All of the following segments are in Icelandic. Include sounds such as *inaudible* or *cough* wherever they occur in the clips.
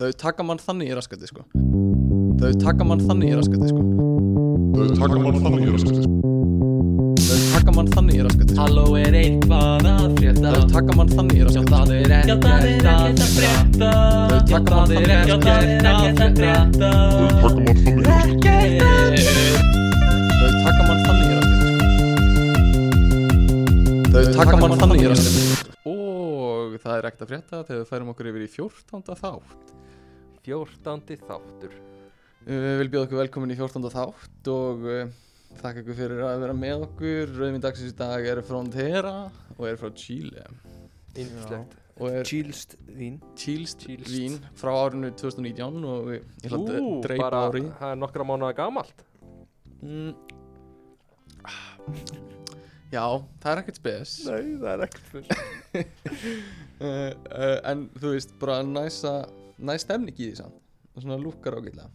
Þau taka mann þannig í raskati sko Þau taka mann þannig í raskati sko Þau taka mann þannig í raskatið Þau taka mann þannig í raskati sko Halló er eitthvað að frétta Þau taka mann þannig í Já raskati sko það er ekkert að frétta Þau taka mann Já það er þannig. ekkert að frétta Þau taka mann þannig í raskatið Þau taka mann þannig í raskati sko Þau taka mann þannig í raskati sko Og það er ekkert að frétta þegar við færum okkur yfir í 14. þátt 14. þáttur Uh, Við viljum bjóða okkur velkomin í 14. þátt og uh, þakka ykkur fyrir að vera með okkur Rauðminn dagsins í dag er frá Tera og er frá Chile Yndislegt og er Chilst vín Chilst Chillst. vín frá árinu 2019 og við- ég ætla að Ú, dreipa bara, ári það er nokkra mánuða gamalt mm. Ah. Já, það er ekkert spes uh, Nei, það er ekkert fyrir *laughs* uh, En þú veist, bara næsa næst stemning í því samt og svona lúkkar ágætlega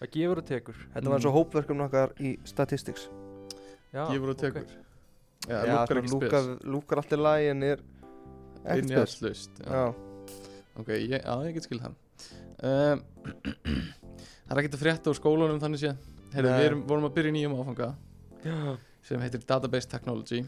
Það gefur og tekur Þetta var eins og hópverkum okkar í statistics Já, Gefur og ok. tekur Já, Já, lúkkar svona ekki lúkar, spes lúkar allt í lagi en er ekkert Inn í spes allt laust já. Já, Ok, ég, já, ég get skil það um, *clears throat* Það er ekkert að frétta úr skólanum þannig séð Heyrðu, Nei. við erum, vorum að byrja í nýjum áfanga Já, sem heitir Database Technology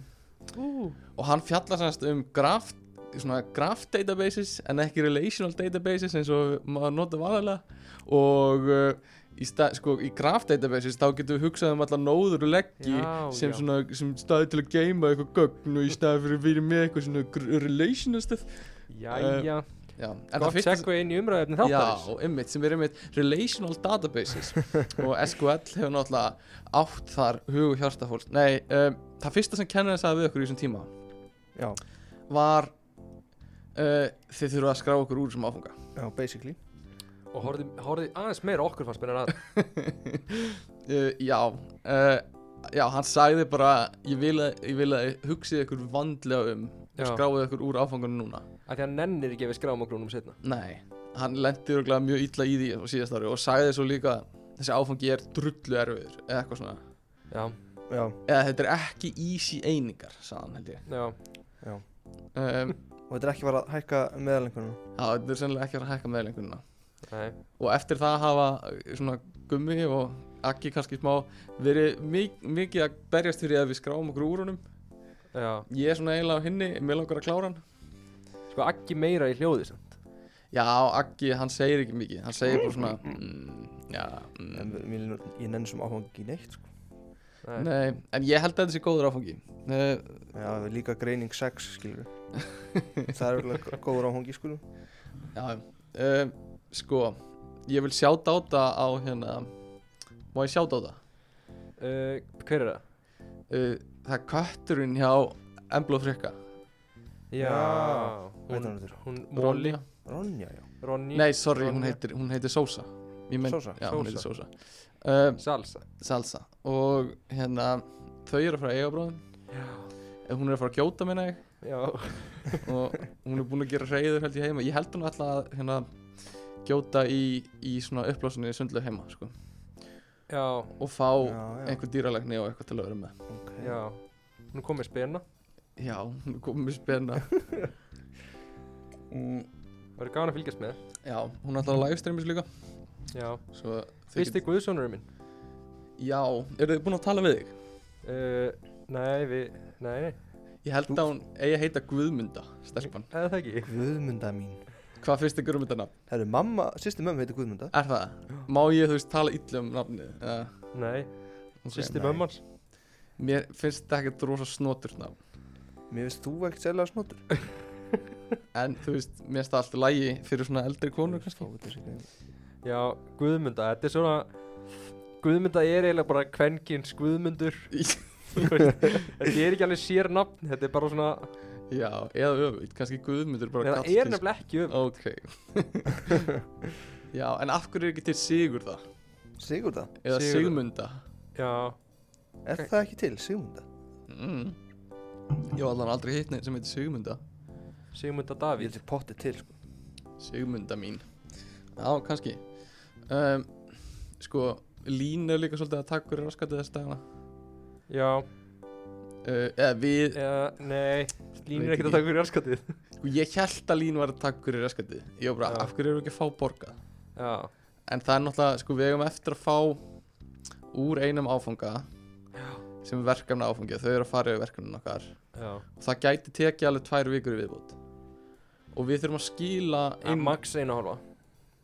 og hann fjallar semst um graf, svona graph databases en ekki relational databases eins og maður nota vanalega og uh, í, stað, sko, í graph databases þá getum við hugsað um alla nóður og leggi Já, sem, já. svona, sem staði til að geima eitthvað gögn og í staði fyrir að vera með eitthvað svona gr- relational stuff Jæja, já, en gott Eh, fyrsta- segva inn í umræðinu þáttarins Já, einmitt, sem er einmitt relational databases *laughs* og SQL hefur náttúrulega átt þar hug og hjarta fólk Nei, um, það fyrsta sem kennarinn sagði við okkur í þessum tíma já, var uh, þið þurfa að skrá okkur úr sem *laughs* áfunga já, basically Og horfði, horfði aðeins meira okkur fannst mér en að uh, Já uh, Já, hann sagði bara ég vil að, ég vil að þið hugsið ykkur vandlega um Já. og skráið ykkur úr áfangunum núna Af því hann nennir ekki að við skráum okkur um setna Nei, hann lendi örgulega mjög illa í því á síðast ári og sagði svo líka þessi áfangi er drullu erfiður eða eitthvað svona Já, Já, eða þetta er ekki easy einingar sagðan held ég já, um, og þetta er ekki bara að hækka meðalengunum já, þetta er sennilega ekki að fara að hækka meðlenguna nei og eftir það hafa eh, svona gummi og Akki kannski smá verið mik mikið að berjast fyrir að við skráum okkur úr honum Já, ég er svona eiginlega á hinni, mér langar að klára hann sko ekki meira í hljóði samt já, Akki, hann segir ekki mikið hann segir bara svona mm, já, En mm, við- mér- ég nenni sem áhuga ekki í neitt sko. Nei, nei, en ég held að þetta sé góður áfangi uh, Já, líka greining 6 *laughs* skilur Það er vel góður áhuga skilur já, um, sko ég vil sjá dáta á hérna má ég sjá dáta? Uh, Hver er það? uh, það er kötturinn hjá Embla og Frikka Já, Já. hún, Veitum við hún Rolli, Ronja, já Ronny Nei, sorry, hún Ronja. heitir, hún heitir Sosa Ég meint- Sosa, Já, hún Sosa. heitir Sosa uh, Salsa Salsa Og hérna, þau eru að fara að eiga bróðum Já, Eh, Hún er að fara að kjóta minna ég já, Og hún er búin að gera reyður held ég heima Ég held hún alltaf að hérna Gjóta í, í svona upplásunni í sundlu heima sko. já, Og fá Já, já, einhver dýralækni og eitthvað til að vera með ok já Hún kom með spena Já, hún er komin með spenna mm, Verður gaman að fylgjast með Já, hún er alltaf að livestreamis líka Já, Svo þið fyrsti guðsónurinn minn get- Já, eru þið búin að tala við þig? uh, Nei, við, nei, nei, Ég held að hún eigi að heita Guðmunda, stelpan. eða það ekki Guðmunda mín Hvað fyrst er Guðmundanafn? Herru, mamma, sýsti mömmu heitir Guðmunda Er það? Má ég, þú veist, tala illa um nafnið? Uh, Nei, okay. sýsti nei. mömmans Mér finnst þetta ekkert rosa snoturt nafn. Mér veist þú ekkert sérlega snotur En, þú veist, mér finnst það allt í lægi fyrir svona eldri konur, kannski. kannski Já, Guðmunda, þetta er svona Guðmunda er eiginlega bara kvenkins Guðmundur *laughs* þú veist. Þetta er ekki alveg sér nafn Þetta er bara svona Já, eða öfugt, kannski Guðmundur bara Nei, Það er nefnilega ekki um Ok. *laughs* Já, en af hverju er ekki til Sigur það? Sigurða, Eða Sigurða. Sigmunda? Já, er Ok. það ekki til, Sigurða? Mm. Ég var allan aldrei hitt neitt sem heitir Sigmunda. Sigmunda Ég Davíð heldur pottið til, sko Sigmunda mín Já, kannski um, Sko, Lín er líka svolítið að taka hverju raskatið þess dagana Eh, Já, uh, Eða við, eða, nei Veit Lín ekki. er ekkert að taka fyrir jarðskatið sko, ég held að lín var að taka hverju raskandi ég var bara, Já. af hverju eru ekki að fá borga Já, en það er náttúrulega, sko, við eigum eftir að fá úr einum áfanga sem er verkefna áfangi þau eru að fara yfir verkefnin okkar já og það gæti tekið alveg tvær vikur í viðbútt og við þurfum að skýla Ein max einu og hálfa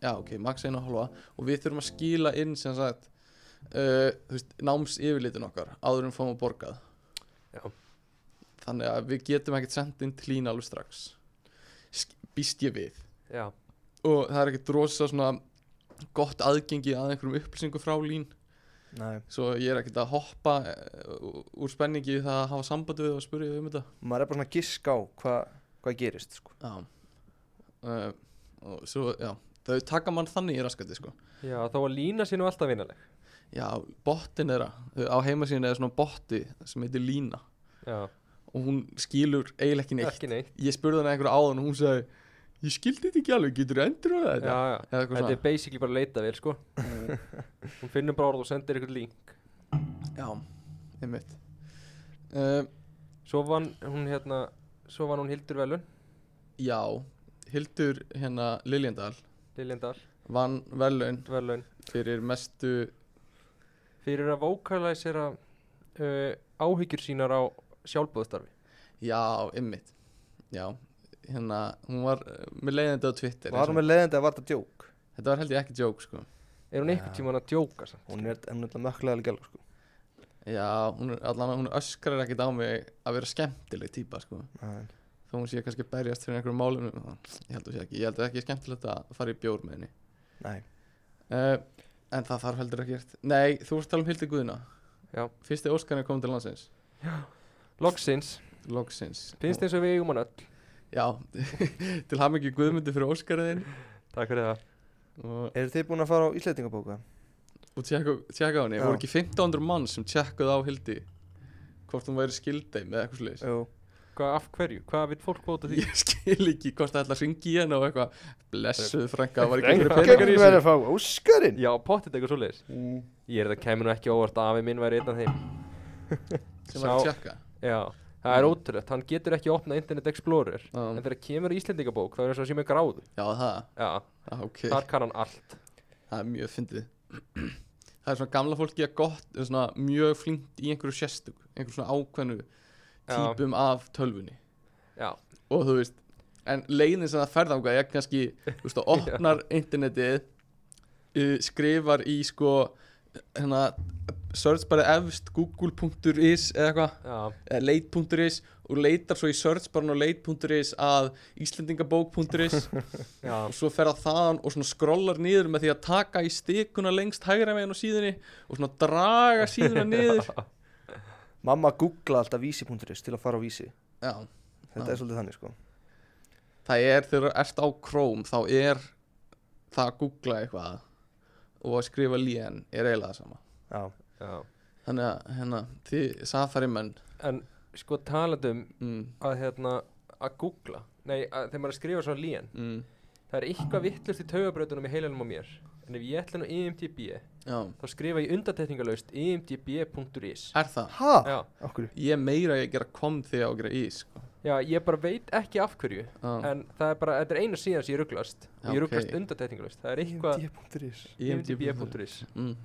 já, ok, max einu og halva og við þurfum að skýla inn sem sagt uh, þú veist, náms yfirlitin okkar áður en fáum að borgað Já. þannig að við getum ekkert sendt inn til lína alveg strax Sk býst ég við Já, og það er ekkert rosa svona gott aðgengi að einhverjum upplýsingu frá lín Nei, svo ég er ekkert að hoppa uh, úr spenningi við það að hafa sambandi við og spurja þau um þetta maður er bara svona að giska á hvað hva gerist sko. já uh, og svo, já þau taka mann þannig í raskandi sko já þá var lína sínum alltaf vinaleg Já, bottin þeirra uh, á heimasíðinu er svona botti sem heitir Lína Já, og hún skilur eiginlega ekki neitt ekki neitt Ég spurði hana einhverja áðan og hún sagði Ég skildi þetta ekki alveg, getur þú endur á Já, þetta? já Eða eitthvað Þetta svona er basically bara leita vel, *laughs* sko Hún finnur bara orð og sendir ykkur link Já, einmitt uh, Svo vann hún hérna Svo vann hún Hildur Velun Já, Hildur hérna Liljendal Liljendal vann velun Velun fyrir mestu Fyrir að vókalæsera uh, áhyggjur sínar á sjálfbúðstarfi Já, einmitt Já, hérna, hún var uh, með leiðandi á Twitter Var eins og- hún með leiðandi að var þetta djók? Þetta var held ég ekki joke, sko Er hún einhvern tímann að djóka samt? Hún er hún er mökkulega gæla sko. Já, hún, er- allan hún öskrar ekkert á mig að vera skemmtileg típa, sko Nei. þó hún sé kannski að berjast fyrir einhverjum málum ég held að sé ekki, ég held að ekki skemmtilegt að fara í bjór með henni Nei. uh, en það þarf heldur ekki gert nei, þú vorst að tala um Hildi Guðna Já. fyrsti Óskarinn kom til landsins Loksins loksins Finnst eins og við eigum hann öll já, *laughs* til hamingi Guðmundi fyrir Óskarinn Takk fyrir það og, Eru þið búin að fara á Ísleitingabóka? og tjekka tjekka á henni Já. voru ekki 1500 mann sem tjekkuð á Hildi hvort hún væri skildið með eitthvað sliðis Jú. Hvað af hverju? Hvað vil fólk bóta því? *laughs* ég skil ekki hvort það ætla að ringi í henni og eitthvað blessuð frænka, það var ekki Frænka. einhverju peningar í þessu að fá Óskarinn? *laughs* Já, pottit eitthvað svoleiðis Mm. Ég er það kemur nú ekki á óvart að afi minn væri einn af þeim sem var að Sá- tjekka Já, það er ótrúlegt Hann getur ekki opnað Internet Explorer Já. En þegar kemur í Íslendingabók þá er eins og sem er gráðu já, það, Já, Ah, ok þar kann hann allt Það er mjög fyndið *clears throat* Það er svona gamla fólki að gott er svona mjög flinkt í einhverju sérstök einhverju svona ákveðnu Já. típum af tölvunni Já, og þú veist en leiðin sem það ferð ánga er kannski þú veist, það opnar internetið uh, skrifar í sko hérna search bara efst google.is eða eitthvað já, eða leit.is og leitar svo í search bara á leit.is að íslendingabók.is já og svo fer það þaðan og svona skrollar niður með því að taka í stikuna lengst hægra meginn á síðunni og svona draga síðuna niður Mamma googla alltaf vísi.is til að fara á vísi já, Þetta Já. er svolítið þannig sko það er þegar þú ert á Chrome þá er það að googla eitthvað og að skrifa lén er eiginlega það sama Já, Já. þannig að hérna, þið safari menn En sko talandum mm, að hérna að googla Nei, að, þegar maður er að skrifa svona lén mm, það Það er eitthvað vittlust í taugabrautunum í heilanum á mér En ef ég ætla nú E IMDB já, þá skrifa ég E undartekningalaust imdb.is er það ha? Ah. Já, Okkur ég meira ég gera kom því að gera í sko. já, ég bara veit ekki af hverju Já, En það er bara, þetta er eina síðan sem ég rugglast Já, Ég Ah. ok. rugglast undartekningalaust Það er eitthvað E IMDb.is imdb.is Mm.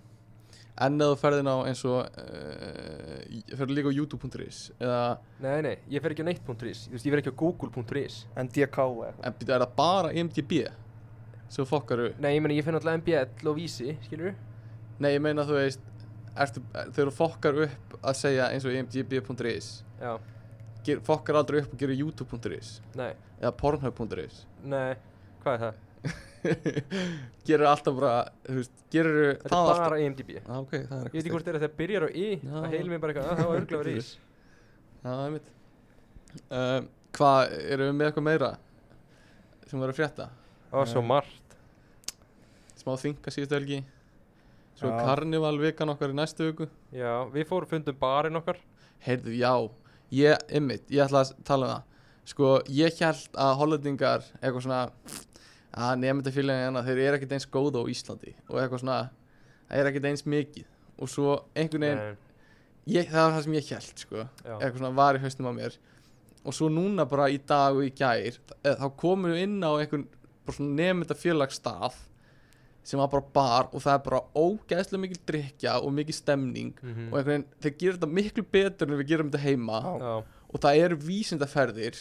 En ef þú ferðin á eins og uh, ferðin líka á youtube.is eða Nei, nei, ég fer ekki á neitt.is Þú veist, ég fer ekki á google.is NDK eða eitthvað En býtu, er það bara IMDb? Svo fokkaru Nei, ég meina, ég finn alltaf MBL og Vísi, skilur Nei, ég meina þú veist ertu, er, Þegar þú fokkar upp að segja eins og IMDb.is Já, ger, Fokkar aldrei upp og gerir YouTube.is nei, Eða Pornhub.is *laughs* nei, hvað er það? Gerir alltaf bara, þú veist Gerir Þetta það er bara E alltaf IMDb Ég ah, okay, Það er veit ekki hvort þetta byrjar á I Já. Það heilir mér bara eitthvað, *laughs* að það var E." örglega verið ís Já, það er mitt um, Hvað, erum við með eitthvað meira? Sem var að frétta Það var svo margt Smá þinga síðustu helgi Svo Já. er karnival vikan okkar í næstu viku Já, við fórum fundum barinn okkar Heyrðu, já, ég, ymmit, ég ætla að tala um það Sko, ég held að hollendingar eitthvað svona að nefndafélagin hérna, þeir eru ekkert eins góð á Íslandi og eitthvað svona, það er ekkert eins mikið og svo einhvern veginn, ég, það var það sem ég held, sko já, eitthvað svona var í haustum á mér og svo núna bara í dag og í gær eh, þá komum við inn á einhvern bara svona nefnda félagsstað sem var bara bar og það er bara ógæðslega mikil drikja og mikil stemning Mm. mhm. og einhvern veginn, þeir gerir þetta miklu betur en við gerum þetta heima Já. Já, og það eru vísindaferðir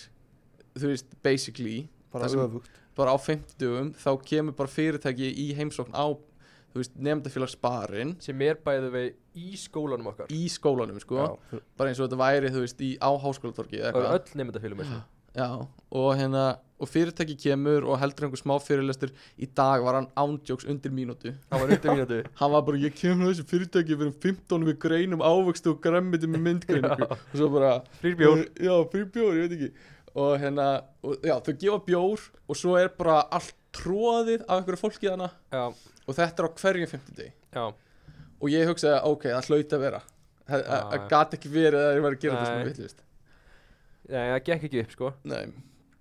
þú veist, basically bara það sem- öfugt bara á 50 dögum þá kemur bara fyrirtæki í heimsókn á þú veist, nefndafélags barinn sem er bæðið við í skólanum okkar í skólanum sko, Já. bara eins og þetta væri þú veist, í, á háskólatorki eða og eitthvað öll nefndafélum *gasps* eins og Já, og hérna og fyrirtæki kemur og heldur einhver smá fyrirlestur í dag var hann ándjóks undir mínútu það var undir mínútu hann var bara, ég kemur þessu fyrirtæki við erum 15 við greinum ávöxtu og græmmiti með myndgreiningu og svo bara frýrbjór Eh, Já, fyrir bjór, ég veit ekki Og hérna, og, já, þau gefa bjór Og svo er bara allt tróðið Af einhverju fólki þarna já, Og þetta er á hverjum fimmtudegi já, Og ég hugsaði, ok, það hlaut að vera Það Já, ah, já. gat ekki verið að ég var að gera þetta Nei. svona vitlist já, það gekk ekki upp sko Nei,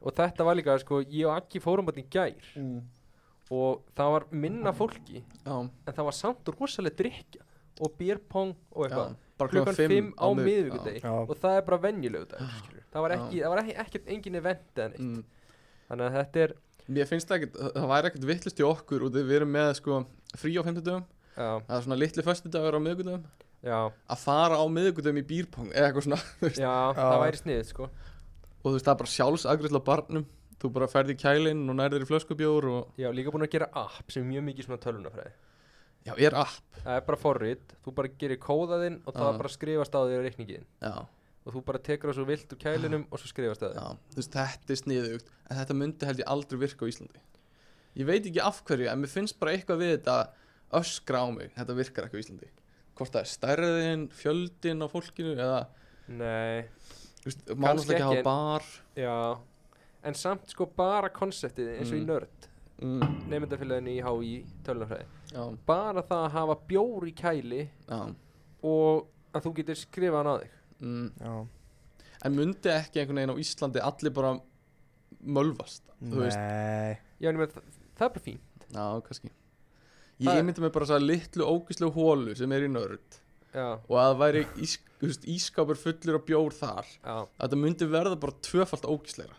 og þetta var líka sko, ég og Aggi fórum bara í gær Mm. og það var minna fólki já, en það var samt rosalega drikja og beer pong og já eitthvað Bara klukkan 5 á mið- miðvíkudegi Já. og það er bara venjulegu dag skilurðu. það var ekki, það var ekki, ekkert engin event eða já. neitt Ah, Mm. þannig að þetta er Mér finnst það ekkert, það væri ekkert vitlist í okkur Og við erum með, sko, frí á fimmtudegum já, Það er svona litli föstudagur á miðvikudegum já, Að fara á miðvikudegum í býrpong Eða eitthvað svona, *laughs* þú veist já, það væri sniðið sko og þú veist það er bara sjálfsagrisla á barnum þú bara ferð í kælinn og nærðir í flöskubjór og ég hef líka búin að gera app sem er mjög mikið svona tölunafræði já, er app það er bara forrið, þú bara gerir kóðaðinn og það Já. bara skrifast á þér reikningin já, og þú bara tekur það svo vilt úr kælinum og svo skrifast það já, þú veist þetta er sniðugt en þetta myndi held ég aldrei virka á Íslandi ég veit ekki af hverju en mér finnst bara eitthvað við þetta öskra á mig þetta virkar ekki á Íslandi hvort það er stærðin, fjöldin á fólkinu eða, nei, þú veist, málast ekki að ekki, hafa bar já en samt sko bara konseptið eins og í Mm. nörd mm, nefndafélaginu í HÍ tölunafræði já, bara það að hafa bjór í kæli já og að þú getur skrifað hann á þig mm. já, en myndi ekki einhvern veginn á Íslandi allir bara mölvast þú veist nei já, en ég meina, það, það er bara fín Já, kannski Það- Ég myndi mig bara að litlu ógislegu hólu sem er í nörd já, og að það væri ís, þú veist, ískapur fullur af bjór þar já. þetta myndi verða bara tvöfalt ógislegra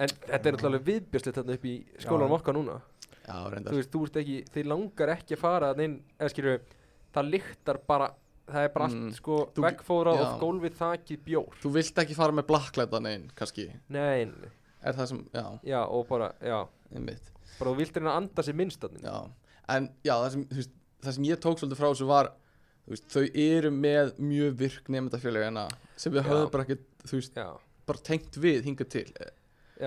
en þetta er náttúrulega viðbjörnslega þarna upp í skólanum Já. okkar núna Já, reyndar þú veist, þú veist ekki, þið langar ekki að fara þarna inn, eða skilju, það lyktar bara það er bara Mm. allt sko Þú- veggfórað og já. gólfið þakið bjór Þú vilt ekki fara með blakklætan einn, kannski nei, nei, nei. Er það sem, já, já, og bara, já einmitt bara þú vilt reyna að anda sér minnst þarna inni. Já, en já, það sem, þú veist, það sem ég tók svolítið frá þessu var þú veist, þau eru með mjög virk nefndafélagina sem við Já. höfðum bara ekki, þú veist, já, bara tengt við hingað til Eh,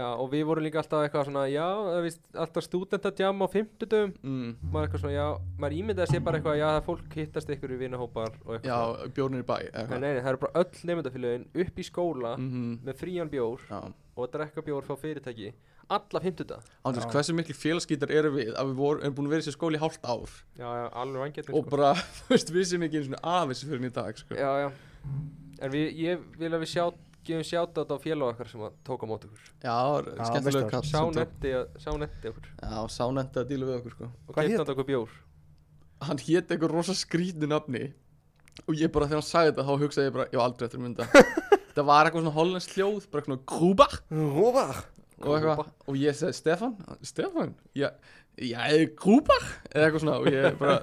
já, og við vorum líka alltaf eitthvað svona, já, það er víst, alltaf stúdentatjám á fimmtudum mm, maður eitthvað svona, já, maður ímyndaði sér bara eitthvað, já, það er fólk hittast ykkur í vinahópar og Já, eitthvað. bjórnir í bæ eða Nei, eitthvað. nei, nei, það eru bara öll nefndafélögin upp í skóla Mhm, með frían bjór Já og að drekka bjór frá fyrirtæki, alla fimmtuta. Andrés, Já. hversu miklu félagsgítar eru við að við vorum, erum búin að vera í þessu skóli í hálft ár Já, já, alveg sko. vangjarnir, og bara, *laughs* þú veist, við sem ekki einu svona af þessu fyrir henni í dag, sko. Já, já. En við, ég vil að við sjá, gefum sjátt á þetta á félag okkar sem að tóka mót okkur. Já, já Já, skemmtilega veistlar. kall. Sá sem tók- netti, að- sá netti okkur Já, sánendi að díla við okkur, sko. og Hvað hét kemta þetta okkur bjór. Hann hét eitthvað rosa skrítnu nafni og ég bara, þegar hann sagði þetta, þá hugsaði ég bara, ég var aldrei eftir að *laughs* mynda. það var eitthvað svona hollensk hljóð, bara eitthvað grúba Rófa og eitthvað, Grúba. og ég sagði, Stefan, Stefan, já, já, grúba, eða eitthvað svona, og ég bara,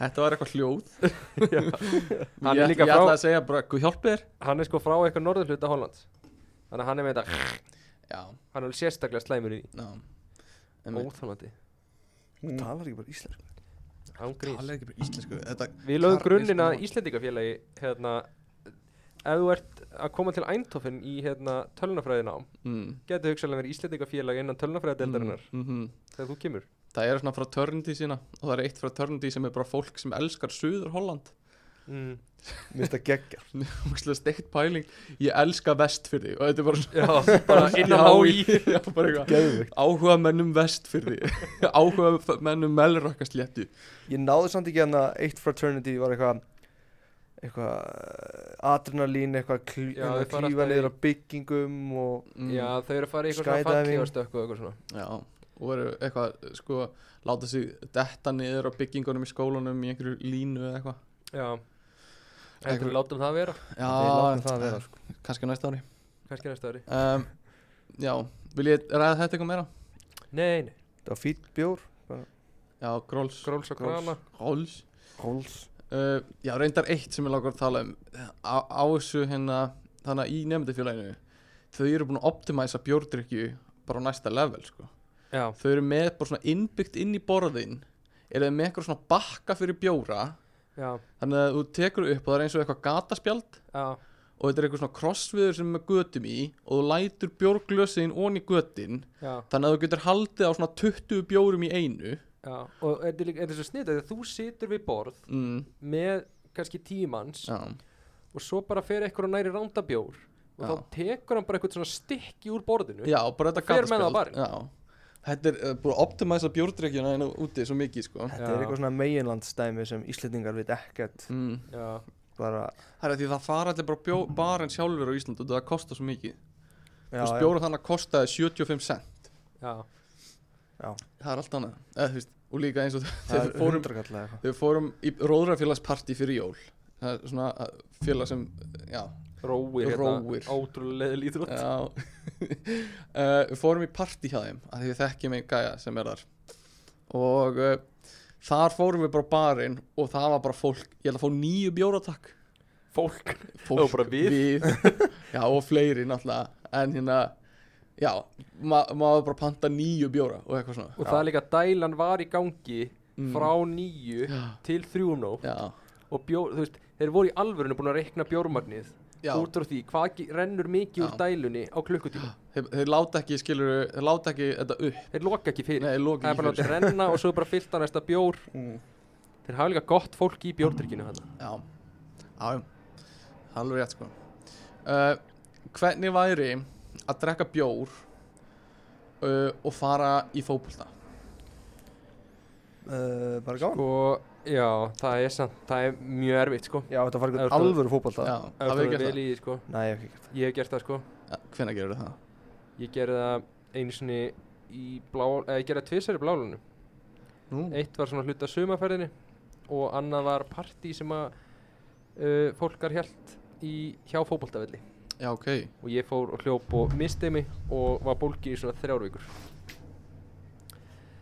þetta var eitthvað *laughs* hljóð. *laughs* Hann ég er líka ég frá- ætlaði að segja bara, guð hjálpi þér. Hann er sko frá eitthvað norður hluta Hollands. Þannig að hann er með þetta, Já, hann er alveg sérstaklega slæmur í já. Einmitt. óþálandi. hún talar ekki bara íslensku Án gríns. Talar ekki bara íslensku Þetta, Við Þar lögum er grunninn sko- að Íslendingafélagi hérna, ef þú ert að koma til Eindhoven í hérna, tölunafræðinám mm, getur hugsaðlega verið Íslendingafélagi innan tölunafræðadeldarinnar mm, mhm. þegar þú kemur Það eru svona frá Törndi sína og það er eitt frá Törndi sem er bara fólk sem elskar Suður Holland *laughs* mm. Mér finnst það geggja Úkslega steikt pæling Ég elska vestfyrði og þetta er *laughs* bara *laughs* Já, bara innan á í *laughs* Já, bara eitthvað Geðvikt Áhuga mennum *laughs* vestfyrði Áhuga mennum melrakkasléttu Ég náði samt ekki hann að eitt fraternity var eitthvað eitthvað eh, adrenalín eitthvað klí, Já, hérna, þau fara klífa alltaf í- niður á byggingum og mm, Já, þau eru að fara í eitthvað svona Skydiving. fallífastökk og eitthvað svona Já Og eru eitthvað, sko, láta sig detta niður á byggingunum í skólanum í einhverju línu eða eitthvað Já Þetta við látum það vera Já, Þeir láta það vera, sko. sko. kannski næsta ári kannski næsta ári um, Já, vil ég ræða þetta eitthvað meira? Nei, nei, Það var fýtt bjór Já, Gróls gróls og Gróls. grana Gróls Hóls uh, Já, reyndar eitt sem ég langar að tala um Á, á þessu hérna Þannig að í nefndafélaginu Þau eru búin að optimæsa bjórdrykju Bara á næsta level, sko Já, Þau eru með bara svona innbyggt inn í borðin Eru þau með eitthvað svona bakka fyrir bjóra já, Þannig að þú tekur upp og það er eins og eitthvað gataspjald já og þetta er eitthvað svona krossviður sem er með götum í og þú lætur bjórglösin onni götin Já, þannig að þú getur haldið á svona 20 bjórum í einu já, og þetta er líka, þetta er svo snið Þegar þú situr við borð mm, með kannski tímans já, og svo bara fer eitthvað og næri rándabjór Já. og þá tekur hann bara eitthvað svona stykki úr borðinu já, bara þetta Fer með það á gataspjald barinn. já. þetta er uh, búið að optimæsa bjórdrykkjuna en úti svo mikið sko Þetta Já. er eitthvað svona meginlandsdæmi sem Íslendingar veit ekkert mm. já, bara, það er að því það fara allir bara bjó, barinn sjálfur á Íslandu það kostar svo mikið já, þú veist bjóra þannig að kostaði 75 cent já, það er allt annað Eða, þú veist, og líka eins og það þegar er við fórum hundrakallega eitthvað Þegar við fórum í Róðrafélagsparti fyrir jól Það er svona uh, félag sem, já, róir, Róir. Hérna, ótrúlega lítur já *laughs* uh, Við fórum í partí hjá þeim að því við þekkjum einn gæja sem er þar Og uh, þar fórum við bara á barinn og það var bara fólk Ég held að fá nýju bjóratak fólk Fólk, bara við. Já, og fleiri náttúrulega En hérna, já, ma maður bara panta nýju bjóra og eitthvað svona og það er líka dælan var í gangi Mm. frá nýju til um þrjúnó Já, og bjór, þú veist, þeir voru í alvörinu búin að reikna bjórmagnið já út frá því, hvað ge- rennur mikið úr Já. dælunni á *gasps* klukkutíma, þeir, þeir láta ekki, skilur, þeir láta ekki þetta upp þeir loka ekki fyrir Nei, það loka er bara ekki Mm. látið renna og svo er bara fyllt á næsta *laughs* bjór þeir hafa líka gott fólk í bjórdrykkinu hann Já, já, já, Það er alveg rétt sko uh, Hvernig væri að drekka bjór uh, og fara í fótbolta? uh, bara gáðan og Sko, já, það er samt, það er mjög erfitt sko já, þetta var Ef eitthvað þú- alvöru fótbolta Já, Ef það þú verður ert gert vel það í, því, sko. nei, ég hef ekki gert ég hef gert það sko ja, Hvenær gerur það? ég gerði það einu sinni í blá, eða ég gerði það tvisar í blálunum Nú, Eitt var svona hluti af sumaferðinni og annað var partí sem að uh, fólkar held í hjá fótboltavelli já ok og ég fór og hljóp og misti mig og var bólki í svona þrjár vikur.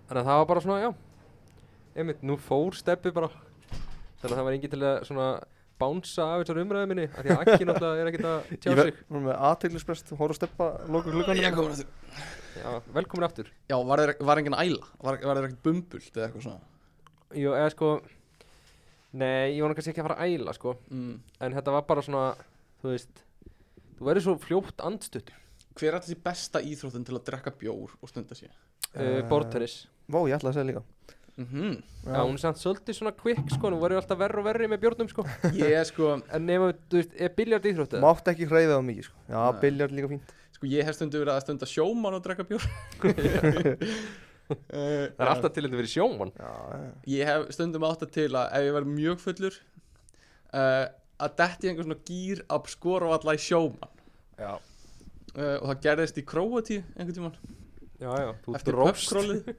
Þannig að það var bara svona, já, einmitt, nú fór steppi bara. Þannig að það var engin til að svona bánsa af þessar umræðu minni, af því að Akki náttúrulega er ekkert að tjá Ég sig. verð nú með aðteglisbrest, horf að steppa, loka klukkan Ég komin aftur Já, velkomin aftur. Já, var þeir, var engin æla? Var, var þeir ekkert bumbult eða eitthvað svona? Jú, eða sko, nei, ég var nú kannski ekki að fara að æla, sko. Mm. en þetta var bara svona þú veist þú verður svo fljótt andstutt Hver er alltaf því besta íþróttin til að drekka bjór og stunda sér? uh, Eh, bortennis Vá, ég ætlaði að segja líka Mm já. hún er samt svolítið svona quick sko hún verður alltaf verri og verri með bjórnum sko Ég er sko, en nema þú veist er biljart íþrótt eða Mátt ekki hreyfið á mikið, sko Já, Nei. biljard líka fínt sko ég hef stundu verið að stunda sjómann og drekka *laughs* bjór uh, það er alltaf til hérna þetta verið sjóman Já, já, ég hef stundum átt að til að ef ég verð mjög fullur uh, að detti einhver svona gýr að skora alla í sjómann já uh, og það gerðist í Króatíu einhvern tímann já já þú eftir dróst *laughs* pöpskrólið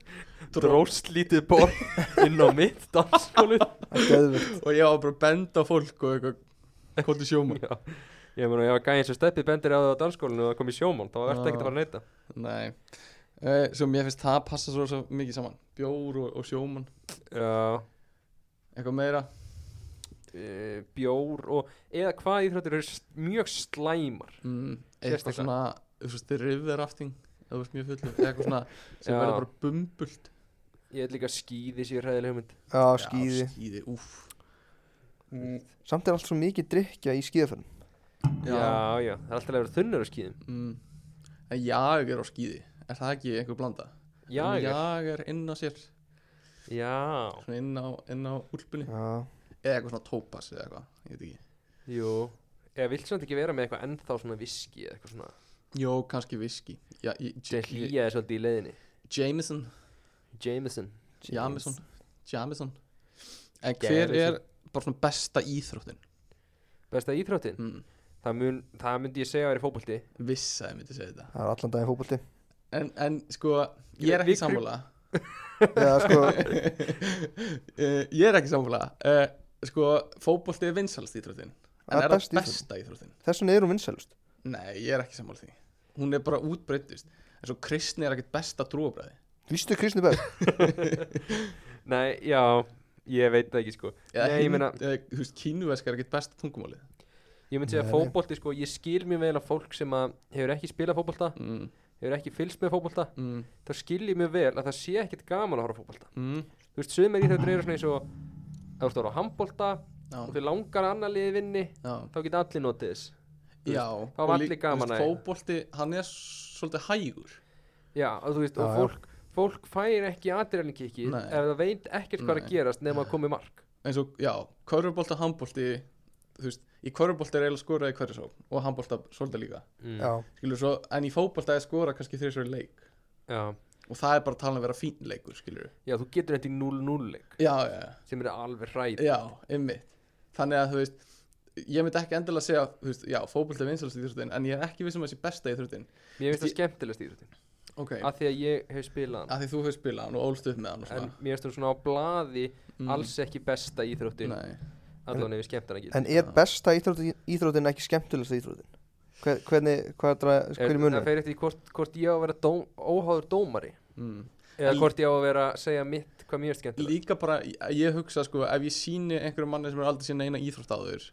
dróst lítið borð inn á mitt danskólu Það er geðvikt og ég var bara að benda á fólk og eitthvað konti *laughs* sjómann já ég meina ég var gæðin sem steppið bendir á það á danskólinu og það kom í sjóman þá var verðt Já. ekkert að fara að neyta nei uh, svo mér finnst það passa svo, svo mikið saman bjór og, og sjómann já eitthvað meira e, bjór og eða hvað íþróttir eru s- mjög slæmar mm, eitthvað Sérstaklega. svona þú veist rivðarafting eða þú veist mjög fullur eitthvað *laughs* svona sem Já. verður bara bumbult ég held líka að skíði sér hræðileg hugmynd Já, skýði Já, skíði úff Samt er allt svo mikið drikja í skýðaferðin Já. Já, já, það er alltaf að vera þunnur á skíðum Mm. En jag er á skýði Er það ekki einhver blanda? Já, En já, jag er inn á sér já, Svona inn á, inn á úlpunni Já, Eða eitthvað svona tópas eða eitthvað Ég veit ekki jú Eða vilt samt ekki vera með eitthvað ennþá svona viski eða eitthvað svona Jó, kannski viski ja, ég, Sem hlýja þér svolítið í leiðinni Jameson Jameson Jameson Jameson En hver Jameson. er bara svona besta íþróttin? Besta íþróttin Mm. það, mun, það myndi ég segja að vera í fótbolti Vissa ef ég myndi segja þetta það er allan daginn fótbolti En, en sko, ég Ég- er við ekki kru- sammála *laughs* Já, sko Eh, Ég er ekki sammála uh, Sko, fótbolti er vinsalst íþróttin En Það er er það best íþróttin. besta íþróttin? Þessun er hún vinsælust Nei, ég er ekki sammála því Hún er bara útbreytist En svo kristni er ekkert besta trúabræði Vistu Kristni Berg? Nei, já, ég veit það ekki sko Eða Nei, ég hind- meina- eða, Þú veist, kínuversk er ekkert besta tungumálið Ég myndi segja Nei. að fótbolti sko, ég skil mjög vel að fólk sem að hefur ekki spilað fótbolta mm, hefur ekki fylst með fótbolta mm, þá skil ég mjög vel að það sé ekkert gaman að horfa á fótbolta mm, Þú veist, sögum er í þetta eru svona eins og að þú veist að horfa á handbolta Já, og þau langar að annar liði vinni já, þá geta allir notið þess já þá var allir gaman að- Fóbolti, hann er svolítið hægur Já, og þú veist, Já, og já. fólk, fólk fær ekki aðdreilinkikki Nei. ef það veit ekkert hvað er Nei. að gerast nema að komi mark eins og, já, körfubolta, handbolti þú veist, í körfubolta er eiginlega skorað í hverjusókn og handbolta svolítið líka mm. Já, skilur svo, en í fótbolta er skorað kannski þrjusverið leik Já. og það er bara talað um að vera fín leikur, skilur Já, þú getur þetta í 0-0 leik já, já, já sem er alveg hræð Já, ymmið Þannig að þú veist Ég myndi ekki endilega segja, þú veist, já, fótbolti er vinsalast í þrjóttin En ég er ekki vissum að það sé besta í þrjóttin Mér finnst Ég- það Eh. skemmtilegast í þetta Ok Af af því að ég hef spilað hann því þú hefur spilað hann og ólst upp með hann og en svona mér finnst það svona á blaði Ah, Mm, alls ekki besta íþróttin Nei allan ef ég skemmt hann ekki en er besta íþróttin, íþróttin ekki skemmtilegsta íþróttin? Hver, hvernig, hvað er það, hvernig það munur? fer eftir því hvort, hvort ég á að vera dó, óháður dómari mm. eða En- hvort ég á að vera að segja mitt hvað mér er skemmtilegt Líka bara, ég- ég hugsa sko Ef ég síni einhverjum manni sem er aldrei sína eina íþrótt áður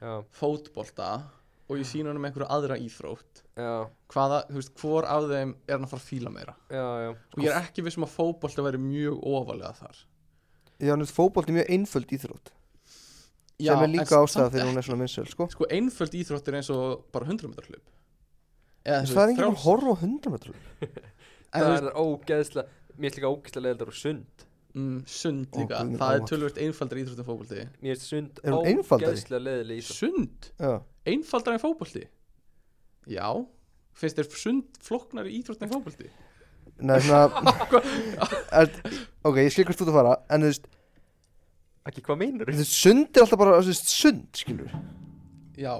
já, Fótbolta Og ég síni hann um einhverju aðra íþrótt já, Hvaða, þú veist, hvor af þeim er hann að fara að fíla meira já, já Og Sko, ég er ekki vissum að fótbolta væri mjög ofalega þar Já, en fótbolt er mjög einföld íþrótt Já, sem er en líka samt ástæða fyrir hún er svona minnsel, sko sko einföld íþróttir eins og bara 100 metrar hlaup eða Þess, þú veist, Það er enginn að frjáls- horfa á 100 metrum en það þú er veist, það ógeðsla mér finnst líka ógeðsla leðildar og sund mm, sund Ó, líka guð minn það er ávallt. tölvöld einfaldar íþróttir en fótbolti mér finnst sund Er hún einfaldari? ógeðsla leðileg íþrótt sund, Já, einfaldar en fótbolti já finnst þér sund flóknar í íþróttir en fótbolti Nei, svona *laughs* er, Ok, ég skil hvert þú ert að fara En þú veist, ekki hvað meinur *laughs* þú veist, sund er alltaf bara þú veist, sund, skilur já,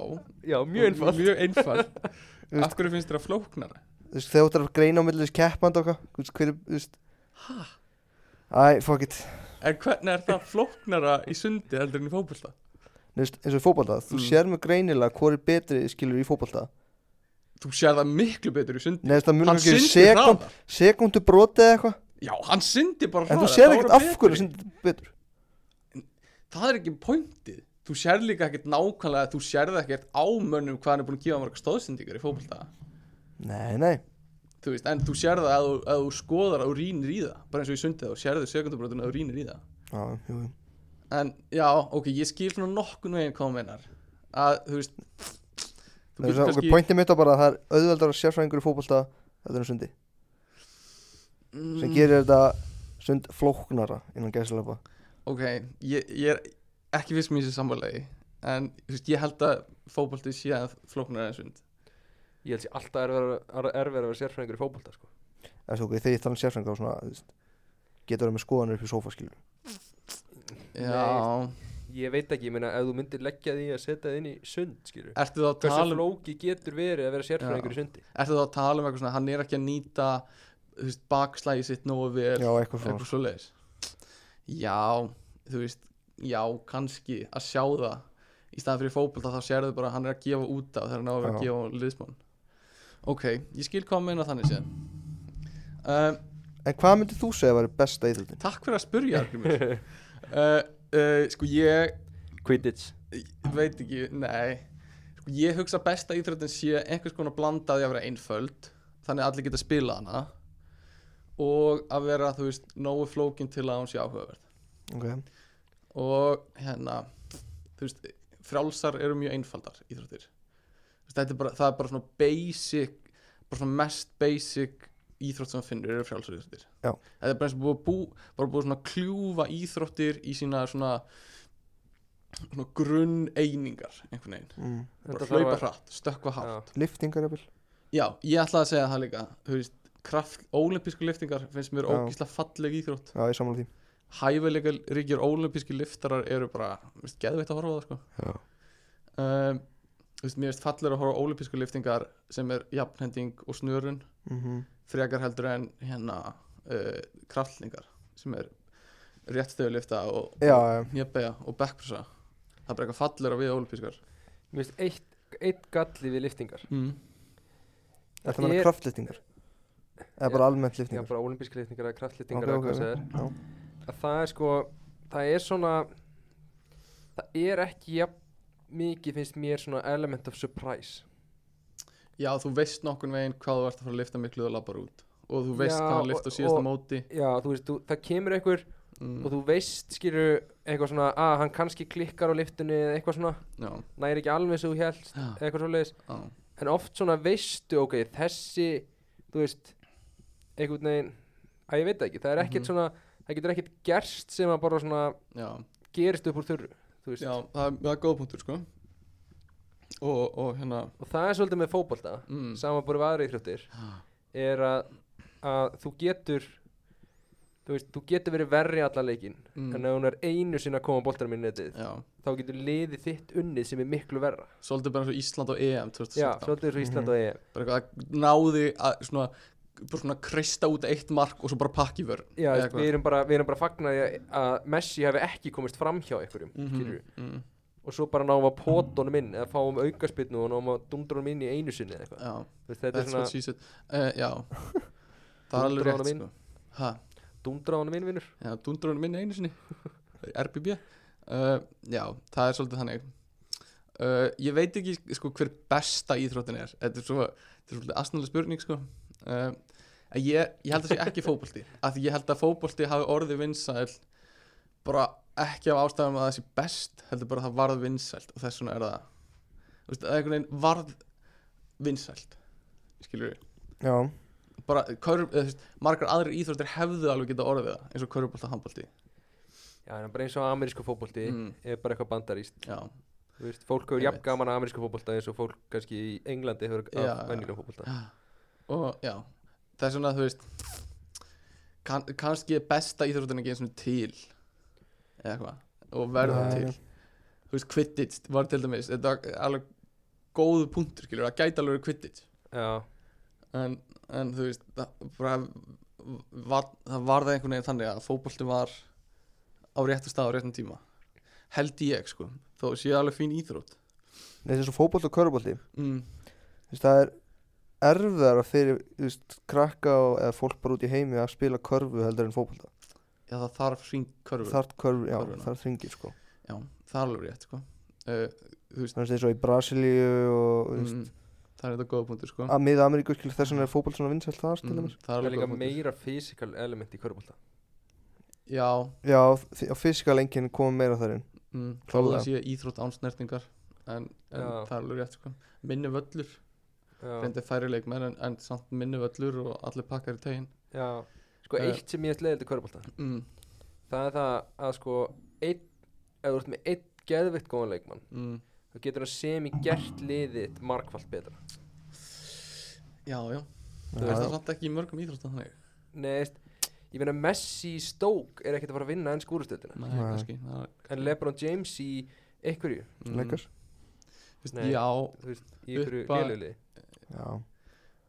já, mjög einfald mjög einfald veist- af hverju finnst þér það flóknara Þú veist, þegar þú ætlar að greina á milli þess keppand okkar Þú veist, hver, er- þú veist Æ, fuck it en hvernig er það flóknara í sundi heldur en í fótbolta Þú veist, eins og í fótbolta, þú Mm. sér mjög greinilega hvor er betri skilur í fótbolta þú sér það miklu betur í sundi Nei, þú veist, það hann munur ekki sundi sekund, hraðar sekundu broti eða eitthvað já, hann sundi bara En þú hraðar, sér þá er ekkert hann af hverju betri. sundi er betur það er ekki pointið þú sér líka ekkert nákvæmlega þú sér það ekkert ámönnum hvað hann er búin að gefa mörg stóðsendingar í fótbolta Nei, nei, þú veist, en þú sér það að þú, að þú skoðar að þú rínir í það bara eins og ég sundi það, þú sér þau sekundabrotin að þú rínir í það já, jú, jú en já, ok, ég skil svona nokkun veginn hvað hann meinar að þú veist þú Það er getur svo, ok, kannski pointið mitt var bara að það er auðveldar að sérfræðingur í fótbolta þetta er sundi sem mm, gerir þetta sund flóknara innan gæslepa ok, ég, ég er ekki um fyrst mér sér samvalegi en þú veist, ég held að fótbolti sé að flóknar en sund ég held sér alltaf erfið að vera sérfræðingur í fótbolta sko. en svo ok, þegar ég tala um sérfræðingur og svona þú veist, getur verið með skoðanir upp í sófaskilur já, ég veit ekki, ég meina ef þú myndir leggja því að setja þið inn í sund skilur ertu þá að tala hversu um flóki getur verið að vera sérfræðingur í sundi ertu þá að tala um eitthvað svona hann er ekki að nýta þú veist, bakslægi sitt nógu vel já, eitthvað svona eitthvað svo leiðis já, þú veist já, kannski að sjá það í staðan fyrir fótbolta þá sérðu bara að hann er að gefa út af þegar hann á að vera að Já. gefa á liðsmann ok, ég skil hvað að meina þannig séð um, en hvað myndir þú segja að vera besta íþjóttin? takk fyrir að spurja Arngrímur. *laughs* uh, uh, sko ég Quidditch Ég veit ekki, nei sko, ég hugsa besta íþróttin sé einhvers konar blandaði að vera einföld þannig að allir geta spilað hana og að vera, þú veist, nógu flókin til að hún sé áhugaverð ok, og hérna, þú veist frálsar eru mjög einfaldar íþróttir Þú veist, þetta er bara, það er bara svona basic bara svona mest basic íþrótt sem þú finnur eru frjálsar íþróttir Já. þetta er bara eins og búið, að bú, bara búið svona að kljúfa íþróttir í sína svona, svona grunn einingar einhvern veginn mm. bara Þetta þarf hlaupa að- hratt, stökkva hátt liftingar jafnvel já. ég ætlaði að segja það líka þú veist, kraft, ólimpísku liftingar finnst mér Já. ógísla falleg íþrótt já, ég samla því hæfilega ríkjur ólimpíski liftarar eru bara, þú veist, geðveitt að horfa á það sko. Já. um, þú veist, mér finnst fallegur að horfa á ólimpísku liftingar sem er jafnhending og snörun mm frekar heldur en hérna uh, kraftlingar sem er réttstöðulifta og já, já, njöpega og backpressa það er bara eitthvað fallegur að við ólimpískar Mér finnst eitt eitt galli við liftingar mm. Þetta Ég- meina kraftlýtingar Eða bara almennt Já, liftingar bara olimpíska liftingar eða Ok, kraftliftingar eða ok, hvað ok. það er Já. að það er sko það er svona það er ekki jafn mikið finnst mér svona element of surprise Já, þú veist nokkun veginn hvað þú ert að fara að lifta miklu og labbar út og þú veist Já, hvað hann lifta og- á síðasta og- móti já þú veist, þú, það kemur einhver mm. og þú veist skilur eitthvað svona að hann kannski klikkar á liftunni eða eitthvað svona Já, næri ekki alveg sem þú hélst já, eða eitthvað svoleiðis já en oft svona veistu ok þessi þú veist einhvern veginn að ég veit það ekki það er ekkert Mhm. svona það getur ekkert gerst sem að bara svona Já, gerist upp úr þurru þú veist já það, er- það er góð punktur sko og, og hérna og það er svolítið með fótbolta mm. saman búið við aðra íþróttir er að, að þú getur þú veist, þú getur verið verri allan leikinn en mm. ef hún er einu sinna að koma boltanum í netið Já, þá getur liðið þitt unnið sem er miklu verra svolítið bara eins og Ísland og EM já, 2016 svolítið eins og Ísland og EM bara eitthvað að náði að svona bara svona kreista út eitt mark og svo bara pakki vörn já, Eða veist, eitthvað. við erum bara, við erum bara fagnar að Messi hefði ekki komist fram hjá einhverjum mm Mhm, mm, og svo bara náum að pótonum inn eða fáum aukaspinnu og náum að dundrunum inn í einu sinni eða eitthvað já, Þú veist, þetta er that's what svona she said uh, já, *laughs* það er alveg Dundra honum rétt inn. sko. ha, dundrunum inn vinnur já, dundrunum minni einu sinni *laughs* RBB uh, já, það er svolítið þannig uh, ég veit ekki sko hver besta íþróttin er þetta er svo, þetta er svolítið astanlega spurning sko uh, en ég, ég held að sé ekki fótbolti af því ég held að fótbolti hafi orðið vinsæl bara ekki af ástæðum að það sé best heldur bara að það varð vinsælt og þess vegna er það þú veist, það er einhvern veginn varð vinsælt skilur við Já, bara, körf, eða, þú veist, margar aðrir íþróttir hefðu alveg geta orðið það eins og körfubolta handbolti já, en bara eins og amerísku fótbolti Mm. er bara eitthvað bandaríst já, Þú veist, fólk hefur Ég jafn veit. gaman að amerísku fótbolta eins og fólk kannski í Englandi hefur Já, af já. venjulegum fótbolta *gasps* og já það er svona þú veist kann, kannski er besta íþróttin ekki eins og til eða eitthvað og verður Nei. til þú veist Quidditch var til dæmis þetta er alveg góðu punktur skilur það gæti alveg verið Quidditch Já, en, en þú veist það, bara, var, það var það einhvern veginn þannig að fótbolti var á réttu stað á réttum tíma held ég sko, þó sé alveg fín íþrótt Nei, þessi svo fótbolt og körubolti mm, Þú veist, það er erfiðara fyrir þú veist, krakka og, eða fólk bara út í heimi að spila körfu heldur en fótbolta já það þarf hring körfur þar körfu, já, Körfuna. þar þringir sko já, það er alveg rétt sko uh, þú veist þannig að eins og í Brasilíu og þú veist, mm, það er þetta góða punktur sko að miða Ameríku skil þess vegna er fótbolt svona vinsælt þar til mm, dæmis það er það er alveg líka góða punktur meira physical element í körbólta já, já, f- á fysiska lengjinn komum meira þar inn mm, þá Klárlega. það sé íþrótt ánsnertingar en, en Já. það er alveg rétt sko minni völlur, Já, reyndi færi leikmenn en, en samt minni völlur og allir pakkar í tegin já Sko Eh. eitt sem ég ætla leiðilegt í körbólta mm, Það er það að sko einn, ef þú ert með einn geðvikt góðan leikmann mm, þá getur það semi gert liðið markvallt betra já, já Já, Þú veist já. það samt ekki í mörgum íþróttum þannig Nei, veist, ég meina Messi í stók er ekkert að fara að vinna enn skúrustöldina Nei, Nei. kannski það er- en Lebron James í einhverju, mm, Lakers. þú veist, Nei. Já, þú veist, í einhverju Upp að- liðlöliði já,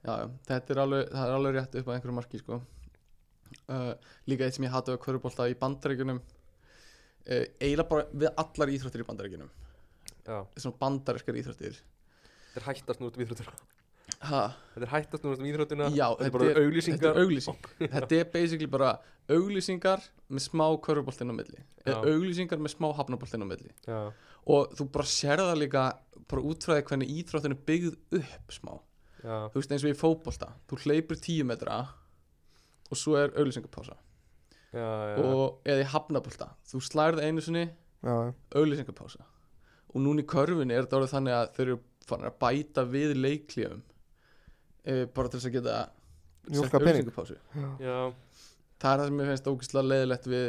já, já Þetta er alveg, það er alveg rétt upp að einhverju marki sko. uh, Líka eitt sem ég hataði að körubólta í bandaríkjunum uh, Eila bara við allar íþróttir í bandaríkjunum Já, Svona bandarískar íþróttir þetta er hættast nú út um íþrótuna ha, Þetta er hættast nú út um íþrótuna Já, þetta er bara Þetta auglýsingar er *laughs* auglýsing Þetta er basically bara auglýsingar með smá körubóltin á milli Já. Eða Auglýsingar með smá hafnabóltin á milli Já, Og þú bara sérða líka bara útfræði hvernig íþróttin er byggð upp smá já þú veist eins og í fótbolta þú hleypur 10 metra og svo er auglýsingapása já, já. og eða í hafnabolta þú slærið einu sinni já, já. auglýsingapása og núna í körfunni er þetta orðið þannig að þau eru farin að bæta við leiklífum e, bara til þess að geta sett Mjólka pening. auglýsingapásu já, það er það sem ég finnst ógeðslega leiðilegt við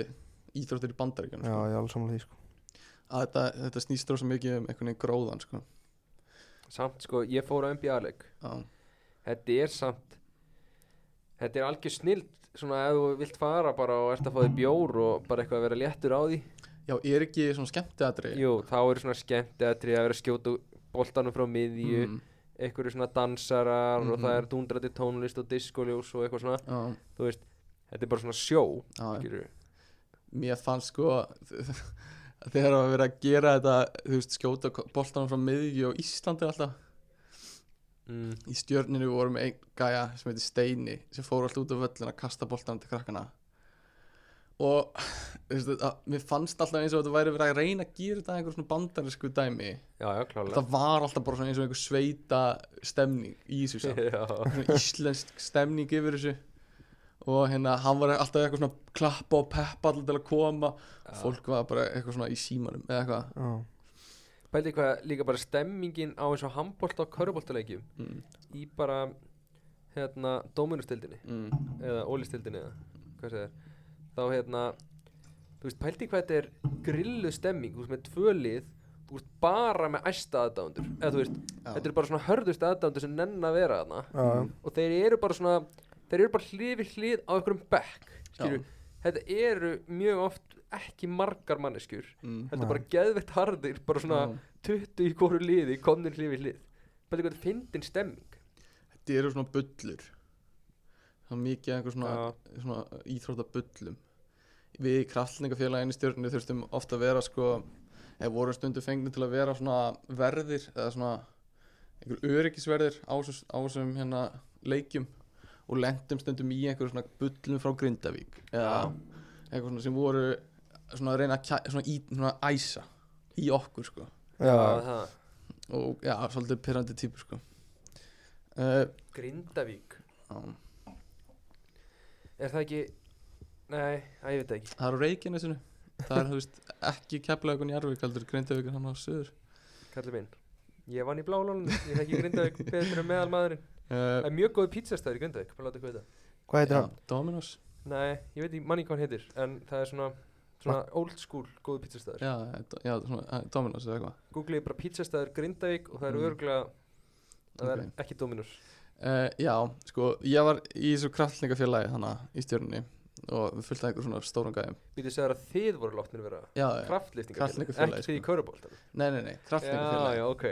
íþróttir í bandaríkjunum já, sko. ég er alveg samanlega því sko að þetta, þetta snýst rosa mikið um einhvern veginn gróðan sko. samt sko, ég fór á NBA-leik já, Þetta er samt Þetta er algjör snild Svona ef þú vilt fara bara og ert að fá þér bjór og bara eitthvað að vera léttur á því já, er ekki svona skemmtiatri Jú, þá er svona skemmt eða að vera að skjóta boltanum frá miðju mm, einhverju svona dansarar og Mhm. það er dundrati tónlist og diskoljós og eitthvað svona já, þú veist, þetta er bara svona sjó já, skilurðu. mér fannst sko *laughs* þegar það var verið að gera þetta þú veist, skjóta boltanum frá miðju og Íslandi alltaf mm. í stjörninu vorum við einn gæja sem heitir Steini sem fór alltaf út af völlin að kasta boltanum til krakkana og *laughs* þú veist, að, mér fannst alltaf eins og þetta væri verið að reyna að gera þetta að einhver svona bandarísku dæmi Já, já, klálega það var alltaf bara svona eins og einhver sveita stemning í þessu *laughs* samt Já, svona íslensk stemning yfir þessu og hérna hann var alltaf eitthvað svona klappa og peppa alltaf til að koma fólk var bara eitthvað svona í símanum eða eitthvað Já. Pældi hvað líka bara stemmingin á eins og handbólta og körubóltaleikjum mm, í bara, hérna, dóminustildinni mm, eða ólistildinni eða hvað segir þá hérna þú veist, pældi hvað þetta er grillu stemming þú veist, með tvölið þú veist, bara með æsta aðdándur eða þú veist, Já. þetta eru bara svona hörðust aðdándur sem nenn að vera þarna Já, já. og þeir eru bara svona þeir eru bara hlið við hlið á einhverjum bekk skilju, þetta eru mjög oft ekki margar manneskjur mm, þetta Nei. er bara geðveitt harðir bara svona Já. 20 í hvoru liði, komnir hlið við hlið pældi hvað þetta fyndin stemming þetta eru svona bullur það er mikið einhver svona, Já. svona íþrótta bullum við í kraftningafélaginu stjórnir þurftum ofta að vera sko eða voru stundu fengnir til að vera svona verðir eða svona einhver öryggisverðir á þessum- á þessum hérna leikjum og lendum stundum í einhver svona bullum frá Grindavík eða einhver svona sem voru svona að reyna að kæ, svona, í, svona æsa í okkur sko Já. það, og já, svolítið pyrrandi típur sko uh, Grindavík já. Er það ekki Nei, að ég veit það ekki Það er á Reykjanesinu Það er, þú veist, ekki keflaðugun í Arvík heldur Grindavíkun hann á söður Kallið minn Ég vann í blálónum Ég þekki Grindavík betur en meðal maðurinn Það uh, er mjög góð pizzastæður í Grindavík Bara láta ekki veit það Hvað heitir já, hann? Dominos Nei, ég veit ekki manni hvað hann heitir En það er svona Svona old school góð pizzastæður Já, eh, do- já svona, eh, Dominos eða eitthvað Googlið bara pizzastæður Grindavík Og það eru Mm. mm. örgulega Ok. Það er ekki Dominus uh, Já, sko, ég var í þessu kraftningafélagi hana í stjörnunni og við fulltaði einhver svona stóran gæðum Býtið segir að þið voru látnir vera Já, já, Kraftlýftingafélag Kraftlyftingafélag, Ekki þið í sko. Körubolt nei, nei, nei, Já, kraftningafélagi já, ok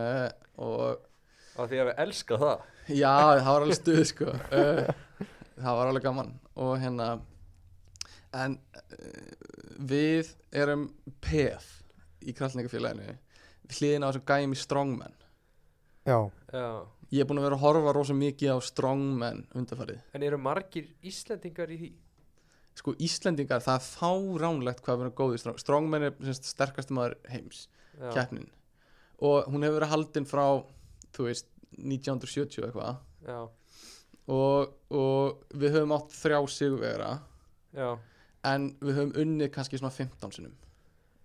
uh, Og Af því að við elska það Já, það var alveg stuð sko uh, Það var alveg gaman og hérna en uh, við erum peð í kraftningafélaginu hliðin á þessum gæmi strongman Já. Já Ég er búin að vera að horfa rosa mikið á strongman undarfarið En eru margir Íslendingar í því? Sko Íslendingar, það er fáránlegt hvað við erum góðið strong Strongman er semst, sterkasti maður heims, Já. keppnin og hún hefur verið haldin frá þú veist, 1970 eitthvað Já, og, og við höfum átt þrjá sigurvegara já, en við höfum unnið kannski svona 15 sinnum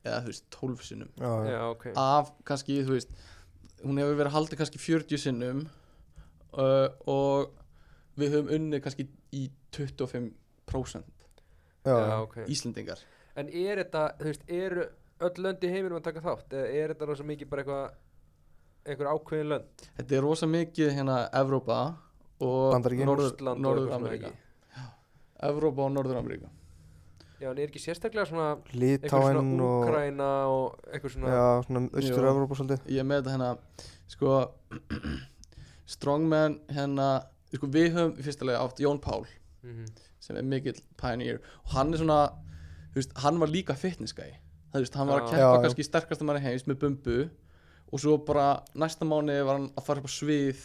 eða þú veist 12 sinnum Já. já, ok af kannski þú veist hún hefur verið haldið kannski 40 sinnum uh, og við höfum unnið kannski í 25% Já. Já, ok Íslendingar En er þetta, þú veist, eru öll lönd í heiminum að taka þátt? Eða er þetta rosa mikið bara eitthvað einhver ákveðin lönd? þetta er rosa mikið hérna Evrópa og Bandaríkin. Norður, Rússland og Norður eitthvað svona, Ameríka Evrópa og Norður Ameríka ekki? Já, en er ekki sérstaklega svona eitthvað Litáin svona og... Úkraina og eitthvað svona Já, svona austur-Evrópa svolítið. ég er með þetta hérna sko *clears throat* strongman hérna sko við höfum í fyrsta lega átt Jón Pál Mhm. sem er mikill pioneer og hann er svona, þú veist, hann var líka fitnessgæi, þú veist, hann var að Já. keppa Já, já. kannski sterkasta manni heims með bumbu og svo bara næsta mánu var hann að fara upp á svið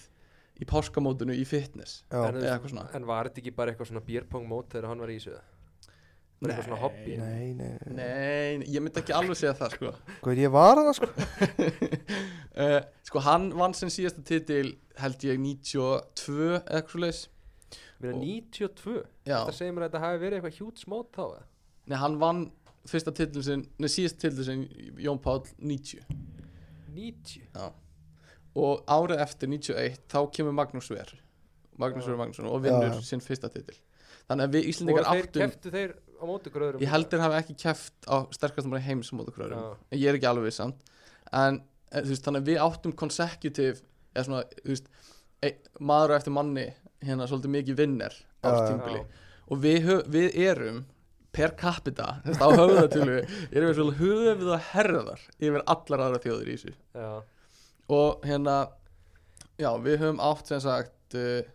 í páskamótinu í fitness Já. En, eða eitthvað svona en var þetta ekki bara eitthvað svona björpong mót þegar hann var í þessu? Bara eitthvað svona hobby? Nei, nei, nei. Nei, ég myndi ekki alveg segja það sko *laughs* Hvað ég var það sko? uh, Sko hann vann sem síðasta titil held ég 92 eða eitthvað svo leis Mér er Og- 92 Já, Þetta segir mér að þetta hafi verið eitthvað hjúts mót þá eða? nei hann vann fyrsta titil sinn, nei síðasta titil sinn Jón Páll 90 90 og árið eftir 91 þá kemur Magnús Ver Magnús Ver Magnússon og Já, vinnur já. sinn fyrsta titil þannig að við Og Íslendingar þeir áttum keftu þeir á móti gröðurum ég heldur hafa ekki keft á sterkastum bara heims á mótokröðurum, Já. en ég er ekki alveg viss samt en eh, þú veist, þannig að við áttum consecutive, eða svona þú veist, e, maður á eftir manni hérna svolítið mikið vinner á Já, þessu já. tímbili og við, hö- við erum per capita, þú veist, á höfðatölu erum við svolítið höfuð og herðar yfir allar aðra þjóðir í þessu Já, og hérna já, við höfum átt sem sagt uh,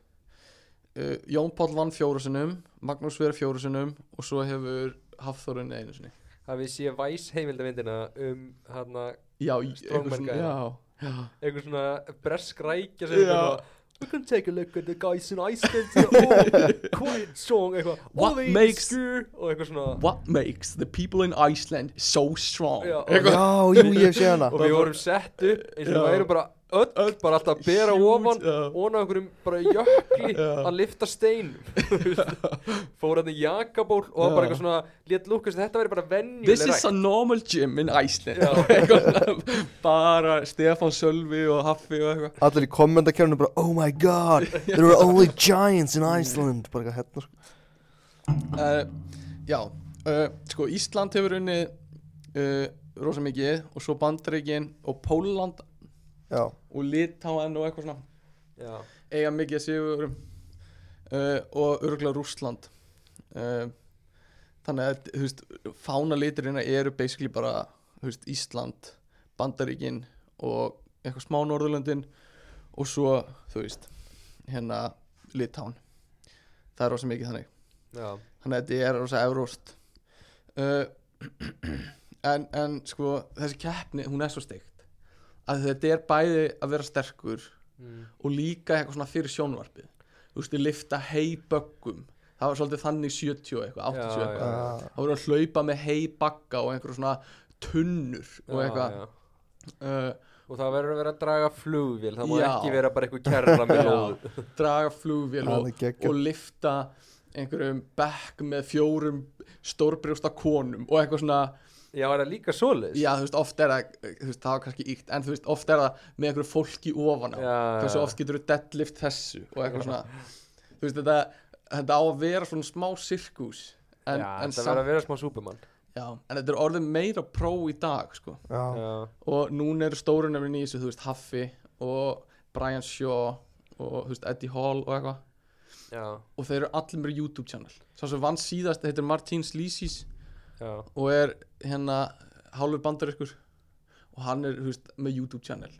uh, Jón Páll vann fjórusunum Magnús verið fjórusunum og svo hefur Hafþórunni einu sinni hafið séð væs heimildamindina um hana, Já, í- Strongman eitthvað svona, guy. já, já einhver svona bresk Já. rækja sem yeah. We can take a look at the guys in Iceland oh, *laughs* quite strong eitthvað What "Oh, they makes- skew," og eitthvað svona What makes the people in Iceland so strong? Já, og- Eitthvað- Já, jú, ég hef séð hana og við vorum sett upp eins og Já. við erum bara öll, Öll bara alltaf að bera huge, ofan já. ofan á einhverjum bara jökli Já. að lifta stein *laughs* fór hann í jakaból og Já. bara eitthvað svona létt lúkast þetta væri bara venjuleg This is a rækt. normal gym in Iceland Já. *laughs* Eitthvað svona, Bara Stefán Sölvi og Haffi og eitthvað Allir í kommentarkerfinu bara Oh my god, there were only giants in Iceland Bara eitthvað hérna sko. uh, Já, uh, sko Ísland hefur unnið uh, rosa mikið og svo Bandaríkin og Póland Já, og Litáen og eitthvað svona Já. eiga mikið að sigurum uh, og örgulega Rússland uh, þannig að þú veist, fána liturina eru basically bara þú veist, Ísland Bandaríkin og eitthvað smá Norðurlöndin og svo þú veist hérna Litán það er rosa mikið þannig Já. þannig að þetta er rosa evróst uh, *clears throat* en, en sko þessi keppni hún er svo steikt að þetta er bæði að vera sterkur Mm. og líka eitthvað svona fyrir sjónvarpið þú veist, ég lifta heiböggum það var svolítið þannig 70 eitthvað 80 Já, eitthvað, já. já, það voru að hlaupa með heibagga og einhverjum svona tunnur og Já, eitthvað já. Uh, og það verður að vera að draga flugvél það má Já. ekki vera bara eitthvað kerra með lóð *laughs* já, draga flugvél það og, er geggjum og lifta einhverjum bekk með fjórum stórbrjósta konum og eitthvað svona já, er það líka svoleiðis já, þú veist, oft er það, þú veist, það var kannski íkt en þú veist, oft er það með einhverju fólki ofan á hversu oft getur þú deadlift þessu og eitthvað svona þú veist þetta, þetta á að vera svona smá sirkus en, en, já, það samt, verður að vera smá súpermann já, en þetta er orðið meira pró í dag sko. Já, já, og núna eru stórunöfnin í þessu þú veist Haffi og Brian Shaw og þú veist Eddie Hall og eitthvað já, og þeir eru allir með YouTube channel sá sem vann síðast, heitir Martín Slísís já og er hérna hálfur bandariskur og hann er þú veist, með YouTube channel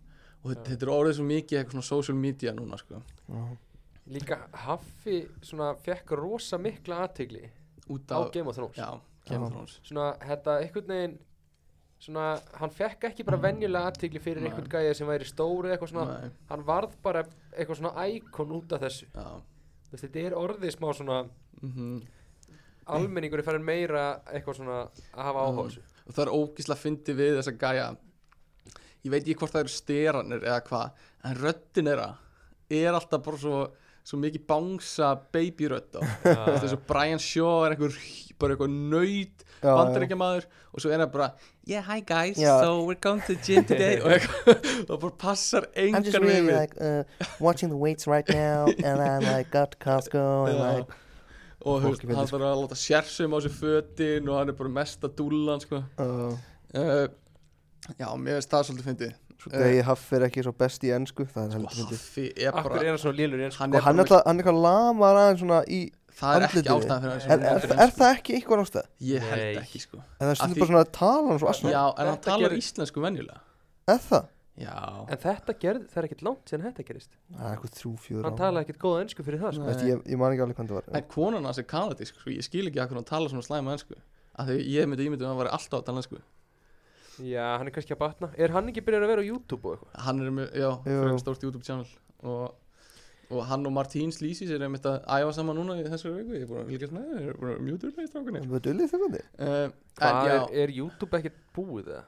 og þetta, þetta er orðið svo mikið eitthvað svona social media núna sko, líka Haffi svona fekk rosa mikla aðtegli út á af Game of Thrones já, Game Já. of Thrones svona þetta einhvern veginn svona hann fekk ekki bara venjulega aðtegli fyrir Nei. einhvern gæja sem væri stóri eitthvað svona Nei, hann varð bara eitthvað svona íkon út af þessu já, Þú veist, þetta er orðið smá svona mhm. almenningur er farin meira eitthvað svona að hafa áhuga á þessu og það er ógísla fyndi við þessa gæja ég veit ekki hvort það eru steranir eða hvað, en röddin þeirra er alltaf bara svo svo mikið bangsa babyrödd á þess að Brian Shaw er einhver bara eitthvað nöyt já, já. bandaríkjamaður og svo er það bara yeah hi guys, Já. so we're going to the gym today og eitthvað- *laughs* og bara passar I'm just engan really við like uh, watching the weights right now and I like got to Costco *laughs* and Já. like og þú veist, fólk hann í vinnu, þarf að láta sérsum á sér fötin og hann er bara mesta dúllan sko. uh, uh, já, mér finnst það svolítið fyndið Svo Eh. degi Haffi er ekki svo best í ennsku Það er Sko. heldur myndið Haffi er akkur bara er hann svona lélur eins Sko, hann Og hann bara, er alltaf, hann er eitthvað lamar aðeins svona í það er ekki andlitið. ástæðan fyrir Er, hann er, er það ekki eitthvað ástæð? ég held Nei. ekki sko En það er Af stundur því- bara svona að tala hann svo asna já, en hann Þetta talar gerir- íslensku venjulega Er það? já, en þetta gerð, það er ekkert langt síðan þetta gerist Það er eitthvað þrjú, fjör hann talaði ekkert góða ennsku fyrir það sko. Nei. Veist, ég, ég man ekki alveg hvað það var en konan hans er kanadísk sko. ég skil ekki að hann talar svona slæma ennsku af því ég myndi ímyndum að hann var alltaf að tala ennsku já, hann er kannski að batna er hann ekki byrjar að vera á YouTube og eitthvað hann er með, já, Jú. fyrir stórt YouTube channel og, og hann og Martín Slísis er einmitt að æfa saman núna í þessari viku, ég er búin að fylgjast með þeir ég er búin að mjútur með strákunni uh, En Við dullið þegar þið en já, hvað er, er YouTube ekkert búið það?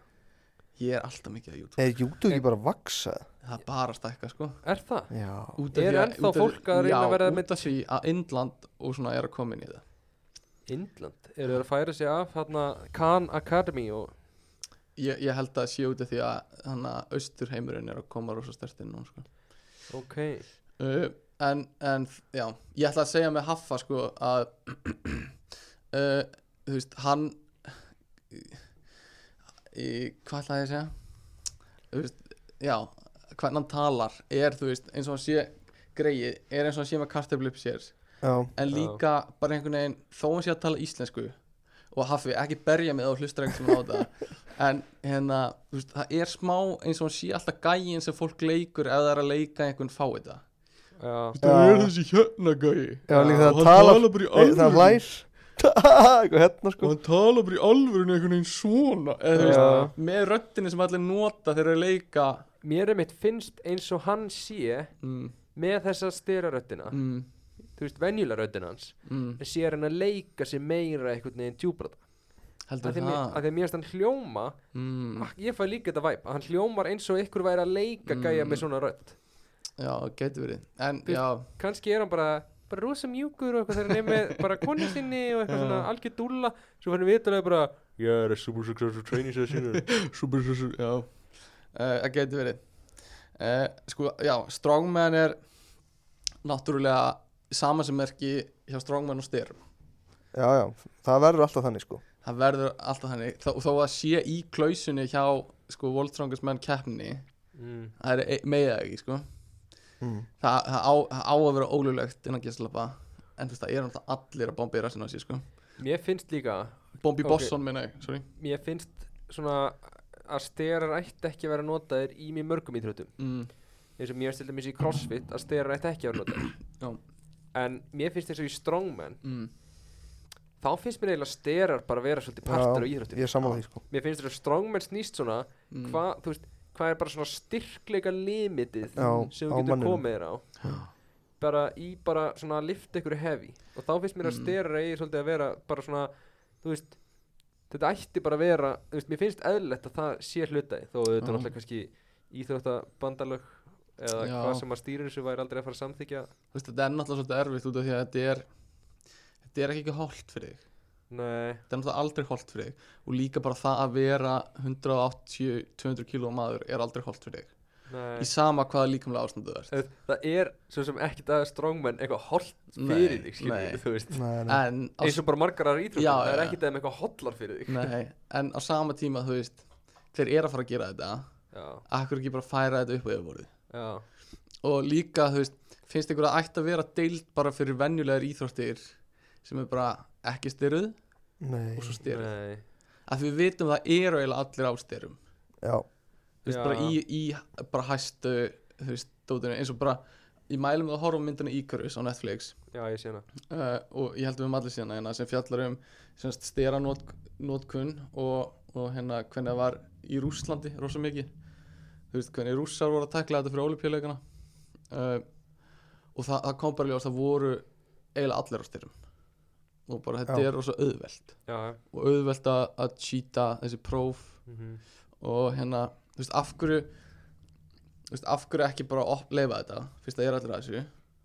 ég er alltaf mikið að YouTube Er YouTube ekki bara að vaksa? það er bara að stækka sko er það? Já Út af Er því ennþá út af því- fólk að reyna já, að verða út með- af því að Indland og svona er að koma inn í það Indland, eru þeir að færa sig af hérna Khan Academy og ég, ég held að það sé út af því að þannig að austurheimurinn er að koma rosa stertinn nú sko. ok, uh, en, en já, ég ætla að segja með Haffa sko að *clears throat* uh, þú veist, hann í, hvað ætla ég að segja þú veist, já hvernig hann talar er, þú veist, eins og hann sé greið, er eins og hann sé með kartöflu upp sér Já en Já. líka bara einhvern veginn þó hann sé að tala íslensku og Haffi, ekki berja mig á hlustra sem hann á *laughs* þetta en hérna, þú veist, það er smá eins og hann sé alltaf gæin sem fólk leikur ef það er að leika einhvern fáið það já Það er þessi hérna gæi Já, líka það Og að tala bara í Nei, Það alvöru. hlær *laughs* sko. eitthvað hérna og sko hann tala bara í alvörinu einhvern veginn svona eða þú Já. veist, með röddinni sem allir nota þegar þeir leika Mér er mitt finnst eins og hann sé mm, með þessa styraröddina mm, þú veist, venjulega röddina hans mm, en sé hann að leika sér meira einhvern veginn djúbrata heldur að því það mér af því að mér finnst hann hljóma mm, ah, ég fæ líka þetta væp, hann hljómar eins og ykkur væri að leika Mm. gæja með svona rödd já, getur verið en Þú- já, kannski er hann bara bara rosa mjúkur og eitthvað þegar hann er með bara konu sinni og eitthvað svona algjör dúlla svo fannum við þetta bara ég er að super successful training session super, super, super, já Eh, það getur verið uh, sko, já, strongman er náttúrulega sama sem merki hjá strongman og styrum já já, það verður alltaf þannig sko það verður alltaf þannig þó, þó að sé í klausunni hjá sko, World Strongest Man keppni mm. það er meða ekki sko. Hmm. Mm. það, það, á, það á að vera ólulegt innan gæstlapa en þú veist það eru alltaf allir að bomba í rassin á sér sko. mér finnst líka bomba í Ok. okay. bosson minna ég sorry. mér finnst svona að styrar ætti ekki að vera notaðir í mjög mörgum íþrjóttum mm, eins og mér finnst til dæmis í crossfit að styrar ætti ekki að vera Já. notaðir en mér finnst eins og í strongman mm, þá finnst mér eiginlega styrar bara vera svolítið partur á íþrjóttum ég er sammála því sko mér finnst þetta strongman snýst svona mm. hvað, þú veist, hvað er bara svona styrkleika limitið Já, á sem þú getur manninum. komið þér á bara í bara svona að lifta ykkur hefi og þá finnst mér að Mm. stera eigi svolítið að vera bara svona, þú veist þetta ætti bara að vera, þú veist, mér finnst eðlilegt að það sé hlutaði, þó þetta Já. er náttúrulega kannski íþróttabandalög eða Já. hvað sem að stýrir þessu væri aldrei að fara að samþykja Þú veist, þetta er náttúrulega svolítið erfitt út af því að þetta er þetta er ekki holdt fyrir þig Nei, þetta er náttúrulega aldrei holdt fyrir þig og líka bara það að vera 180-200 kíló maður er aldrei holdt fyrir þig nei í sama hvaða líkamlega ástandu þú ert Það það er svo sem ekkert að strongman eitthvað holt fyrir Nei, þig, skilur nei. þú veist nei, nei. en á eins og bara margarar íþróttum, Já, það er já. ekkert eða með eitthvað hotlar fyrir þig Nei, en á sama tíma þú veist þeir eru að fara að gera þetta Já, akkur ekki bara færa þetta upp á yfirborðið já og líka þú veist finnst ykkur að ætti að vera deild bara fyrir venjulegar íþróttir sem er bara ekki styruð Nei. og svo styruð Nei, að við vitum það eru eiginlega allir á styrum já, þú veist Já. bara í, í bara hæstu þú veist dótinu eins og bara ég mælum það að horfa á myndina Icarus á Netflix já ég sé hana uh, og ég held við um allir síðan hérna, sem fjallar um styranótkun og, og hérna hvernig það var í Rúslandi rosa mikið þú veist hvernig rússar voru að takla þetta fyrir ólipjuleikana uh, og það, það kom bara ljós það voru eiginlega allir á styrum og bara þetta Já. er rosa auðvelt Já, já. og auðvelt að, að cheata þessi próf Mhm. og hérna þú veist af hverju þú veist af hverju ekki bara uppleifa þetta fyrst að ég er allir að þessu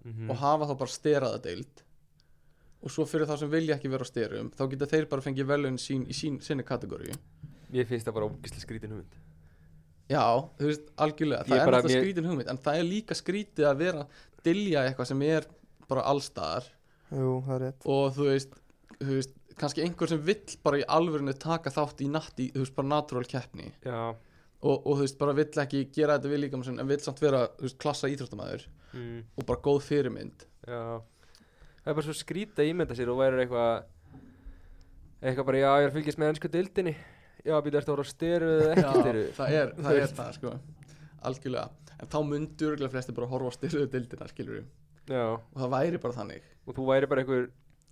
Mhm. og hafa þá bara steraða deild og svo fyrir þá sem vilja ekki vera á styrum þá geta þeir bara fengið velun sín í sín, sinni kategóri Mér finnst það bara ógislega skrítin hugmynd já, þú veist, algjörlega, Ég það er bara- náttúrulega mér- skrítin hugmynd en það er líka skrítið að vera dilja eitthvað sem er bara allstaðar jú, það er rétt og þú veist, þú veist kannski einhver sem vill bara í alvörinu taka þátt í natti, þú veist, bara natural keppni Já og, og þú veist, bara vill ekki gera þetta við líka en vill samt vera, þú veist, klassa íþróttamæður mm. og bara góð fyrirmynd Já Það er bara svo skrít að ímynda sér og væri eitthvað Eitthvað bara, já ég er að fylgjast með ennsku dildinni Já, býta eftir að voru á styru eða Já, ekki styru það er það, *laughs* er það sko. algjörlega en þá myndu örgulega flesti bara horfa á styrðu dildina skilur Já, og það væri bara þannig og þú væri bara einhver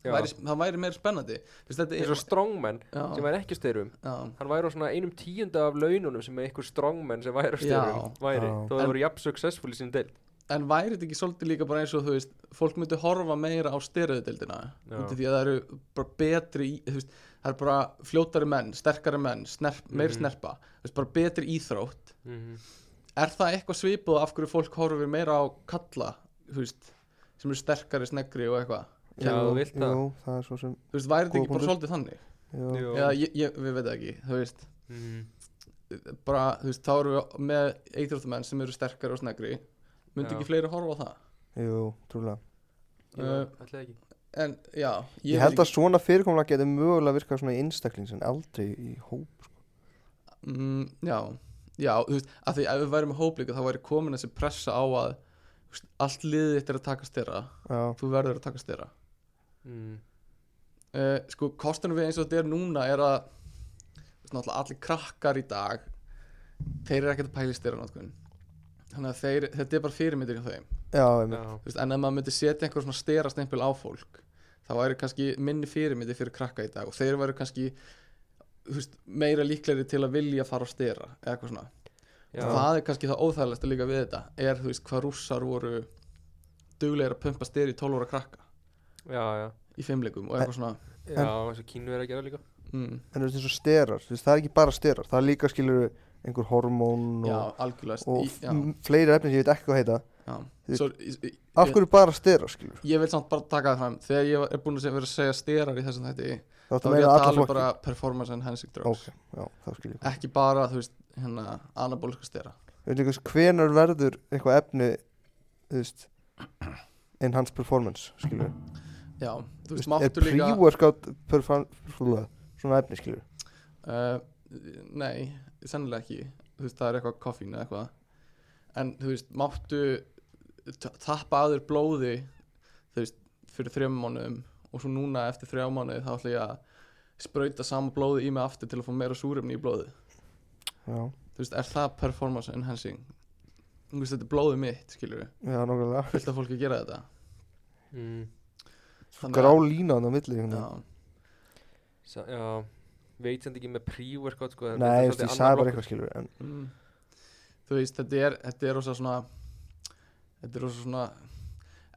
Já, væri, það væri meira spennandi Vist, þetta eins er, og strongman sem já, væri ekki á styrum já, Hann væri á svona einum tíunda af laununum sem einhver strongman sem væri á Já. styrum væri Já. Þó það En- voru jafn successful í sinni dild en væri þetta ekki svolítið líka bara eins og þú veist fólk myndi horfa meira á styrðu dildina Já. út af því að það eru bara betri í- þú veist, það eru bara fljótari menn, sterkari menn snerp, meiri Mhm. snerpa, þú veist, bara betri íþrótt mm er það eitthvað svipuð af hverju fólk horfir meira á kalla þú veist, sem eru sterkari, sneggri og eitthvað Já, jú, þú vilt það. jú, það er svo sem þú veist, væri þetta ekki Góða bara punktur. svolítið þannig jú, Jú. Já, ég, ég, við veit það ekki, þú veist Mhm. bara, þú veist, þá erum við með eitróttamenn sem eru sterkari og snegri myndi Já. ekki fleiri horfa á það jú trúlega Jú, Uh, ætli það ekki. en já, ég, veit held að ekki, svona fyrirkomlega getur mögulega virkað svona í einstakling sem aldrei í hóp mm, já, já, þú veist, að því ef við værum með hóplíka þá væri komin þessi pressa á að þú veist, allt liðið þitt er að taka styrra já, þú verður að taka styrra Mm. uh, sko, kostunum við eins og þetta er núna er að þú veist, náttúrulega allir krakkar í dag þeir eru ekkert að pæli styrra náttúrulega þannig að þeir, þetta er bara fyrirmyndir hjá þeim já, einmitt. Já. Þú veist, en ef maður myndi setja einhver svona stera stempil á fólk það væri kannski minni fyrirmyndi fyrir krakka í dag og þeir væri kannski þú veist, meira líklegri til að vilja fara á stera eða eitthvað svona Já. það er kannski það óþægilegsta líka við þetta er þú veist hvað rússar voru duglegir að pumpa stera í 12 ára krakka já, já, í fimmleikum og eitthvað svona já, eins og kínu er að gera líka mm, en þú veist eins og sterar, þú veist, það er ekki bara sterar það er líka skilur einhver hormón já, og, algjörlega og í- já, f- fleiri efni sem ég veit ekki hvað heita já. Svo, í- í- af hverju bara sterar skilur, ég vil samt bara taka það fram þegar ég er búin að se- vera að segja sterar í þessum þetta þá þá er ég ertu meina að alla tala um flokki bara performance enhancing drugs ok, já, þá skilur ég ekki bara þú veist hérna anabóliska stera Ég veit ekki hvenar verður eitthvað efni þú veist enhanced performance skilur já, þú veist er máttu líka pre-workout perform- svona efni skilur uh, nei, sennilega ekki þú veist það er eitthvað koffín eða eitthvað en þú veist máttu t- tappa aður blóði þú veist fyrir þrjum mánuðum og svo núna eftir þrjá mánuði þá ætla ég að sprauta sama blóði í mig aftur til að fá meira súrefni í blóði já, þú veist, er það performance enhancing þú veist, þetta er blóðið mitt, skilur við já, nákvæmlega fullt af fólki að gera þetta mm. Svo Þannig að- grá lína hann á milli hérna. einhvern veginn. já, Sa, já, veit sem ekki með pre-workout sko, þetta Nei, þú er veist, ég svolítið annar sagði bara flokkur. eitthvað skilur en, mm. þú veist, þetta er þetta er rosa svona þetta er rosa svona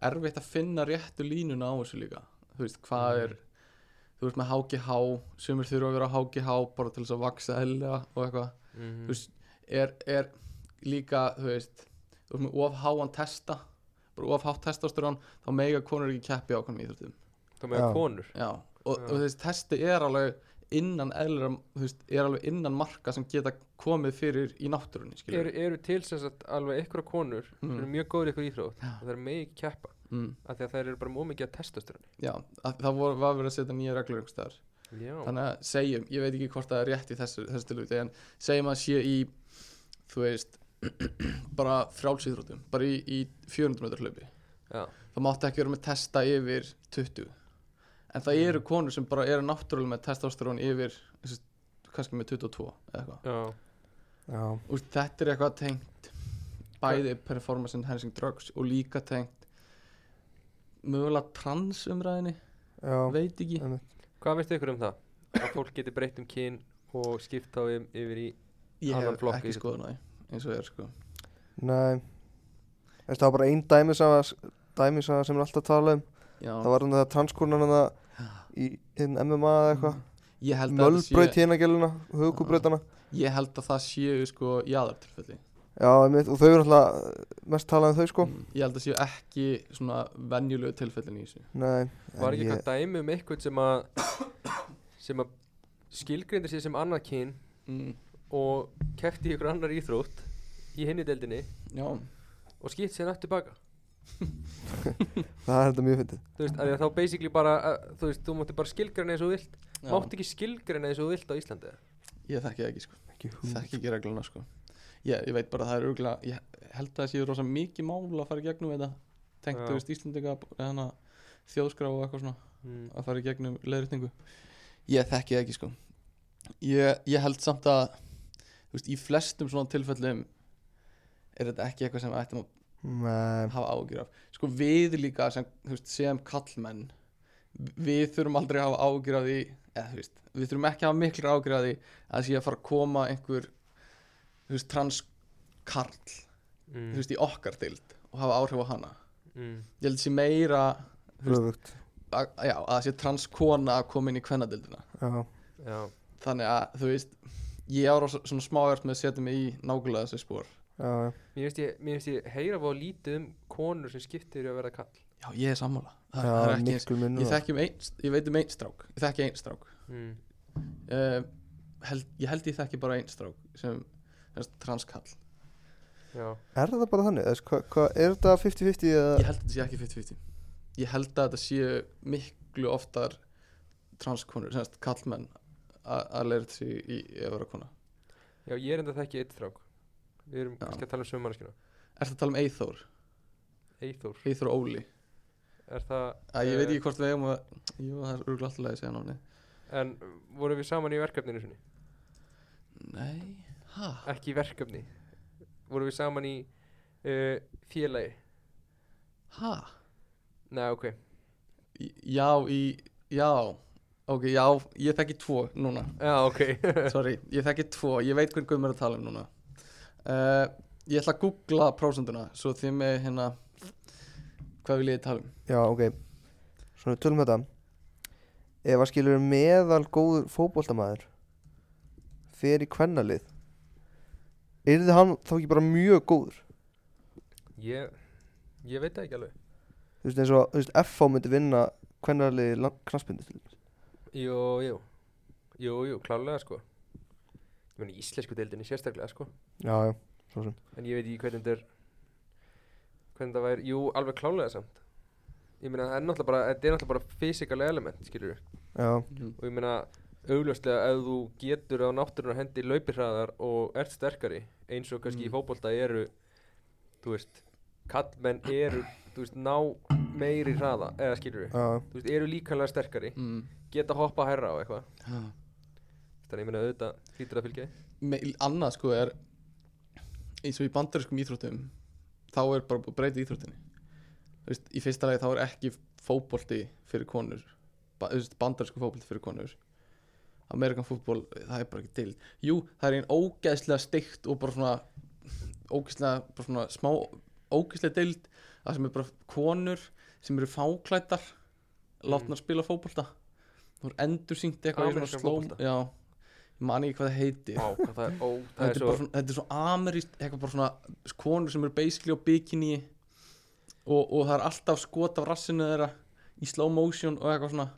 erfitt að finna réttu línuna á þessu líka þú veist, hvað Mm. er þú veist, með HGH, sumir þurfa að vera á HGH bara til þess að vaksa helga og eitthvað Mhm. þú veist, er, er líka þú veist, þú veist með of háan testa bara of hátt testosterón þá mega konur ekki keppi á konum íþjóttum þá með Já. konur Já, og, Já. og þessi testi er alveg innan eðlera, þú veist, er alveg innan marka sem geta komið fyrir í náttúrunni, skilur eru, eru til sem sagt alveg ykkur konur sem Mm. eru mjög góður ykkur íþrótt Já. og það er megi ekki keppa mm, af því að það eru bara mjög mikið að testastörunni Já, að, það voru, var verið að setja nýja reglur einhvers staðar. já, Þannig að segjum, ég veit ekki hvort það er rétt í þessu, þessu tilvíti, en segjum að sé í, þú veist, *clears throat* bara frjálsýþrótum, bara í, í 400 metrar hlaupi. já, Það mátti ekki vera með testa yfir 20. En það eru konur sem bara eru náttúrulega með testosterón yfir, þú veist, kannski með 22 eða eitthvað. já, Já, Úst, þetta er eitthvað tengt bæði performance enhancing drugs og líka tengt mögulega transumræðinni já, veit ekki hvað veist ykkur um það að fólk geti breytt um kyn og skipt þá yf- yfir í ég Annan hef flokk í ekki þessu. skoðun á því eins og er sko nei Veist, Það var bara ein dæmisaga dæmisaga sem er alltaf að tala um Já, Það var hann það transkonan hann í hinn MMA eða eitthvað Mm. ég, held að það Mölbraut sé, hérna gæluna, höfukubrautana ég held að það séu sko jáðartilfelli Já, einmitt, og þau eru alltaf mest talað um þau sko Mm, ég held að séu ekki svona venjulegu tilfellin í þessu Nei, var en ekki eitthvað dæmi um eitthvað sem að sem að skilgrindir sér sem annað kyn mm, og kefti ykkur annar íþrótt í henni deildinni Já, og skipt sér nátt tilbaka það er þetta mjög fyndið þú veist, af því að þá basically bara að, þú veist, þú mátti bara skilgreina eins og þú vilt já. mátti ekki skilgreina eins og þú vilt á Íslandi eða? ég þekki það ekki sko Ekki hugmynd. þekki ekki regluna sko ég, ég veit bara að það er örgulega ég held að það séu rosa mikið mála að fara í gegnum þetta tengt Já. þú veist Íslandinga hana, þjóðskrá og eitthvað svona Mm, að fara í gegnum leðrýtningu ég þekki það ekki sko ég, ég held samt að þú veist, í flestum svona tilfellum er þetta ekki eitthvað sem við ættum að Nei, hafa ágjur af sko við líka sem, þú veist, sem kallmenn við þurfum aldrei að hafa ágjur af því eða, þú veist, við þurfum ekki að hafa miklu ágjur af því að það sé að fara að koma einhver þú veist, transkarl þú mm. veist, í okkar dild og hafa áhrif á hana mm. ég held að sé meira þú veist, röfugt að, já, að það sé transkona að koma inn í kvennadildina Já, já, þannig að þú veist ég ára svona smávært með að setja mig í nákvæmlega þessi spór já, já mér finnst ég, mér finnst ég heyra fá lítið um konur sem skiptir í að vera kall já ég er sammála það, það er Já, ekki eins miklu minnur ég, þekki um ein, ég veit um einn strák ég þekki einn strák mm. uh, held, ég held ég þekki bara einn strák sem sem transkall já, Er það bara þannig? Eða, hva, hva, er þetta 50-50 ég eða held að þetta sé ekki 50-50 ég held að þetta séu miklu oftar transkonur, semst kallmenn a- að leira þessi í, í að vera kona já, ég er enda þekki eitt strák við erum Já. kannski að tala um sömmannaskina er það að tala um Eithór, Eithór, Eithór Óli er það að ég veit eh, ekki hvort við eigum að jú, það er örgulega alltaf að segja náni en vorum við saman í verkefninu sinni nei, hæ? ekki í verkefni vorum við saman í uh, félagi Hæ? Nei, ok, já, í, já ok, já, ég þekki tvo núna Já, ok *laughs* sorry, ég þekki tvo, ég veit hvern guðum er að tala um núna uh, ég ætla að googla prósenduna, svo þið með hérna hvað vil ég tala um Já, ok Svona við tölum þetta Ef að skilur meðal góður fótboltamaður Fer í kvennalið Yrði hann þá ekki bara mjög góður Ég, ég veit það ekki alveg Þú veist eins og, þú veist, FH myndi vinna kvennalið knaspindu til dæmis. Jú, jú Jú, jú, klálega sko Ég meni íslensku deildinni sérstaklega sko Já, já, svo sem En ég veit ekki hvernig þetta er Hvernig þetta væri, jú, alveg klálega samt Ég meina, það er náttúrulega bara Þetta er náttúrulega bara physical element, skilur Já, Og ég meina, augljóslega ef þú getur á náttúrunar hendi laupirhraðar og ert sterkari eins og kannski í Mm. fótbolta eru þú veist, kallmenn eru þú veist, ná meiri hraða eða skilur við, já, þú veist, eru líkanlega sterkari mm. geta hoppa hærra og eitthvað já. þannig að ég meina auðvitað hlýtur að fylgja því. Me- annað sko er eins og í bandarískum íþróttum þá er bara búið að breyta íþróttinni Þú veist, í fyrsta lagi þá er ekki fótbolti fyrir konur ba veist, bandarísku fótbolti fyrir konur Amerikan fútból, það er bara ekki til Jú, það er einn ógæðslega steikt og bara svona ógæðslega, bara svona smá ógæðslega deild það sem er bara konur sem eru fáklættar látnar spila fótbolta þú er endursýnt eitthvað í svona Amerískan slóm- fótbolta? já, ég man ekki hvað það heitir Vá, hvað það er, ó, það þetta er er, svo bara svona, þetta er svo ameríst eitthvað bara svona konur sem eru basically á bikini og, og það er alltaf skot af rassinu þeirra í slow motion og eitthvað svona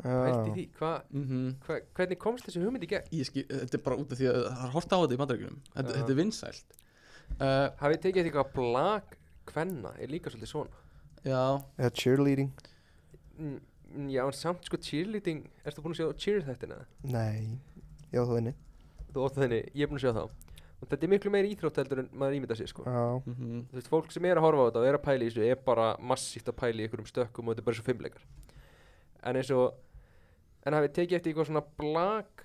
pælt í já því, hva, mm hva, hvernig komst þessi hugmynd í gegn? ég skil, þetta er bara út af því að það er horta á þetta í bandarækjunum þetta, Já. þetta er vinsælt uh, hafið tekið eftir eitthvað blag kvenna er líka svolítið svona já, Eða cheerleading Mm, mm, já, en samt sko cheerleading erstu búin að sjá cheer þættina? Nei, já þá inni þú ótt þenni, ég er búin að sjá þá og þetta er miklu meiri íþrótt heldur en maður ímynda sér sko. Já, mm þú veist, fólk sem er að horfa á þetta og er að pæla í þessu er bara massíft að pæla í einhverjum stökkum og þetta er bara svo fimmleikar en eins og en hafið tekið eftir eitthvað svona blag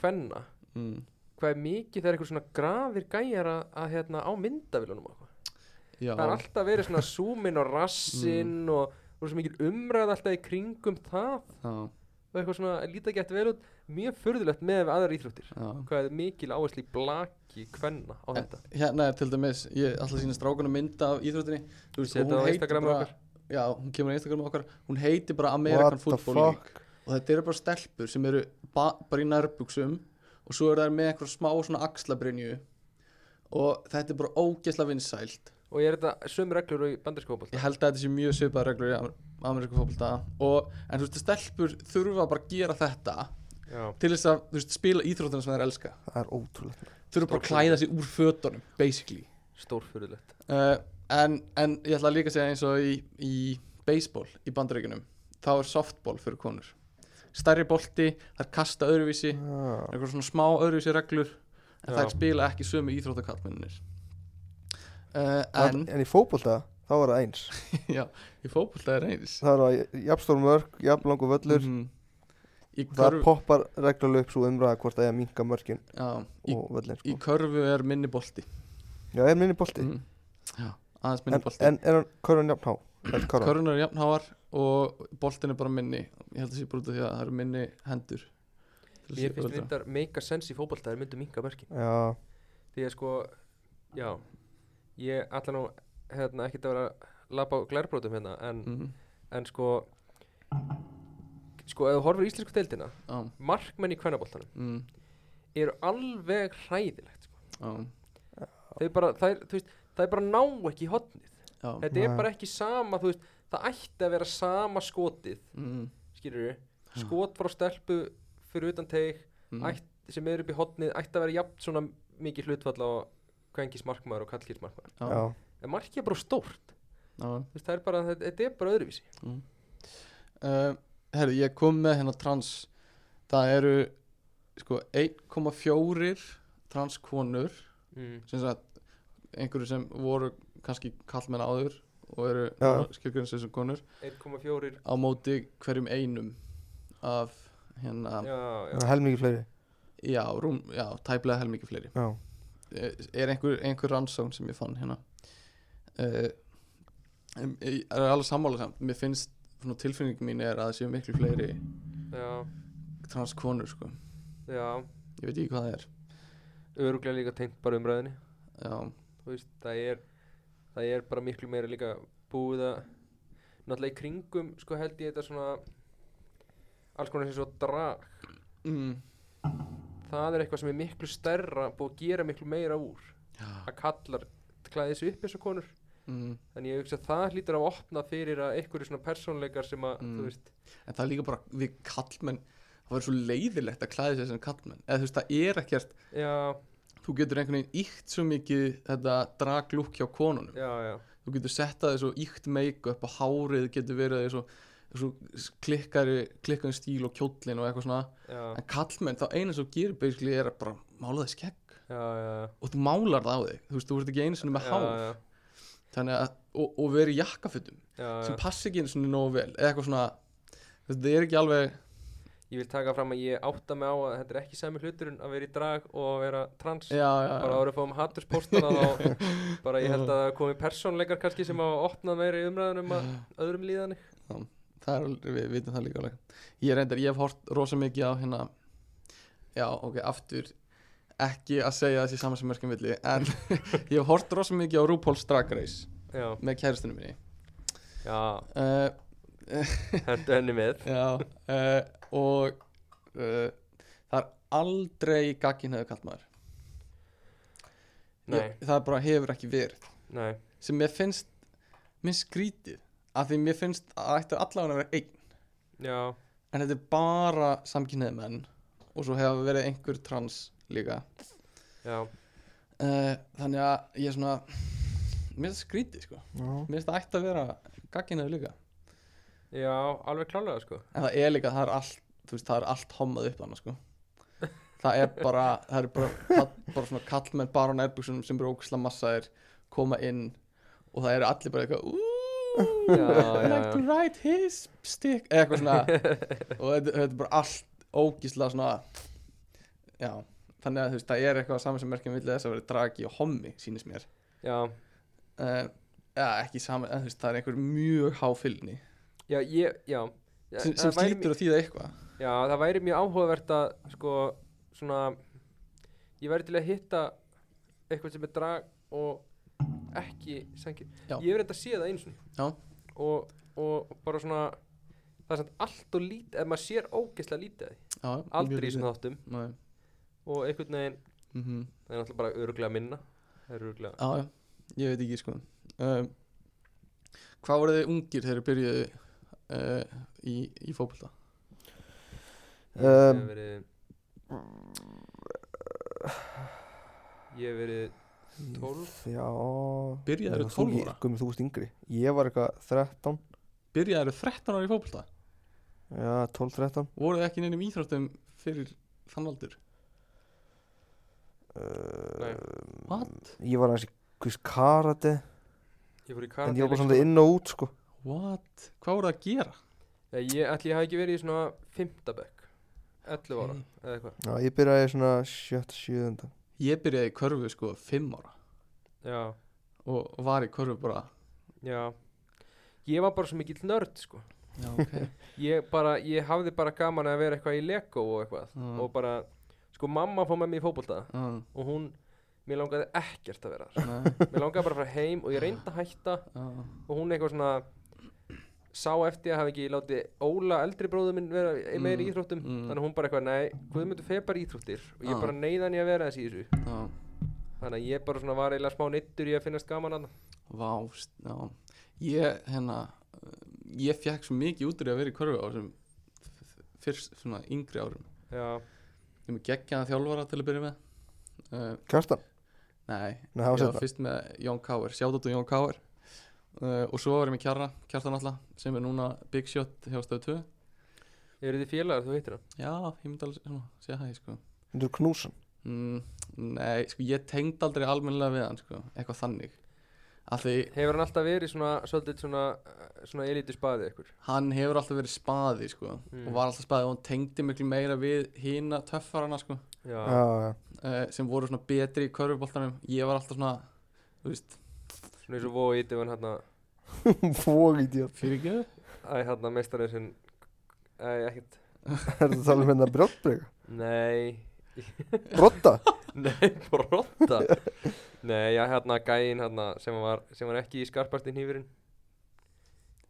hvenna, mhm. mm, hvað er mikið það er eitthvað svona grafir gæjar að, að hérna á myndavillunum og eitthvað já það er alltaf verið svona súmin og rassin og þú veist, mikil umræð alltaf í kringum það já, og eitthvað svona lítið gett vel út mjög furðulegt með aðra íþróttir já. hvað er mikil áherslu í blaki hvenna á þetta hérna er til dæmis, ég ætla að sína strákunum mynda af íþróttinni Þú veist, og Setja hún á heitir Instagram bara- okkar. já, hún kemur á Instagram okkar hún heiti bara Amerikan What the Football League fuck? og þetta eru bara stelpur sem eru ba bara í nærbuksum og svo eru þær með eitthvað smá svona axlabrinju og þetta er bara ógeðsla vinsælt og ég er þetta sömu reglur og í bandarísku fótbolta ég held að þetta sé mjög svipað reglur í amer- amerísku fótbolta og en þú veist stelpur þurfa bara að gera þetta Já. til þess að þú veist, spila íþróttina sem þær elska það er ótrúlegt þurfa bara að klæða sig úr fötunum basically stórfurðulegt uh, en, en ég ætla líka að segja eins og í, í baseball í bandaríkunum þá er softball fyrir konur stærri bolti, þær kasta öðruvísi Já, eitthvað svona smá öðruvísi reglur en Já. þær spila ekki sömu íþróttakallmennir uh, en, en *laughs* en í fótbolta, þá var það eins já, í fótbolta er eins Það var jafnstór mörg, jafnlangu völlur Mhm. í, Það körfu, poppar reglulega upp svo umræða hvort það er að minka mörkin já, í, og völlin í sko. körfu er minni bolti Já, er minni bolti mm. já, aðeins minni en, bolti en er hann körfan jafn há? Er körfan? körfun er jafnháar og boltin er bara minni ég held að sé bara út af því að það eru minni hendur Til þess ég að finnst auðveldara. þetta make a sense í fótbolta þeir myndu minga mörkin Já, því að sko já ég ætla nú hérna ekkert að vera að labba á glærbrótum hérna en, Mhm, en sko sko ef þú horfir í íslensku deildina já, markmenn í kvennaboltanum mm, eru alveg hræðilegt sko. já, þau bara þær, þú veist það er bara ná ekki í hotnið já, þetta er Nei. bara ekki sama þú veist það ætti að vera sama skotið mm, skilur skot frá stelpu fyrir utan teig mm, ætt, sem er upp í hotnið ætti að vera jafn svona mikið hlutfall á kvengis markmaður og kallkis markmaður já, já, en markið er bara stórt já. Þú veist, það er bara, þetta, þetta er bara öðruvísi uh, herru, Mm. ég kom með hérna trans það eru sko 1,4 transkonur mm. sem sagt einhverju sem voru kannski kallmenn áður og eru Já. skilgjörn sem konur 1,4 á móti hverjum einum af hérna já, já, já. helmingi fleiri rúm, já tæplega helmikið fleiri Já, Eh, er einhver, einhver rannsókn Eh, sem ég fann hérna uh, er alveg sammála samt mér finnst svona tilfinning mín er að það séu miklu fleiri já, transkonur sko já ég veit ekki hvað það er öruglega líka tengt bara umræðinni já, þú veist, það er það er bara miklu meira líka búið að náttúrulega í kringum sko held ég þetta svona alls konar sem svo drag mm. það er eitthvað sem er miklu stærra búið að gera miklu meira úr já. að kallar klæði þessu upp eins og konur Mm. en ég hugsa að það hlýtur að opna fyrir að einhverju svona persónleikar sem að Mm. þú veist, en það er líka bara við kallmenn það var svo leiðilegt að klæða sér sem kallmenn eða þú veist það er ekkert já, þú getur einhvern veginn íkt svo mikið þetta draglúk hjá konunum já, já þú getur setta þessu íkt make-up og hárið getur verið þessu, þessu klikkari, klikkari stíl og kjóllin og eitthvað svona já, en kallmenn þá eina sem þú gerir basically er að bara mála það skegg já, já, og þú málar það á þig þú veist þú ert ekki einu sinni með já, hár já, Þannig að, og, og verið í jakkafutum já, sem já. passi ekki einu sinni nógu vel eða eitthvað svona þetta er ekki alveg ég vil taka fram að ég átta mig á að þetta er ekki sami hluturinn að vera í drag og að vera trans já, já, já. bara ára að fáum hatturspóstana þá bara ég held að það komi persónleikar kannski sem hafa opnað meira í umræðunum að öðrum líðanni Það er, alveg- við vitum það líka alveg ég reyndar, ég hef hort rosa mikið á hérna já, ok, aftur ekki að segja þessi samansemmerkjum villi en *laughs* ég hef hort rosa mikið á RuPaul's Drag Race já, með kæristinu minni já, uh, hendur henni með já, uh, og uh, það er aldrei gaggin hefur kallt maður nei, Ég, það bara hefur ekki verið nei, sem mér finnst mér skrítið af því mér finnst að það ætti allavega að vera einn já, en þetta er bara samkynniði menn og svo hefur verið einhver trans líka já uh, þannig að ég er svona mér finnst það skrítið sko mér finnst það ætti að vera gagginniði líka já, alveg klálega sko en það er líka, það er allt þú veist, það er allt hommað upp hana sko það er bara, það er bara, það, bara svona kallmenn bara á nærbuksunum sem eru ógisla massaðir koma inn og það eru allir bara eitthvað "Ooh, Já, I já, like já. to ride his stick eða eitthvað svona og þetta, þetta er bara allt ógisla svona já, þannig að þú veist, það er eitthvað saman sem merkjum vilja þess að vera dragi og hommi, sýnist mér já, uh, já, ekki saman, en þú veist, það er einhver mjög háfylgni já, ég, já Já, sem, það sem væri slítur að þýða eitthvað mjög- já, það væri mjög áhugavert að sko, svona ég væri til að hitta eitthvað sem er drag og ekki sangir Já. ég hef reynda að sé það eins Já. og, og bara svona það er samt allt og lítið ef maður sér ógeðslega lítið af því. já, aldrei í svona þáttum mm og einhvern veginn -hmm. það er náttúrulega bara öruglega minna það er öruglega Já, já, ég veit ekki sko um, Hvað voru þið ungir þegar þið byrjuðu uh, í, í fótbolta? ég hef Um, verið ég hef verið 12 Já Byrjaðirðu Nei, þú- 12 ég- ára? Guðmi, þú veist yngri Ég var eitthvað 13 Byrjaðu 13 ára í fótbolta? Já, 12-13 Voruð þið ekki neinum íþróttum fyrir þann aldur? Nei. What? Ehm, Ég var aðeins í hvers karate ég fór í En ég var bara karate svona inn og út sko What? Hvað voruð það að gera? Nei, ég ætli ég hafi ekki verið í svona 5. bekk 11 ára eða eitthvað Já, ég byrjaði svona 7-7 Ég byrjaði í körfu sko 5 ára já, og og var í körfu bara já ég var bara svo mikill nörd sko Já, *laughs* ok ég bara, ég hafði bara gaman að vera eitthvað í Lego og eitthvað Mm. og bara, sko mamma fór með mér í fótbolta uh, og hún, mér langaði ekkert að vera þar nei, mér langaði bara að fara heim og ég reyndi að hætta uh, og hún eitthvað svona sá eftir að hafa ekki látið Óla eldri bróður minn vera mm, meir í Mm, íþróttum mm. þannig að hún bara eitthvað, nei, Guðmundur fer bara í íþróttir og ég Ah. bara neyða hann í að vera þessi í þessu uh, þannig að ég bara svona var eiginlega smá neittur í að finnast gaman að Vá, st- já Ég, hérna uh, Ég fekk svo mikið útrið að vera í körfu á þessum f- f- fyrst svona yngri árum já, Ég er með geggjaðan þjálfara til að byrja með uh, Kjartan Nei, Nei, það var ég var setna fyrst með Jón Káir Sjáðat og Jón Káir uh, Og svo var ég með Kjarra, Kjartan alltaf Sem er núna Big Shot hjá stöðu 2 eru þið félagar, þú heitir hann Já, ég myndi alveg svona, segja hæ sko. Þú er knúsan mm, Nei, sko, ég tengd aldrei almennilega við hann sko, Eitthvað þannig Af því hefur hann alltaf verið svona, svolítið svona eh, svona elitis baðið ykkur hann hefur alltaf verið spaði sko, Mm. Og var alltaf spaði og hann tengdi miklu meira við Hina töffarana sko, já, Já, já uh, Sem voru svona betri í körfuboltanum Ég var alltaf svona, þú veist svona eins og vóið, ef hann hann Vóið, já *laughs* Fyrir ekki Æ, þarna meistarinn sinn Æ, ekkert Er það að tala um hérna brjóttbreyka? Nei, Brotta? *laughs* nei, brotta Nei, já, hérna gæinn hérna sem var, sem var ekki í skarpasti hnífurinn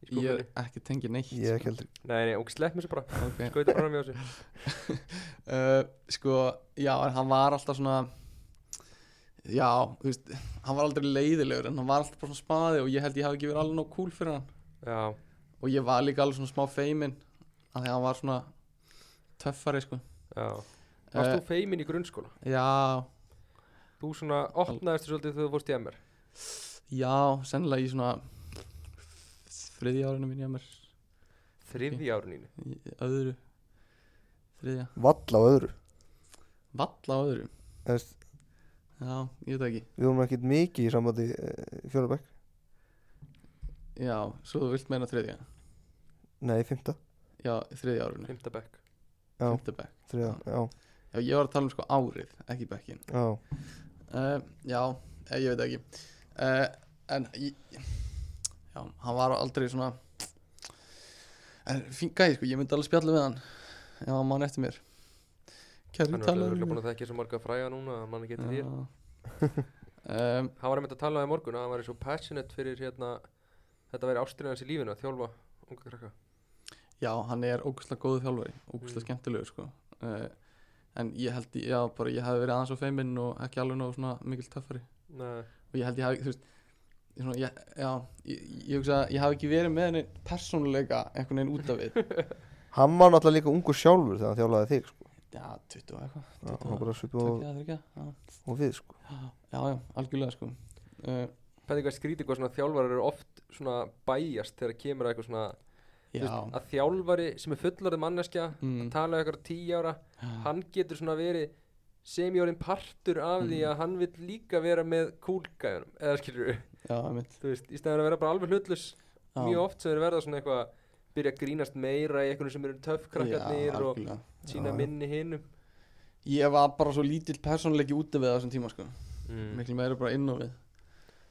Í Ég er skúfunni ekki tengið neitt Ég ekki heldur Nei, nei, og slepp mér svo bara okay. Skauði bara mjög á sig uh, Sko, já, en hann var alltaf svona Já, þú veist Hann var aldrei leiðilegur en hann var alltaf bara svona spaði Og ég held ég hafi ekki verið alveg nóg cool fyrir hann Já, Og ég var líka alveg svona smá feimin af Því að hann var svona töffari, sko já Varst uh, þú feimin í grunnskóla? Já, Þú svona opnaðist svolítið þegar þú fórst í MR já, sennilega í svona Þriðja árinu mín ég að mér Þriðji árun íni í Öðru Þriðja, Valla á öðru valla á öðru Þú veist, Já, ég veit það ekki Við vorum ekkert mikið í sambandi fjólabæk Já, svo þú vilt meina þriðja Nei, fymta Já, þriðja árinu, Fymta bekk Já. fimmtabæk Þriða, já, Já, ég var að tala um sko árið, ekki bekkin já uh, Já, eh, ég veit ekki uh, En ég, Já, hann var aldrei svona En fín gæði sko, ég myndi alveg spjalla við hann Ef hann mann eftir mér Kæri Hann er tala örugglega búin að þekkja svo marga fræga núna að mann geti þér um *laughs* um, Hann var einmitt að tala um í morgun að hann væri svo passionate fyrir hérna Þetta væri ástyrinn hans í lífinu að þjálfa unga krakka Já, hann er ógustlega góðu þjálfari Ógustlega Mm. skemmtilegur sko uh, En ég held, ég- já, bara ég hef verið aðeins á feiminn Og ekki alveg nóg svona mikil töffari Nei, og ég held ég hafi þú veist ég svona, ég, já, ég, ég hugsa að ég hafi ekki verið með henni persónuleika einhvern veginn út af *laughs* við Hann var náttúrulega líka ungur sjálfur þegar hann þjálaði þig sko. já, 20 og eitthvað já, Þetta Hann var- bara svipa og, tveggja, þriggja, já, og við sko. já, já, já, algjörlega sko uh, Pæði hvað skrítið hvað svona þjálfarar eru oft svona bæjast þegar kemur að eitthvað svona þú já, veist, að þjálfari sem er fullorðið manneskja mm, tala um eitthvað tíu ára já, hann getur svona verið semjórinn partur af því Mm. að hann vill líka vera með kúlgæðunum eða skilur já, einmitt, þú veist, í stæðan að vera bara alveg hlutlus já, mjög oft sem er verða svona eitthvað byrja að grínast meira í eitthvað sem eru já, töffkrakkarnir og algjörlega. Já, sína já. minni hinnum ég var bara svo lítill persónuleiki út af við á þessum tíma sko mm. miklu meira bara inn á við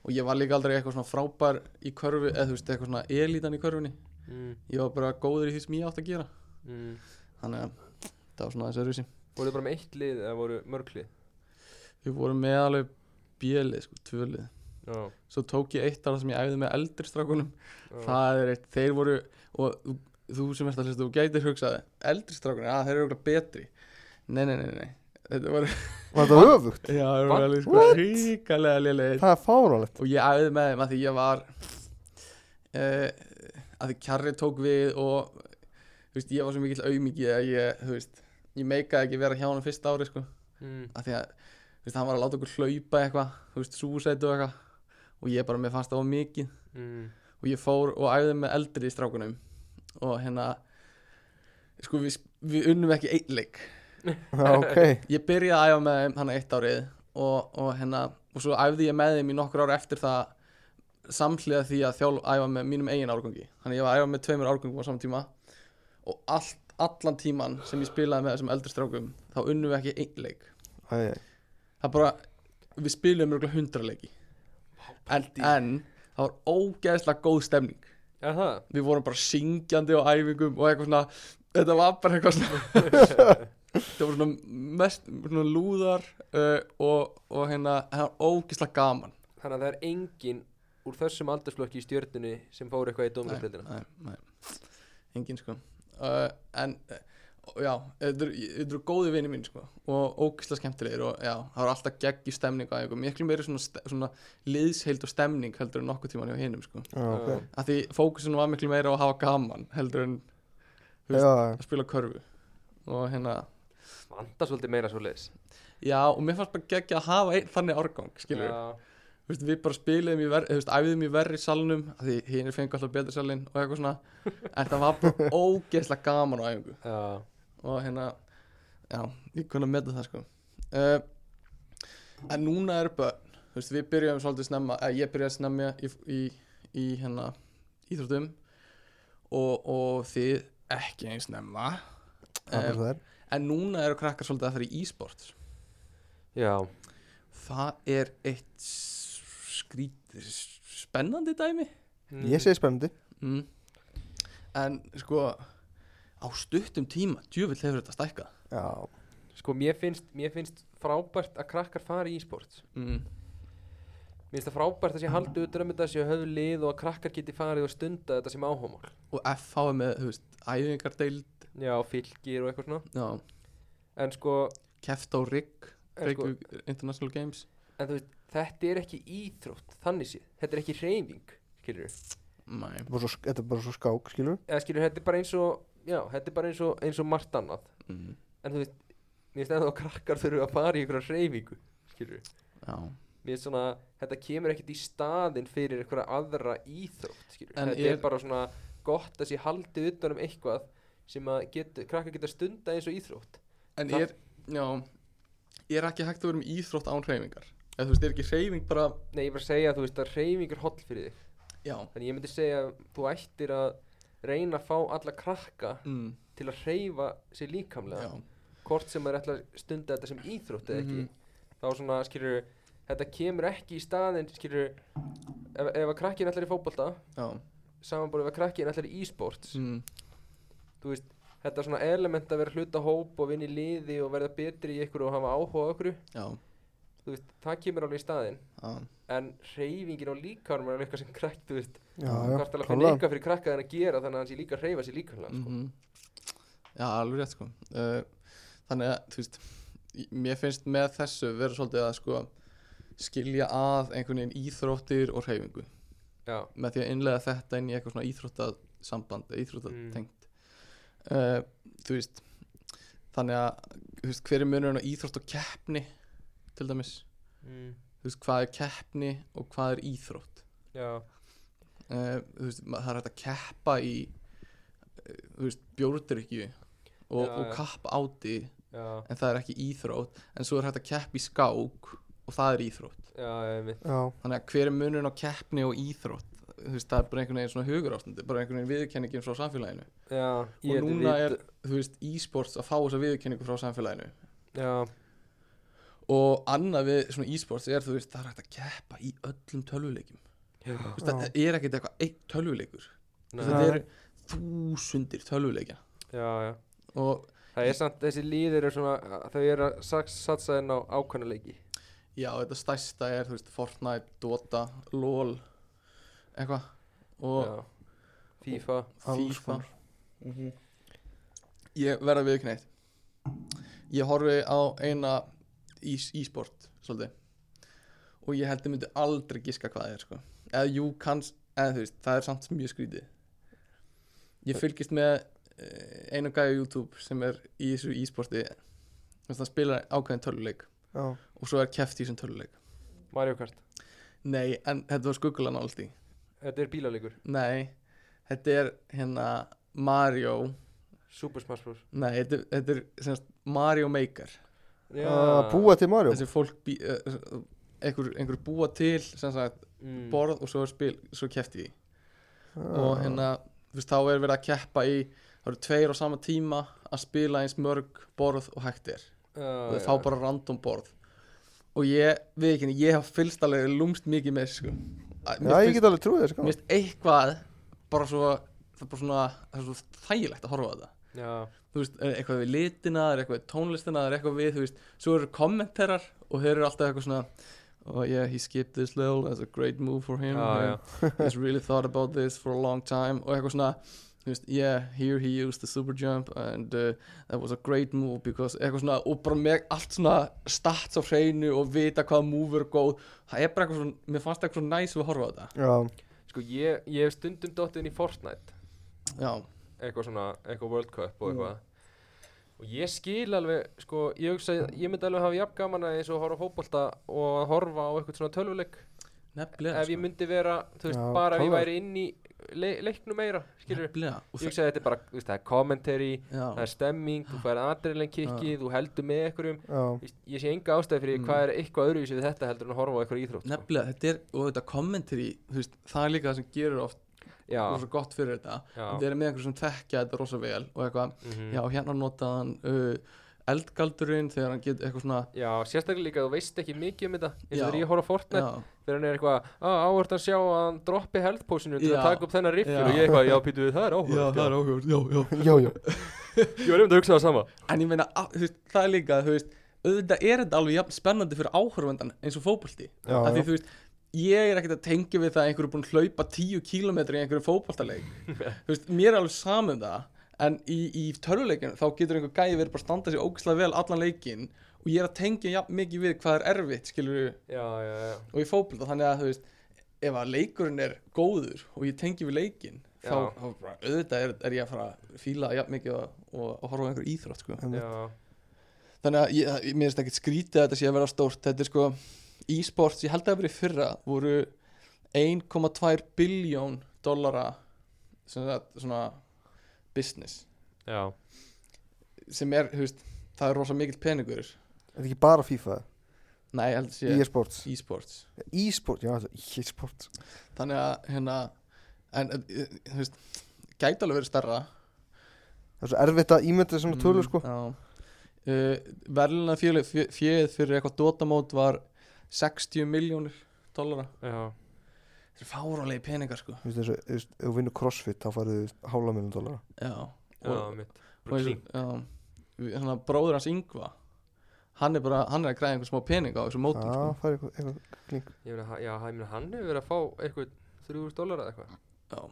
og ég var líka aldrei eitthvað svona frábær í körfu eða þú veist, eitthvað svona elítan í körfunni mm, ég var bara góður í því sem ég átt að gera mm. þannig að það var svona þessi öðruvísi voru bara með eitt lið eða voru mörg lið Við vorum með alveg bjölið, sko, tvölið já, Svo tók ég eitt ára sem ég æfði með eldri strákunum já, Það er eitt, þeir voru Og þú, þú sem ert að hlusta, þú gætir hugsaði Eldri strákunum, að þeir eru okkur betri Nei, nei, nei, nei Þetta voru, Var þetta öfugt? já, það voru What? alveg sko Ríkalega lélegir Það er fáránlegt Og ég æfði með þeim að því ég var uh, Að því kjarri tók við Og, þú veist, ég var svo mikill aumingi Að ég, þú veist, ég meikaði ekki vera hjá hann fyrsta ári, sko mm. að því að þú veist, hann var að láta okkur hlaupa eitthvað þú veist, súsætu og eitthvað og ég bara, mér fannst það var mikið Mm. og ég fór og æfði með eldri í strákunum og hérna sko, við, við unnum ekki einn leik Já, ok ég byrjaði að æfa með þeim hann eitt árið og, og hérna, og svo æfði ég með þeim í nokkur ára eftir það samhliða því að þjálf æfa með mínum eigin árgangi þannig að ég var að æfa með tveimur árgangum á saman tíma og allt, allan tíman sem ég spilaði með þessum eldri strákum þá unnum við ekki einn leik Æ, æ. það bara, við spilum mjög hundra leiki en, en það var ógeðslega góð stemning Er það? við vorum bara syngjandi á æfingum og eitthvað svona, þetta var bara eitthvað svona þetta var svona mest svona lúðar uh, og, og hérna, það var ógeðslega gaman Þannig að það er engin úr þessum aldersflokki í stjörnunni sem fór eitthvað í dómurstildina nei, nei, engin sko uh, en uh, já, þetta eru- þetta eru góði vinni mín sko og ógislega skemmtilegir og já, það var alltaf gegg í stemning og einhver, miklu meiri svona, ste- svona liðsheild og stemning heldur en nokkuð tíman hjá hinum sko, Já, ok að því fókusin var miklu meira á að hafa gaman heldur en Þú veist- Já, já. að spila körfu og hérna, Vanda svolítið meira svo leiðis já og mér fannst bara gegg að hafa einn þannig árgang, skilur við Þú veist, við bara spilaðum í verri, veist, æfiðum í verri salnum af því hinn er fengu alltaf betri salin og eitthvað svona *laughs* en það var bara ógeðslega gaman á æfingu og hérna, já, ég kunna að meta það sko uh, en núna er börn, þú veist, við byrjum svolítið snemma, eða ég byrjaði snemma í, í, í hérna íþróttum og, og þið ekki eins snemma Það er um, bara það er en núna eru krakkar svolítið að fara í e-sport Já, það er eitt s- skrít s- spennandi dæmi Mm. Ég segi spennandi mm. en sko á stuttum tíma, djúvill hefur þetta stækkað Já, Sko, mér finnst, mér finnst frábært að krakkar fari í e-sport mm. Mér finnst það frábært að sé haldið utan um þetta sé höfðu lið og að krakkar geti farið og stunda þetta sem áhómál og FH er með, þú veist, æfingardeild Já, fylgir og eitthvað svona já, En sko, keft á RIG en, sko, Reykjavík International Games en þú veist, þetta er ekki íþrótt þannig séð, þetta er ekki reyfing skilur Nei, þetta er bara svo, þetta er bara svo skák, skilur eða skilur, þetta er bara eins og já, þetta er bara eins og, eins og margt annað mm. en þú veist, mér finnst ennþá að krakkar þurfu að fara í einhverja hreyfingu skilur, já mér finnst svona þetta kemur ekkert í staðinn fyrir einhverja aðra íþrótt skilur, En þetta er- er bara svona gott að sé haldið utan um eitthvað sem að getur, krakkar geta stunda eins og íþrótt en Það- er, já er ekki hægt að vera með íþrótt án hreyfingar eða þú veist, er ekki hreyfing bara nei, ég var að segja, þú veist, að hreyfing er holl fyrir þig já, þannig ég myndi segja að þú ættir að reyna að fá alla krakka mm, til að hreyfa sér líkamlega já. hvort sem maður ætla að stunda þetta sem íþrótt eða ekki Mhm. þá svona skilur þetta kemur ekki í staðin skilur ef, ef að krakkin ætlar í fótbolta já. samanbúið ef að krakkin ætlar í e-sports Mm. þú veist þetta svona element að vera hluta hóp og vinna í liði og verða betri í ykkur og hafa áhuga á ykkur já, þú veist það kemur alveg í staðin já en hreyfingin og líkarmar er eitthvað sem krakk þú veist Já, þú þarft alveg að finna klárlega. eitthvað fyrir krakka en að gera þannig að hann sé líka að hreyfa sér líkamlega mm sko. já, alveg rétt sko uh, þannig að, þú veist í- mér finnst með þessu vera svolítið að sko skilja að einhvern veginn íþróttir og hreyfingu Mhm. já með því að innlega þetta inn í eitthvað svona íþróttasamband íþróttatengt uh, þú veist þannig að, þú veist, hver er munurinn á íþrótt og keppni til dæmis mm. þú veist, hvað er keppni og hvað er íþrótt já uh, þú veist, ma- það er hægt að keppa í uh, þú veist, bjórdrykju og, Já, og já. kapp áti já en það er ekki íþrótt en svo er hægt að keppa í skák og það er íþrótt já ég veit Já, þannig að hver er munurinn á keppni og íþrótt þú veist, það er bara einhvern veginn svona hugur ástandi bara einhvern veginn viðurkenningin frá samfélaginu já og ég veit- núna veit- er, þú veist, e-sports að fá þessa viðurkenningu frá samfélaginu Já, og annað við svona e-sports er, þú veist, það er hægt að keppa í öllum tölvuleikjum já, Þú veist, Já. þetta er ekkert eitthvað eitt tölvuleikur Þú veist, Nei, Nei. þetta eru þúsundir tölvuleikja já, já. og Það er samt, þessi líðir er svona, þau eru að sax- satsa inn á ákvæmleiki. já, þetta stærsta er, þú veist, Fortnite, Dota, LOL eitthvað og Já. FIFA. alls FIFA konar ég verða viðkneitt ég horfi á eina í, í sport svolítið og ég held ég myndi aldrei giska hvað það er sko. eða jú kanns eða þú veist, það er samt mjög skrítið ég fylgist með eh, einu gæja á YouTube sem er í þessu e-sporti Þú veist, hann spilar ákveðin töluleik Já, og svo er keft í þessum töluleik Mario Kart. nei, en þetta var skuggulega nált í Þetta er bílalegur. nei, þetta er hérna Mario Super Smash Bros. nei, þetta, þetta er sem sagt, Mario Maker Ah, Að búa til Mario þessi fólk bý, uh, einhver, einhver búa til sem sagt, mm. borð og svo er spil svo kefti því og Já. hérna, þú veist, þá er verið að keppa í það eru tveir á sama tíma að spila eins mörg borð og hægt er Ah, og þau fá bara random borð og ég, við ekki, ég hef fylgst alveg lúmst mikið með þessu, sko Að- Já, mér ég finnst- get alveg trúið þessu mér gaman. finnst eitthvað bara svo, það er bara svona það er svo þægilegt að horfa á þetta Já, þú veist, er eitthvað við litina, er eitthvað við tónlistina, er eitthvað við, þú veist, svo eru kommenterar og þeir eru alltaf eitthvað svona oh yeah, he skipped this level, that's a great move for him Já, já. *laughs* he's really thought about this for a long time og eitthvað svona þú veist, yeah, here he used the super jump and uh, that was a great move because eitthvað svona, og bara með allt svona stats á hreinu og vita hvaða move er góð, það er bara eitthvað svona, mér fannst eitthvað svona næs við að horfa á þetta Já, sko ég, ég hef stundum dottið inn í Fortnite, já, eitthvað svona, eitthvað World Cup og eitthvað. Og ég skil alveg, sko, ég hugsa, ég myndi alveg hafa jafn gaman að eins og horfa á fótbolta og að horfa á eitthvað svona tölvuleik. nefnilega sko. ef ég myndi vera, þú veist, Já, bara ef ég klálega. væri inn í le leiknum meira, skilur nefnilega, og ég hugsa að þetta er bara, þú veist, það er commentary það já, er stemming, þú fær adrenalin kikki þú heldur með einhverjum já, *laughs* Þú veist, ég sé enga ástæði fyrir Mm. hvað er eitthvað öðruvísi við þetta heldur en að horfa á eitthvað íþrótt sko. nefnilega, þetta er, og þetta kommentari, þú veist, það er líka það sem gerur oft já, rosa gott fyrir þetta já, þeir eru með einhver sem þekkja þetta rosa vel og eitthvað, mhm, já hérna notaði hann uh, eldgaldurinn þegar hann getur eitthvað svona Já, sérstaklega líka, þú veist ekki mikið um þetta eins Já. og þegar ég horf á Fortnite, já, þegar hann er eitthvað að áhvert að sjá að hann droppi health potioninu til Já. að taka upp þennan riffur Já. og ég eitthvað, já, pítu, það er já, áhvert það er áhugur, já, já já, já Ég var einmitt að hugsa það sama En ég meina, á- þú veist, það er líka, þú veist auðvitað er þetta alveg jafn spennandi fyrir áhörvendan eins og fótbolti Já, Af því, já. þú veist, ég er ekkert að tengja við það að einhverju búin að hlaupa 10 kilometri í einhverju fótboltaleik þú veist, mér er alveg saman það en í, í töluleikinu þá getur einhver gæði verið bara að standa sér ógislega vel allan leikin og ég er að tengja jafn mikið við hvað er erfitt, skilur Já, já, já og í fótbolta, þannig að, þú veist ef að leikurinn er góður og ég tengi við leikin þá, Já. þá bara, auðvitað er, er ég að fara að fíla jafn mikið og, og, og horfa á einhver íþrótt sko. Já, þannig að ég, ég- mér finnst ekkert skrítið að þetta sé að vera stórt þetta er sko e-sports, ég held að það hafi verið í fyrra voru 1,2 biljón dollara sem sagt, svona business já sem er, þú veist, það er rosa mikill peningur Er þetta ekki bara FIFA? nei, ég held að sé E-sports e-sports E-sports, já, þetta er e-sports þannig að, hérna en, eh, eh, þú veist, gæti alveg verið stærra Það er svo erfitt að ímynda Mm. svona tölur sko já. uh, verðluna fjöð fyrir eitthvað dotamót var 60 miljónir dollara Já, þetta er fáránlegi peningar sko Þú veist, eins og- þú veist, ef þú vinnur crossfit þá færðu hálfa miljón dólar já, já, og, mitt og eins Brooklyn og- já, við- hérna, bróður hans Yngva hann er bara, hann er að græða einhver smá pening á þessum mótum Já, sko. það er eitthvað, eitthvað Ég meina, ha- já, ég meina, hann hefur verið að fá eitthvað 3.000 dólar eða eitthvað Já.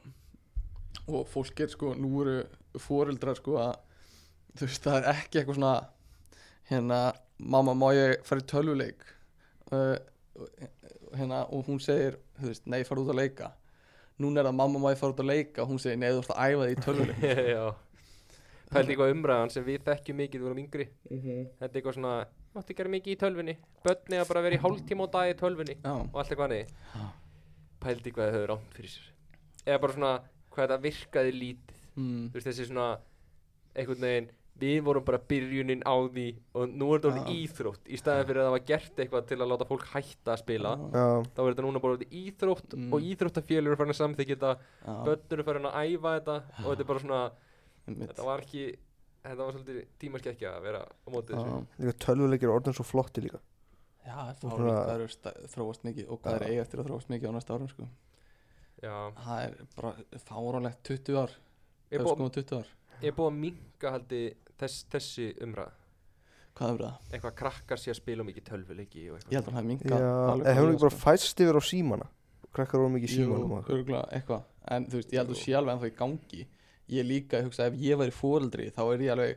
og fólk er sko, nú eru fóreldrar sko að þú veist, það er ekki eitthvað svona hérna, mamma má ég fara í tölvuleik uh, hérna, og hún segir þú veist, nei, fara út að leika núna er það mamma má ég fara út að leika og hún segir, nei, þú ert að æfa þig í tölvuleik *laughs* Já Pældi eitthvað umræðan sem við þekkjum mikið, við vorum yngri Þetta er eitthvað svona, máttu gera mikið í tölvunni Börni að bara vera í hálftíma á dag í tölvunni Já, og allt eitthvað niður pældi hvað þau höfðu rámt fyrir sér eða bara svona hvað þetta virkaði lítið mm, þú veist þessi svona einhvern veginn við vorum bara byrjunin á því og nú er þetta orðið Já. íþrótt í staðan fyrir að það var gert eitthvað til að láta fólk hætta að spila Já, þá er þetta núna bara orðið íþrótt Mm. og íþróttafélur eru farin að samþykja þetta já, börnur eru farin að æfa þetta og þetta er bara svona einmitt. þetta var ekki þetta var svolítið tímaskekkja að vera á mótið þessu Já. líka tölvuleikir er orðin svo flotti líka Já, það er svona- fáránlegt, það eru sta- þróast mikið og hvað er Já. eiga eftir að þróast mikið á næsta árum sko. já það er bara fáránlegt 20 ár, ég er búið, 20 ár. ég er búið að minka haldi þess, þessi umræð hvað er það? eitthvað krakkar sé að spila mikið tölvuleiki Ég og eitthvað held að hann hefði Já, minkað en hefur líka sko. bara fæst yfir á símana Krakkar voru mikið í símanum og eitthvað. örgulega eitthvað En þú veist, ég held að þú sé alveg ennþá í gangi Ég er líka, ég hugsa, ef ég væri fóreldri Þá er ég alveg,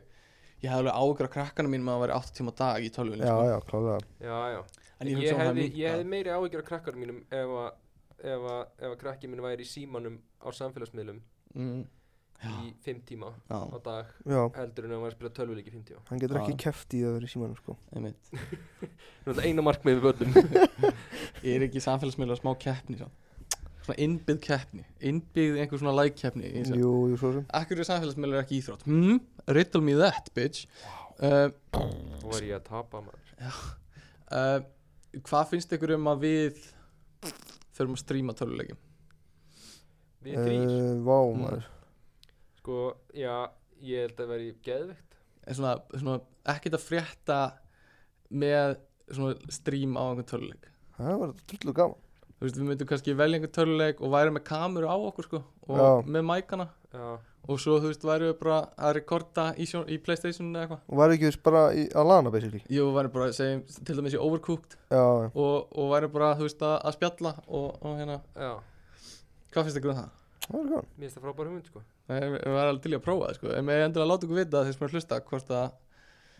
ég hef alveg ágjör á krakkanum mínum Að vera 8 tíma á dag í tölvunni Já, sko. já, klálega já, já. En ég ég, hugsa um að hann hefði, hefði ég hefði minnkað meiri áhyggjur af krakkarum mínum ef að, ef að, ef að krakki minn væri í símanum á samfélagsmiðlum Mm, í fimm tíma á Já, dag Já, heldur en ef hann væri að spila tölvuleiki í fimm tíma hann getur Já. ekki keft í að vera í símanum sko einmitt Nú er þetta eina markmið við börnum Ég er ekki samfélagsmiðla smá keppni samt? Svona innbyggð keppni Innbyggð einhver svona lægkeppni í þessu. Jú, jú, svo sem Akkur er samfélagsmiðla ekki íþrótt hmm? Riddle me that, bitch uh, Nú er ég að tapa maður uh, Hvað finnst ykkur um að við Þurfum að stríma töluleikin Við þrýr, Eh, Vá, Mm. maður sko, já, ég held að veri geðveikt er svona, svona ekkert að frétta með svona stream á einhvern töluleik Það var trullu gaman þú veist, við myndum kannski velja einhvern töluleik og væri með kameru á okkur sko og Já. með mækana Já, og svo þú veist, væri við bara að rekorda í, sjón, í Playstation eða eitthvað Og væri ekki viss bara í, að lana basically Jú, væri bara, segjum, til dæmis í Overcooked Já, og, og væri bara, þú veist, að, að spjalla og, og hérna, já, hvað finnst ykkur um það? það var gaman mér finnst það frábær hugmynd, sko Nei, Við við væri alveg til í að prófa það sko en við endur að láta ykkur vita þeir sem er að hlusta hvort að,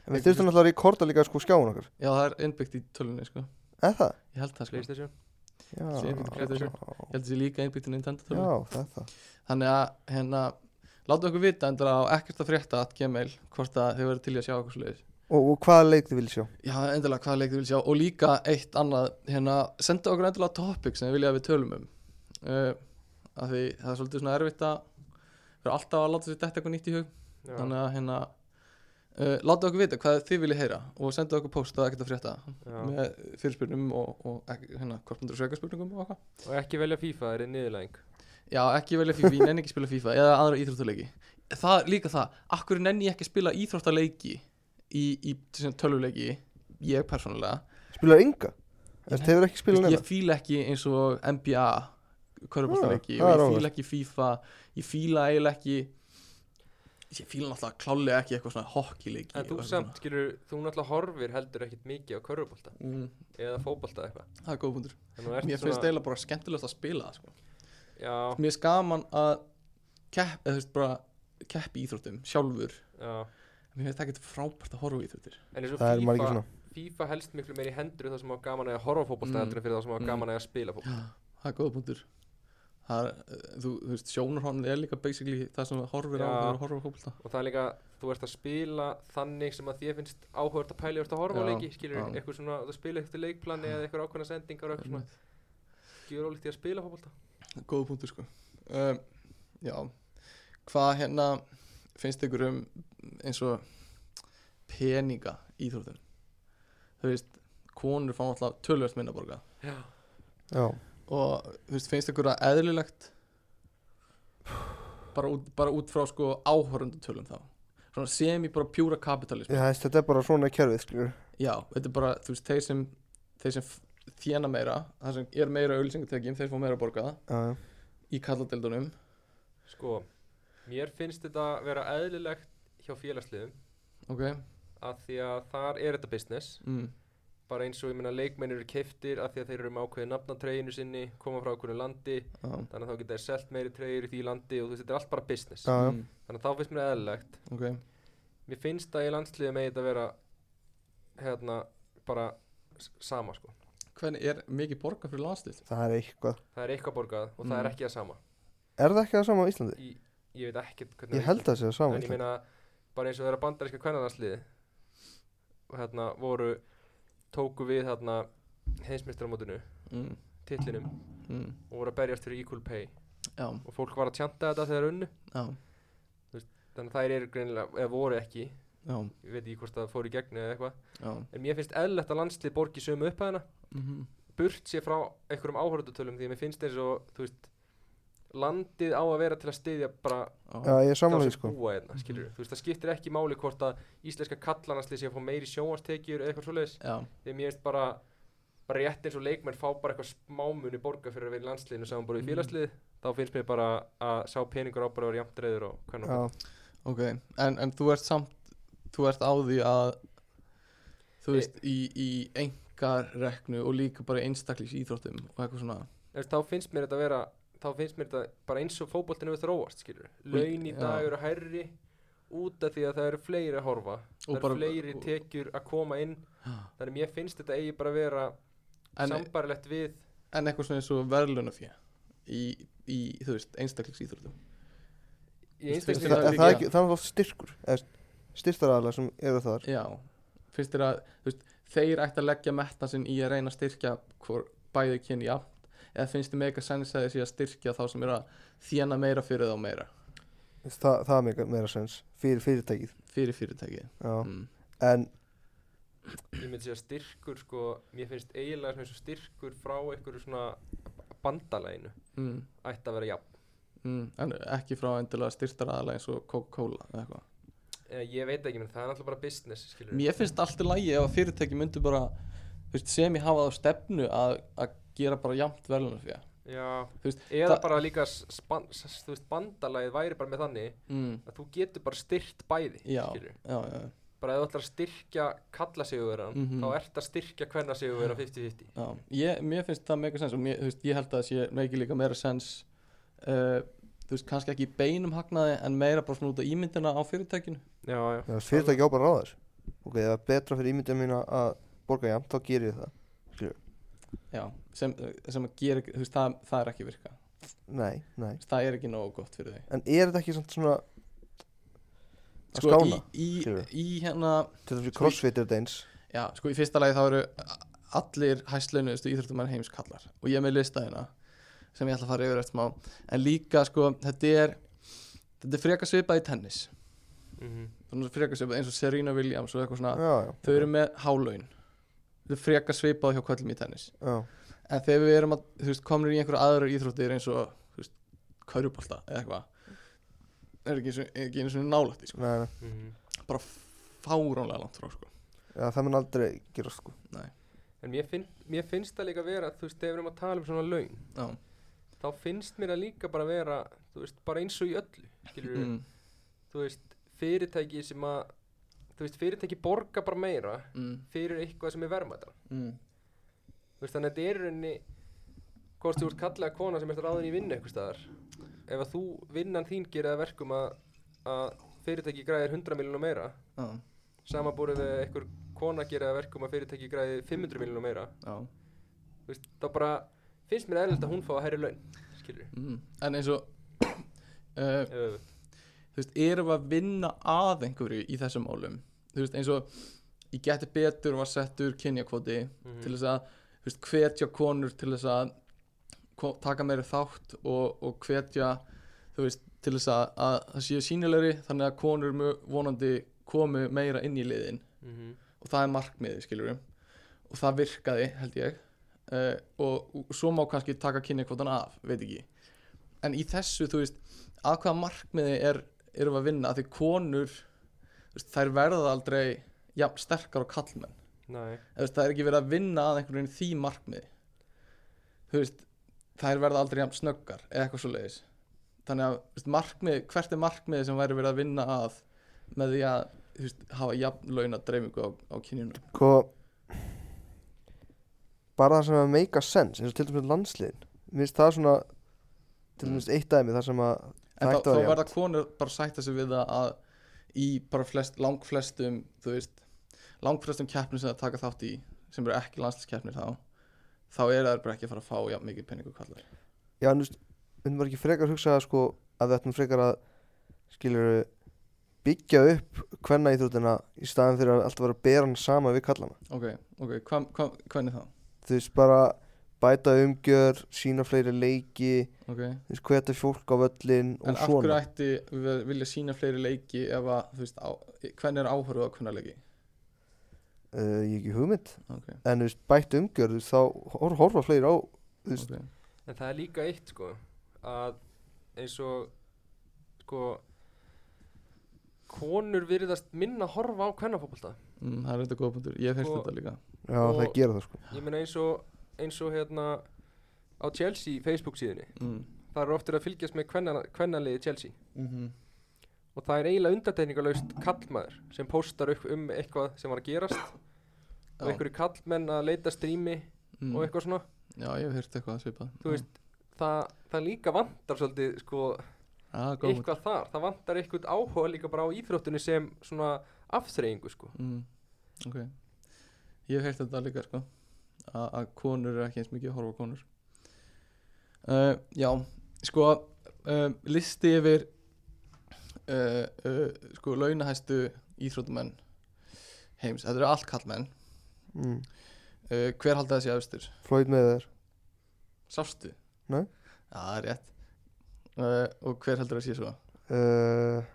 En við þurftum náttúrulega að rekorda líka sko skjáin okkar já það er innbyggt í tölunni sko Er það? Ég held það sko, ég Playstation Já, Sé ekki til já, PlayStation. held þessi líka innbyggt í Nintendo tölunni það er það Þannig að hérna Láta okkur vita endur á ekkert að frétta at gmail hvort að þið verður til í að sjá okkur sliðis Og, og hvaða leik þið viljið sjá? Já, endurlega hvaða leik þið vil sjá og líka eitt annað hérna, senda okkur endurlega topic sem þið vilja að við tölum um uh, af því það er svolítið svona erfitt að vera alltaf að láta sér detta eitthvað nýtt í hug Já, þannig að hérna uh, láta okkur vita hvað þið viljið heyra og senda okkur post að ekkert að frétta já með fyrirspurnum og, og ekki- hérna, hvort myndir sögja spurningum og eitthvað Og ekki velja FIFA, það er niðurlæðing Já, ekki velja FIFA, ég nenni ekki að spila FIFA eða aðra íþróttaleiki Það, líka það, akkur nenni ég ekki að spila íþróttaleiki í, í sem tölvuleiki ég persónulega Spilaðu ynga? Þetta Nei. hefur ekki Veist, spilað ég neina fíla ekki eins og NBA körfuboltaleiki Ah, og það er ég áhugavert. fíla ekki FIFA ég fíla eiginlega ekki ég fíla náttúrulega klálega ekki eitthvað svona hockeyleiki En þú og eitthvað samt, skilur, þú náttúrulega horfir heldur ekkit mikið á körfubolta svona. mm, eða fótbolta eitthvað það er góð punktur En þú ert mér finnst eiginlega bara skemmtilegast að spila það, sko. Já, mér finnst gaman að kepp, eða þú veist bara kepp í íþróttum sjálfur já mér finnst það ekkert frábært að horfa á íþróttir En eins og Það er margir FIFA, svona FIFA helst miklu meir í hendur þá sem á gaman að horfa á fótbolta Mm. heldur en fyrir þá sem á Mm. gaman að spila fótbolta það er góð punktur það er, eh, þú, þú veist sjónarhónd er líka basically það sem það horfir á Já. þegar þú horfir á fólkta Og það er líka, þú ert að spila þannig sem að þér finnst áhugavert að pæli og ert að horfa á Já, leiki, skilur, já. eitthvað svona, þú spila eitthvað leikplani eða eitthvað ákveðna sendingar og eitthvað svona, gjör ólíkt í að spila fótbolta. Góða punktur sko um, Já Hvað hérna finnst ykkur um eins og peninga íþróttum Þú veist, konur fá alltaf tölvöld minna borga Já. Já og þú veist, finnst ykkur það eðlilegt bara út, bara út frá sko áhörundu tölum þá svona sem í bara pjúra kapitalism Ég, þess, Þetta er bara svona kerfið skilur Já, þetta er bara, þú veist, þeir sem þeir sem f- þéna meira það sem er meira auðlýsingatekjum, þeir fá meira að borga Já, já í kalladeldunum Sko, mér finnst þetta vera eðlilegt hjá félagsliðum ok, af því að þar er þetta business, mm. bara eins og ég minna leikmenn eru keiftir af því að þeir eru með ákveðið nafnatreginu sinni, koma frá ákveðinu landi, já, þannig að þá geta þeir selt meiri tregjur í því landi og þú veist, þetta er allt bara business. Já, já mm. Þannig að þá finnst mér eðlilegt ok mér finnst að í landsliði með þetta vera hérna bara s- sama sko hvernig er mikið borga fyrir landslið Það er eitthvað það er eitthvað borgað og það er Mm. ekki það sama Er það ekki það sama á Íslandi? í, ég veit ekkert hvernig Ég held að það sé það sama á en ég Íslandi meina bara eins og þeirra bandaríska kvennalandsliði og hérna voru tóku við hérna heimsmeistaramótinu mm. titlinum Mm. og voru að berjast fyrir equal pay já, og fólk var að tjanta þetta þegar unnu já, þannig að þær eru greinilega eða voru ekki ég já, veit ekki hvort það fór í gegni eða eitthvað já en mér finnst eðlilegt að landslið borgi sömu upphæðina mm -hmm. burt sér frá einhverjum áhörðutölum því að mér finnst eins og þú veist landið á að vera til að styðja bara Já, ég er þá samanlega sem sko búa hérna, skilur þú veist, það skiptir ekki máli hvort að íslenska kallanasli sé að fá meiri sjónvarstekjur eða eitthvað svoleiðis, já, því að mér finnst bara bara rétt eins og leikmenn fá bara eitthvað smámunni borga fyrir að vera í landsliðinu sem bara í Mhm. félagslið þá finnst mér bara að sá peningur á bara að vera jafnt reyður og hvernig Já, ok en, en þú ert samt, þú ert á því að þú veist í, í engareknu og líka bara einstaklis íþróttum og eitthvað svona Eftir, þá finnst mér þetta vera þá finnst mér þetta bara eins og fótboltinu við þróast skilur, laun í já. dag eru hærri út af því að það eru fleiri að horfa það bara- eru fleiri og- tekjur að koma inn Já. þannig mér finnst þetta eigi bara að vera en, sambarlegt við en eitthvað svona eins og verðlunafjö í, í, þú veist, einstaklis íþróttum í Þú veist, En finnst einstaklega þér það það en það er líka- ekki- það er oft styrkur Styrtaraðlega sem eru þar já, finnst þér að þú veist, þeir ætti að leggja metna sinn í að reyna að styrkja hvor bæði kynni jafnt eða finnst þér mega sens að þessi að styrkja þá sem eru að þjána meira fyrir þá meira Það, það er meira, meira sens Fyrir fyrirtækið fyrir fyrirtækið Já mm. En ég myndi segja styrkur sko, mér finnst eiginlega sem eins og styrkur frá einhverju svona bandalæginu Mm. ætti að vera jafn Mm. en ekki frá endilega styrtar aðalega eins og Coca-Cola eða eitthvað. Eh, ég veit ekki, menn það er náttúrulega bara business Mm. skilur mér finnst allt í lagi ef að fyrirtæki myndu bara þú veist, sem ég hafa það á stefnu að, að gera bara jafnt verðlunar fyrir já, Þú veist, eða það- bara líka span, s- þú veist, bandalægið væri bara með þannig mm. að þú getur bara styrkt bæði já, skilurðu. já, já, bara ef þú ætlar að styrkja kalla sigurverðan Mhm. þá ert að styrkja hvenna sigurverðan 50-50 Já, ég, mér finnst það mega sens og mér, þú veist, ég held að það sé megi líka meira sens uh, þú veist, kannski ekki í beinum hagnaði en meira bara svona út af ímyndina á fyrirtækinu já, já. Já, fyrirtæki á bara að ráða þess ok, ef það er betra fyrir ímyndum mín að borga jafn, þá gerir ég það já, sem, sem að gera, þú veist, það, það er ekki að virka Þú nei, nei, veist, það er ekki nógu gott fyrir þau en er þetta ekki samt svona að sko, skána, í, skilurðu? í, í hérna til þess að sko, í- crossfit er þetta eins já, sko, í fyrsta lagi þá eru allir hæstlaunuðustu íþróttumann heims kallar og ég er með lista hérna sem ég ætla að fara yfir eftir má en líka, sko, þetta er þetta er frekar svipað í tennis Mm Svona frekar svipað eins og Serena Williams og eitthvað svona já, já, þau eru með hálaun þau frekar svipað hjá kvöllum í tennis já, en þegar við erum að, þú veist, komnir í einhverja aðrar íþróttir eins og, þú veist, kaurubolta eða eitthvað er ekki, einu sinni- ekki einu svona nálætti, sko nei, nei, -hmm. bara fáránlega langt frá sko. Já, það mun aldrei gera sko En mér, finn, mér finnst það líka vera, þú veist, ef við erum að tala um svona laun Já, þá finnst mér það líka bara vera, þú veist, bara eins og í öllu skilur mm, þú veist, fyrirtæki sem að þú veist, fyrirtæki borga bara meira mm, fyrir eitthvað sem er verðmætara mm. þú veist, þannig að þetta er í rauninni hvort þú ert kallega kona sem ert ráðin í vinnu eitthvað staðar ef að þú, vinnan þín gerir að verkum að, að fyrirtæki græðir 100 miljonum meira Já, samanbúrið við einhver kona gerir að verkum að fyrirtæki græðir 500 miljonum meira já þú veist, þá bara finnst mér eðlilegt að hún fá að herri laun skilur mm. En eins og *clears throat* uh, við þú veist, erum við að vinna að einhverju í þessum málum þú veist, eins og í geti betur var settur kynjakvoti Mm. Mhm, til þess að, þú veist, hvetja konur til þess að ko- taka meiri þátt og, og hvetja þú veist, til þess að, að það séu sínilegri, þannig að konur mö- vonandi komu meira inn í liðin mm -hmm. og það er markmiði, skilur og það virkaði, held ég uh, og, og svo má kannski taka kynjakvotan af, veit ekki en í þessu, þú veist, að hvaða markmiði er, erum við að vinna, að því konur þú veist, þær verða aldrei jafn sterkar og kallmenn Nei, Eða, þú veist, það er ekki verið að vinna að einhvern veginn því markmiði þú veist, þær verða aldrei jafn snöggar eða eitthvað svo leiðis þannig að þú veist, markmið, hvert er markmiði sem væri verið að vinna að með því að þú veist, hafa jafn launa dreifingu á, á kynjunum Sko Bara það sem að make a sense eins og til dæmis landsliðin Mér finnst það svona Til dæmis eitt dæmi þar sem að Mm. en Það þá, ætti þá að vera verða konur bara að sætta sig við það að í bara flest, langflestum þú veist, langflestum keppnum sem það taka þátt í sem eru ekki landsliskeppnir þá þá er það bara ekki að fara að fá jafn mikið penningu kallar Já, en þú veist, við var ekki frekar að hugsa að sko að við ættum frekar að skilur byggja upp hvenna íþrótina í staðan fyrir að alltaf vera að bera hann sama við kallana ok, ok, hvað, hvað, hvernig þá? þú veist bara bæta umgjör sína fleiri leiki ok, þú veist hveta fólk á völlin en og af hverju svona ætti við vilja sína fleiri leiki ef að, þú veist, á, hvernig er áhörðu á hvernig leiki? uh, ég hef ekki hugmynd ok, en þú veist bæta umgjör þú veist þá hor horfa fleiri á þú veist ok, en það er líka eitt sko að eins og sko konur virðast minna horfa á kvennafókbalta mm, það er þetta góða punktur ég finnst Og- þetta líka já það Og- gera það sko ég meina eins og eins og hérna á Chelsea Facebook síðunni mm. það eru oftur að fylgjast með kvenna- kvennaliði Chelsea Mm Mhm. og það er eiginlega undartekningalaust kallmaður sem postar upp um eitthvað sem var að gerast og Já. einhverju kallmenn að leita strími mm. og eitthvað svona já, ég hef hýrt eitthvað svipað Mm. þú veist, það, það líka vantar svolítið sko, ah, góð, eitthvað þar það vantar eitthvað áhuga líka bara á íþróttunni sem svona afþreyingu sko. mm. ok ég hef heyrt þetta líka sko a- að konur er ekki eins mikið að horfa á konur uh, já sko uh, listi yfir uh, uh, sko launahæstu íþrótumenn heims, þetta eru allt kallmenn mm. uh, hver haldi þessi efstur? Floyd með þér Sástu? Nei. Já, það er rétt uh, og hver heldur að sé svo? uh,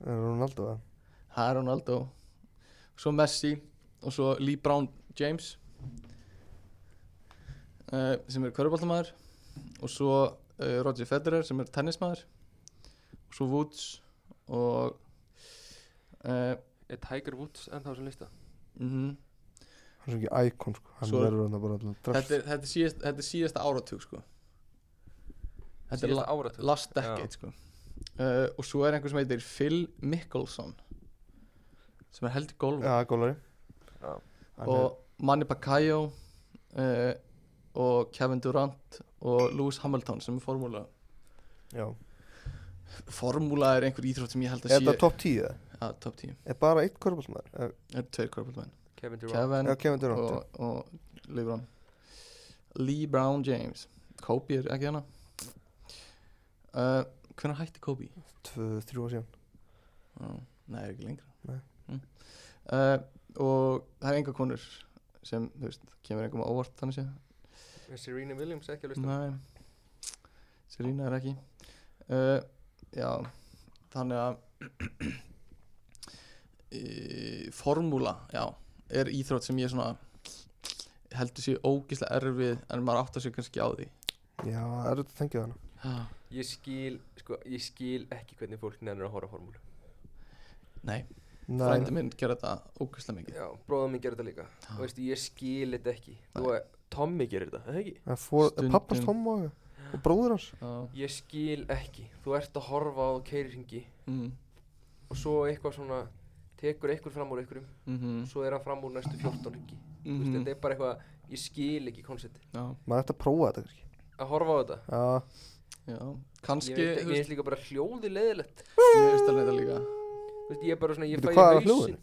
er hún aldrei það Það er Ronaldo Svo Messi og svo Lee Brown James uh, sem er köruboltamaður og svo uh, Roger Federer sem er tennismaður og svo Woods og uh, er Tiger Woods ennþá sem lista mm hann er svo ekki íkon sko hann Svo- verður hann bara alltaf þetta, er- þetta, er síðast, þetta er síðasta áratug sko Þetta er síðasta la áratug last decade sko uh, og svo er einhver sem heitir Phil Mickelson sem er held í golf Já, gólari Já. og Manny Pacquiao uh, og Kevin Durant og Lewis Hamilton sem er formúla Já formúla er einhver íþrótt sem ég held að Er sé þetta top 10? eða? að top 10 Er bara eitt korfbólsmaður? Er, það er tveir korpulmenn Kevin Durant Kevin Já, Kevin Durant, og, og Lee Brown Lee Brown James Kobe er ekki hana uh, hvernig hætti Kobe? tvö, þrjú ár síðan Uh, nei, er ekki lengra Nei. Mm. Uh, og það er enga konur sem, þú veist, kemur einhverjum á óvart þannig séð er Serena Williams ekki að lista Nei, Serena er ekki uh, Já, þannig að *clears throat* e, Formúla, já er íþrótt sem ég svona heldur sér ógislega erfið en maður áttar sér kannski á því Já, það er þetta að tengja hana Já, Ég skil, sko, ég skil ekki hvernig fólk nennir að horfa á formúlu Nei, Nei, frændi minn gerði þetta ókvæslega mikið Já, bróðum minn gerir þetta líka Þú veist, ég skil þetta ekki Þú veist, Tommy gerir þetta, eða ekki? það fór Stundum. pappas Tom og, og bróður hans Já, Ég skil ekki, þú ert að horfa á keiringi mm, og svo eitthvað svona tekur einhver fram úr einhverjum mhm, svo er hann fram úr næstu 14 ringi mm -hmm. mhm, þetta er bara eitthvað, ég skil ekki koncepti já, maður ætti að prófa þetta kannski að horfa á þetta Já, já ég kannski, veit þú ekki, ég veist, veist líka bara hljóði leðilegt ég veist alveg þetta líka veist, ég er bara svona, ég Veitu, fæ í hvað er á hausinn hljóðinu?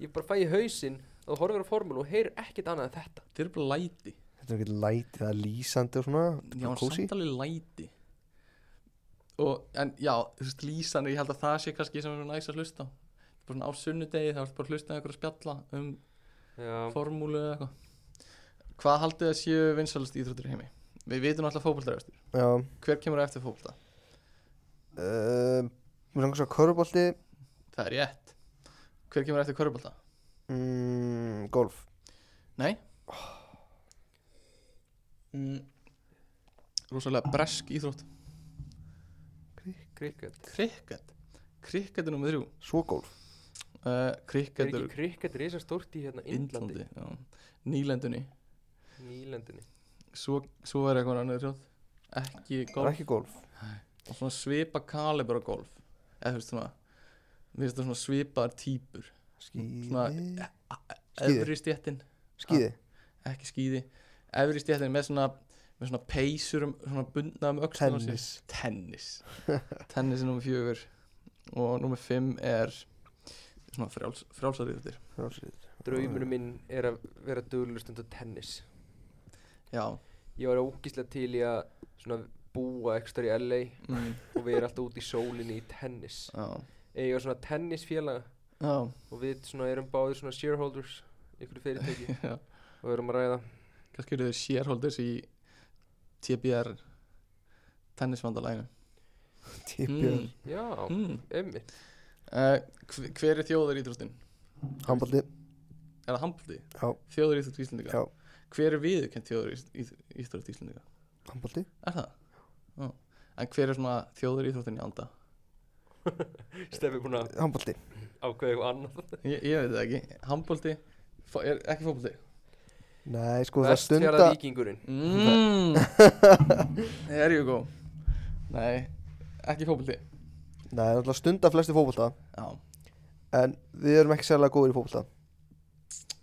ég bara fæ í hausinn að þú horfir á formúlu og heyrir ekkert annað en þetta Þeir eru bara læti þetta er ekki læti, það er lýsandi og svona Já, Já, kósi samt alveg læti og, En já, þú veist, lýsanir Ég held að það sé kannski sem er svona næs að hlusta á. bara svona á sunnudegi, það er bara að hlusta einhver að spjalla um Já, formúlu eða eitthvað Hvað haldið að séu vinsalast íþróttir í heimi? Við vitum alltaf fótboltaræfstur Já, Hver kemur á eftir fótbolta? uh, mér langar svo að körubolti Það er rétt Hver kemur á eftir körfubolta? mm, Golf Nei mm. Rosalega bresk íþrótt krikket Krikket Krikket er nummer þrjú Svo golf uh, er Krikket ekki er krikket risa stórt í hérna Indlandi, Indlandi já. Nýlendunni Nýlendinni Svo, svo er eitthvað annar þjóð Ekki Það er golf ekki golf Og svona svipa kalibur á golf Eða þú veist svona Mér finnst það svona svipaðar típur Skíði Svona- eh, ah. Skíði. Efri stjettin Skíði Ekki skýði Efri stjettin með svona Með svona peysur um, Svona bundna um öxlum Tennis. Tennis Tennis er nummer fjögur Og nummer fimm er Svona frjáls, frjálsariðutir Frjálsíður. Ah. draumurinn minn er að vera duglegur stund á tennis Já ég var ógíslega til í að svona búa ekki stöður í LA mm, og við erum alltaf út í sólinni í tennis Já ég er svona tennisfélaga Já og við svona erum báðir svona shareholders í einhverju fyrirtæki Já og við erum að ræða kannski eru þeir shareholders í TBR tennisvandalæginu Tipjör já, mm. Hm? einmitt uh, hver, hver er þjóðar íþróttin? Handbolti Er það handbólti? Já. Þjóðar íþrótt Íslendinga? Já. Hver er viðurkennt þjóðar íþrótt Íslendinga? Handbolti Er það? Já. En hver er svona þjóðar íþróttin í anda? Stefi búin að Handbolti ákveða eitthvað annað Ég, ég veit það ekki. Handbólti, er ekki fótbólti? Nei, sko það Vestfjara stunda vikingurinn Mm. er ég góð? Nei, ekki fótbólti. Nei, náttúrulega stunda flesti fótbolta Já. En við erum ekki sérlega góðir í fótbolta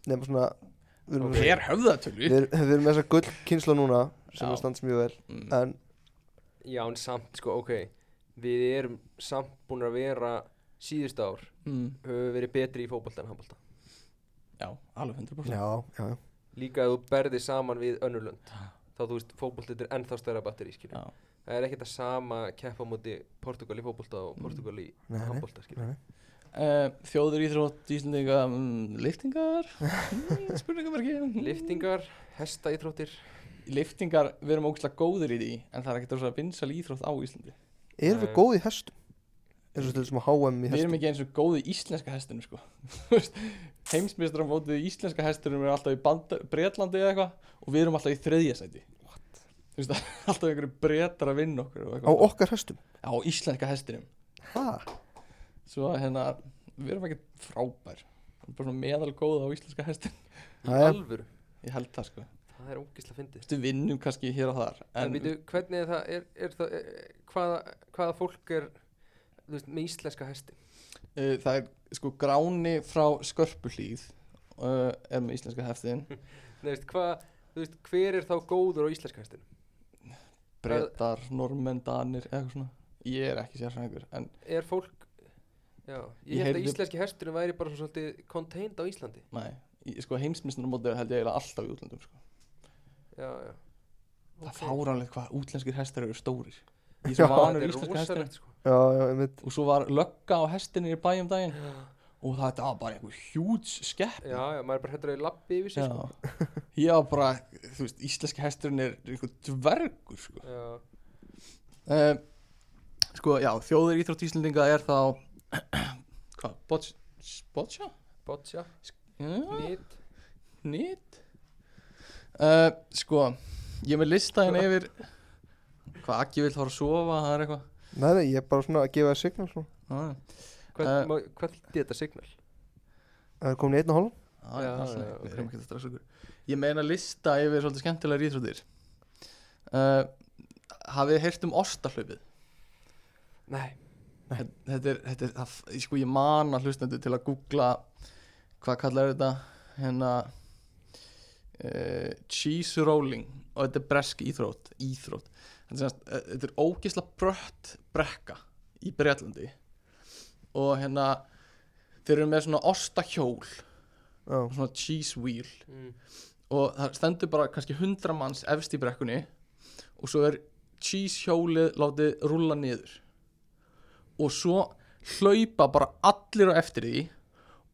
Nefnum svona Við erum, Hver höfðatölu? við, við erum með þessa gull kynsla núna Sem Já. er stands mjög vel Mm. En já, en samt sko, ok við erum samt búin að vera síðust ár Mm. höfum við verið betri í fótbolta en handbolta Já, alveg 100%. já, já, já líka að þú berði saman við önnurlönd þá þú veist, fótbolta er ennþá stærra batteri skilur. Já. það er ekkert að sama keppa á móti Portugal í fótbolta og Portugal í Nei, nei. handbolta skilur. Nei. Uh, þjóður íþrótt Íslandinga mm, liftingar mm, spurningamarki mm. liftingar, Hm. hestaíþróttir liftingar, við erum ógæslega góðir í því en það er ekkert rosalega vinsal íþrótt á Íslandi Erum við Nei. góð í hestum? Eins og til þessum HM í við hestum erum ekki eins og góði í íslenska hestunum sko. *laughs* Þú veist, heimsmeistrar á mótið í íslenska hestunum er alltaf í Banda- Bretlandi eða eitthvað og við erum alltaf í þriðja sæti Þú veist, *laughs* það er alltaf einhverju bretar að vinna okkur og Á eitthvað. okkar hestum á íslenska hestunum Ha? svo að, hérna, við erum ekki frábær Við erum bara svona meðal góða á íslenska hestunum í Jæja. alvöru ég held það sko, það er ógislega fyndið Þú veist, við vinnum kannski hér og þar en veitu, hvernig er það, er, er það er, hvaða, hvaða fólk er þú veist, með íslenska hesti Uh, það er sko gráni frá skörpuhlíð uh, er með íslenska heftin Hm. Nei, veist, hvað, þú veist, hver er þá góður á íslenska hestinu brettar, normenn, danir eða eitthvað svona ég er ekki sérfræðingur en er fólk já, ég, Ég held að heyrði- íslenski hesturinn væri bara svona svolítið contained á Íslandi nei, í- sko heimsmyndsnarmótið held ég eiginlega alltaf í útlöndum sko. já, já það Ok. er fáránlegt hvað útlenskir hestar eru stórir ég *laughs* er Já, svo vanur þetta er íslenska hestinum rosalegt, sko. Já, já, einmitt og svo var lögga á hestinni í bæjum daginn já, og það var bara einhver hjúts skepp já, já, maður er bara hættur að lappi yfir sig sko. ég var bara, þú veist, íslenski hesturinn er einhver dvergur sko. já, uh, sko, já, þjóðir íþrótt Íslendinga er þá *clears throat* hvað, botch, botcha? botja, Ja, nýtt Eh, nýtt uh, sko, ég er með lista hérna yfir Hvað Aggi vill fara að sofa, það er eitthvað Nei, nei, ég er bara svona að gefa þér signal svona. Já, já, Eh. Hvað uh, þýtti þetta signal? Það er komin í einn og hálf já, Já, allt í lagi, Við já, ok. þurfum ekki að stressa okkur Ég meina lista yfir svolítið skemmtilega íþróttir uh, Hafið þið heyrt um ostahlaupið? Nei Þetta þetta er, þetta er það, sko ég man að hlustendur til að googla hvað kallar þetta hérna uh, cheese rolling og þetta er bresk íþrótt, íþrótt. Þetta, er semast, eh, þetta er ógisla brött brekka í Bretlandi og hérna þeir eru með svona ostahjól Já. svona cheese wheel Mm. og það stendur bara kannski 100 manns efst í brekkunni og svo er cheese hjólið látið rúlla niður og svo hlaupa bara allir á eftir því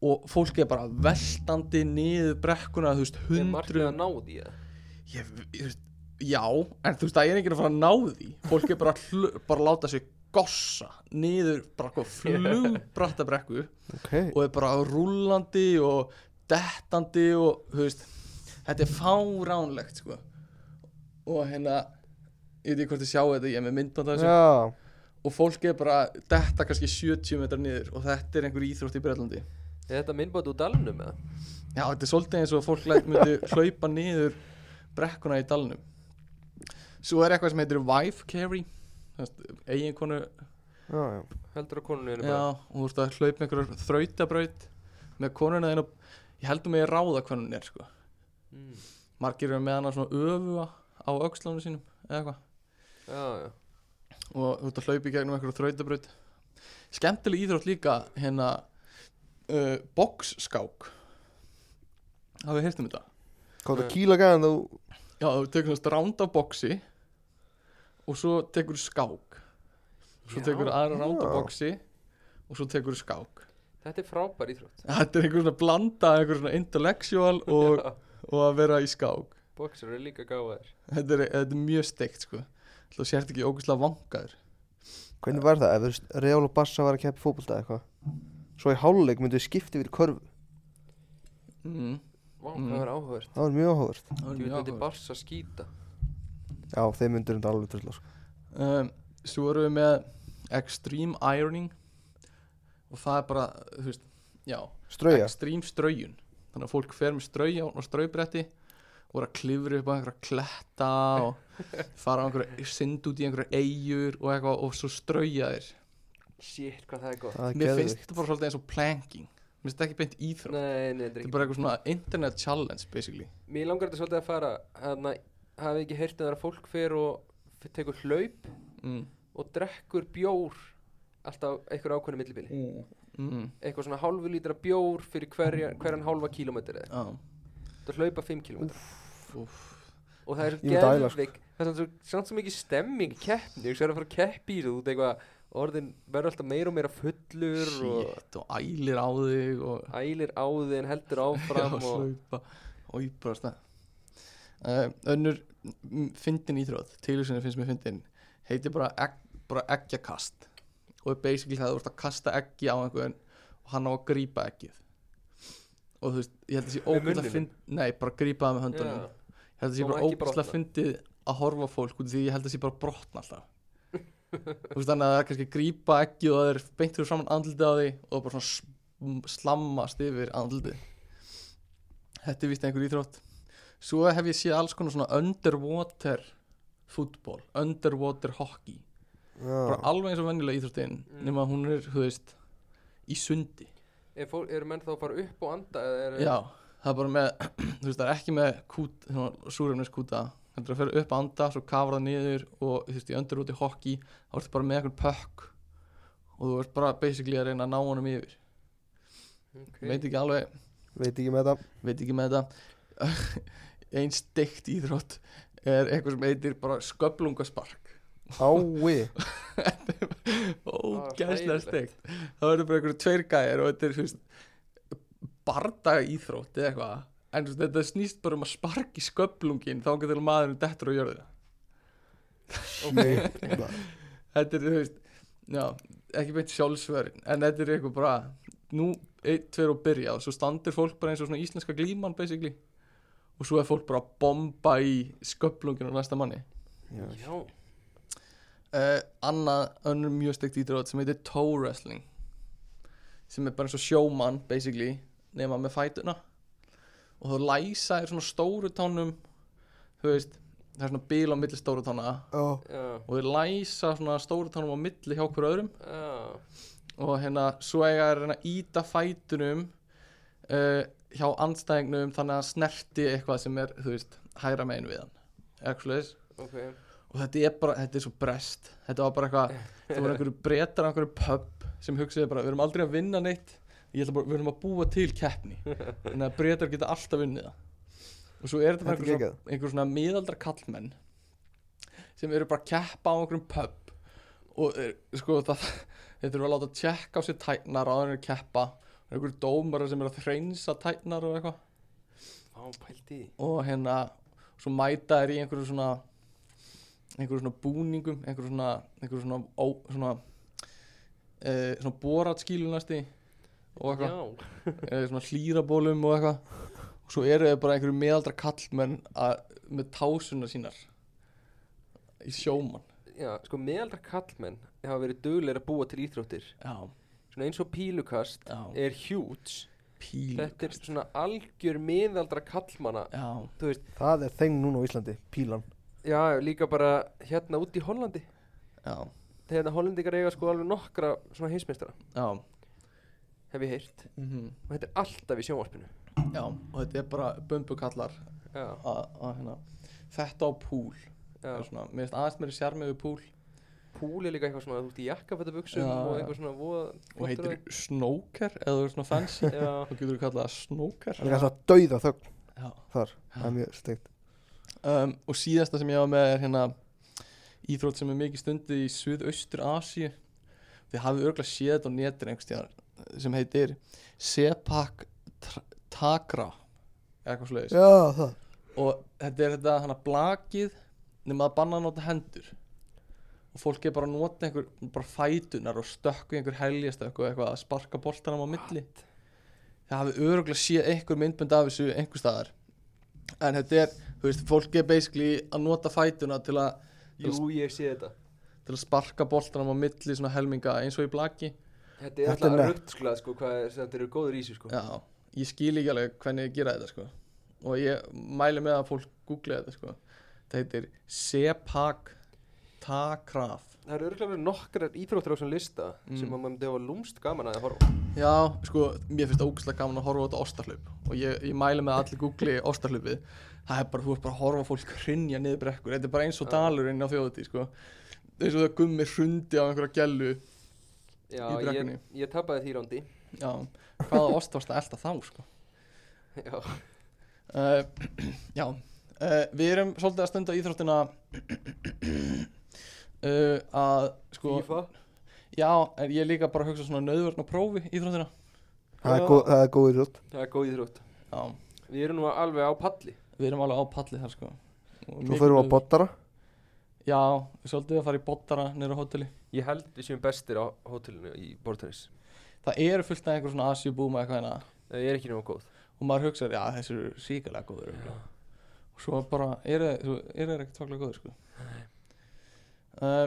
og fólk er bara veltandi niður brekkuna þú veist, Er markmið hundruð að ná því eða? ég, ég, veist, já, en þú veist að ég er ekki að fara að ná því fólk er bara, að hlu, bara að láta sig gossa niður bara flugbratta brekku Ok, og er bara rúllandi og dettandi og þú veist, þetta er fáránlegt sko. og hérna ég veit ekki hvort þið sjáu þetta, ég er með myndband af þessu já og fólk er bara að detta kannski 70 metrar niður og þetta er einhver íþrótt í Breitlandi Er þetta minnbót úr dalnum eða? Já, þetta er svolítið eins og fólk læt *laughs* myndi hlaupa niður brekkuna í dalnum Svo er eitthvað sem heitir wife carry eiginkonu Já, já, Heldur á konunni einu bara Já, og þú ert að hlaupa með einhverjar þrautabraut með konuna þinn og ég heldur mig að ráða hvernig hún er sko. Mm. margir eru með hana svona öfuga á öxlunum sínum eða eitthvað Já, já og þú ert að hlaupa í gegnum einhverjar þrautabraut Skemmtileg íþrótt líka hérna uh, boxskák Hafið heyrt um þetta? hvað Nei. það kýla gæðan þú Já, þú tekur svona ránd af boxi og svo tekur skák svo Já. tekur aðra ránd af Já. boxi og svo tekur skák Þetta er frábær íþrótt Þetta er einhver svona blanda einhver svona intellectual *laughs* og, og að vera í skák Boxer eru líka gáðir Þetta er, þetta er mjög steikt sko Þú sért ekki ógustlega vangaður Hvernig var það? Ef þú veist, Real og Barca var að keppa í fótbolta eða eitthvað Svo í háluleik myndu við skipta yfir í körfu mm. Vá, Mm. hvað er áhugavert Það var mjög áhugavert það er Þú mjög veit myndi áhugavert. barsa skýta Já, þeim myndur þetta alveg trullar sko. um, Svo erum við með extreme ironing og það er bara, þú veist, já Strauja extreme straujun þannig að fólk fer með strauja og straubretti og er að klifra upp á einhverja kletta og fara á einhverja synd út í einhverja eigur og eitthvað og svo strauja þér Shit, hvað það er gott Það er mér finnst geðvikt þetta bara svolítið eins og planking mér finnst þetta ekki beint íþrótt Nei, nei, þetta er þetta ekki er bara eitthvað svona internet challenge basically Mér langar þetta svolítið að fara Þannig að hafið ekki heyrt um þegar að fólk fer og f- tekur hlaup mm. og drekkur bjór alltaf einhver ákveðinu millibili Mm. eitthvað svona hálfu lítra bjór fyrir hverja, hverjan hálfa kílómetri eða Já. þetta hlaupa 5 kílómetri Úff. og það er Ég myndi sko. æla, geðvik það er svona- svona svo mikið stemming í keppni þú er að fara að keppi í þessu, þú ert eitthvað orðin verður alltaf meira og meira fullur og shit og ælir á þig og ælir á þig en heldur *laughs* áfram og og slaupa og íbra stað uh, önnur m, fyndin íþrótt tilhjóðsynir finnst mér fyndin heitir bara, egg, bara eggjakast og er basically það að þú ert að kasta eggi á einhvern og hann á að grípa eggið og þú veist, ég held að sé Með ógæst að munninum? fynd nei, bara grípa það með höndunum Já. ég held að sé Og bara ekki ógæst að brotna. fyndið að horfa á fólk út af því ég held að sé bara brotna alltaf þú veist þannig að það er kannski að grípa eggið og það er beint fyrir saman andlitið á því og bara svona sm- slammast yfir andlitið Þetta er vist einhver íþrótt Svo hef ég séð alls konar svona underwater fútból, underwater hockey bara Já. alveg eins og venjulega íþróttin Ah. Mm. nema hún er, þú veist, í sundi er fólk, eru menn þá að fara upp og anda eða er, Já, það er bara með *clears throat* þú veist, það er ekki með kút, súrefnis kúta heldur að fer upp að anda, svo kafra það niður og þú veist, í underwater hockey þá ertu bara með einhvern pökk og þú ert bara basically að reyna að ná honum yfir Ok. veit ekki alveg Veit ekki með það veit ekki með þetta *laughs* einn steikt íþrótt er eitthvað sem heitir bara sköflungaspark *laughs* Ái ógæslega hræðilegt. steikt það verður bara einhverju tveir gæðir og þetta er þú veist, bardaga íþrótt eða eitthvað en þú veist, þetta snýst bara um að sparka í sköflungin þá getur maðurinn dettur á jörðu Shit, maður. þetta er þú veist já, ekki beint sjálfsvörin en þetta er eitthvað bara nú einn, tveir og byrja og svo standir fólk bara eins og svona íslenska glíman basically og svo er fólk bara að bomba í sköflungin á næsta manni já, uh, annað önnur mjög steikt ídrót sem heitir toe wrestling sem er bara eins og sjómann basically nema með fætuna og þú læsa er svona stóru tánum þú veist það er svona bíl á milli stóru tána oh. Já, og þau læsa svona stóru tánum á milli hjá hver öðrum já, og hérna svo eiga að reyna að íta fætunum uh, hjá andstæðingnum þannig að hann snerti eitthvað sem er þú veist hægra megin við hann eða eitthvað svoleiðis. ok og þetta er bara, þetta er svo brest þetta var bara eitthvað, það voru einhverju bretar á einhverju pub sem hugsiði bara, við erum aldrei að vinna neitt ég ætla bara, við erum að búa til keppni þannig að bretar geta alltaf unnið það og svo er þetta bara Þetta er einhver svona, einhver svona miðaldra kallmenn sem eru bara að keppa á einhverjum pub og er, sko það *laughs* þeir þurfa að láta tjekka á sér tæknar á þeirnir keppa og einhverju dómara sem eru að hreinsa tæknar og eitthvað Vá, pældi í og hérna svo mæta þær í einhverju svona einhverju svona búningum einhverju svona einhverju svona, ó, svona, e, svona boratskílu næsti og eitthvað Já, e, svona hlýrabólum og eitthvað og svo eru þau bara einhverju meðaldra kallmenn að, með tásuna sínar í sjómann já, sko meðaldra kallmenn hafa verið duglegir að búa til íþróttir já, svona eins og pílukast já, er huge þetta er pílukast svona algjör meðaldra kallmanna já, þú veist, Það er þeng núna á Íslandi, pílan já, líka bara hérna út í Hollandi já, þegar Hollandingar eiga sko alveg nokkra svona heimsmeistara, já hef ég heyrt mm og þetta er alltaf í sjónvarpinu já, og þetta er bara bumbukallar já, að, að hérna þetta á púl já, er svona, mér finnst aðeins meiri sjarmi við púl púl er líka eitthvað svona þú ert í jakkafættabuxum Já, og já. eitthvað svona voða og flottur heitir snóker eða þú er svona *laughs* fancy að- já, þá getur þú kallað það snóker Það er alltaf dauða þögn Já. þar Það er mjög steikt um, og síðasta sem ég á með er hérna íþrótt sem er mikið stundið í Suðaustur Asi þið hafið örgulega séð þetta á netin einhvers tíðar sem heitir Sepak Tra- Takra eða eitthvað svoleiðis Já, það og þetta er þetta hana blakið nema að banna að nota hendur og fólk er bara að nota einhver bara fætunar og stökku í einhver helgjastökku og eitthvað að sparka boltanum á milli það hafi öruglega séð einhver myndbönd af þessu einhver staðar en þetta er, þú veist, fólk er basically að nota fætuna til að, jú ég sé þetta til að sparka boltanum á milli svona helminga eins og í blaki þetta er Þetta er alltaf nett. ruggsklað sko hvað er, þetta eru góður í sig sko já, ég skil ekki alveg hvernig ég gera þetta sko og ég mæli með að fólk googla þetta sko þetta heitir Sepak Takraf það eru örgulega verið nokkrar íþróttir á svona lista Mm. sem að maður myndi hafa lúmst gaman að horfa á. Já, sko, mér finnst ógæslega gaman að horfa á þetta ostahlaup og ég, ég mæli með að allir googli ostahlaupið það er bara, þú ert bara að horfa á fólk hrynja niður brekkur, þetta er bara eins og dalurinn á þjóðutí, sko eins og það gummi hrundi á einhverja gellu já, Í ég, brekkunni. ég tapaði því rándi Já, hvaða ost varst að elta þá, sko já, uh, *clears throat* Já, uh, við erum svolítið að stunda íþróttina *clears throat* uh, að, sko FIFA Já, en ég er líka bara að hugsa svona nöðvörn og prófi íþróttina Það er Já. góð- það er góð í rútt það er góð íþrótt Já, við erum nú alveg á palli við erum alveg á palli þar, sko Og Svo mikið förum nauðvörn. við á bottara Já, svolítið að fara í bottara nýra hóteli ég held við séum bestir á hótelinu í bortennis Það eru fullt af einhver svona asjubúma eitthvað hérna það er ekki nema góð og maður hugsaður, já þessi eru síkilega góður örugglega." og svo bara eru þeir- eru þeir ekkert svaklega góður sko uh,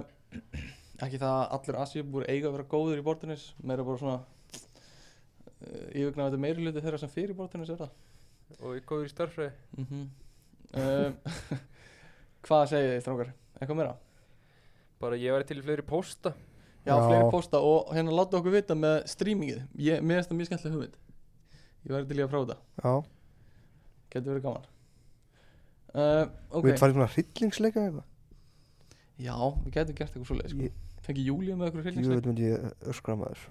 *clears throat* Ekki það að allir asjubúr eiga að vera góður í bortinis meira bara svona uh, yfirgnaði þetta meiri hluti þeirra sem fyrir bortinis er það og ég er góður í starfræði mm uh, *laughs* Hvað segið þið strákar? Eitthvað meira? bara ég væri til í fleiri pósta Já, Já. fleiri posta og hérna láta okkur vita með streamingið ég, Mér finnst það mjög skemmtileg hugmynd Ég væri til í að prófa þetta, Já, getur verið gaman uh, Ok, við farum svona hryllingsleika eða eitthvað já, við getum gert eitthvað svoleið sko. Ég- Fengi Júlíu með okkur Jú, hreilningsleik þetta myndi ég öskra maður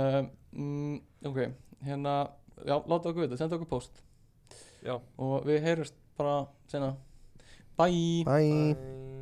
uh, mm, Ok, hérna, já, láta okkur vita, senda okkur post Já. Og við heyrjumst bara sena Bye Bye Mm. Bye.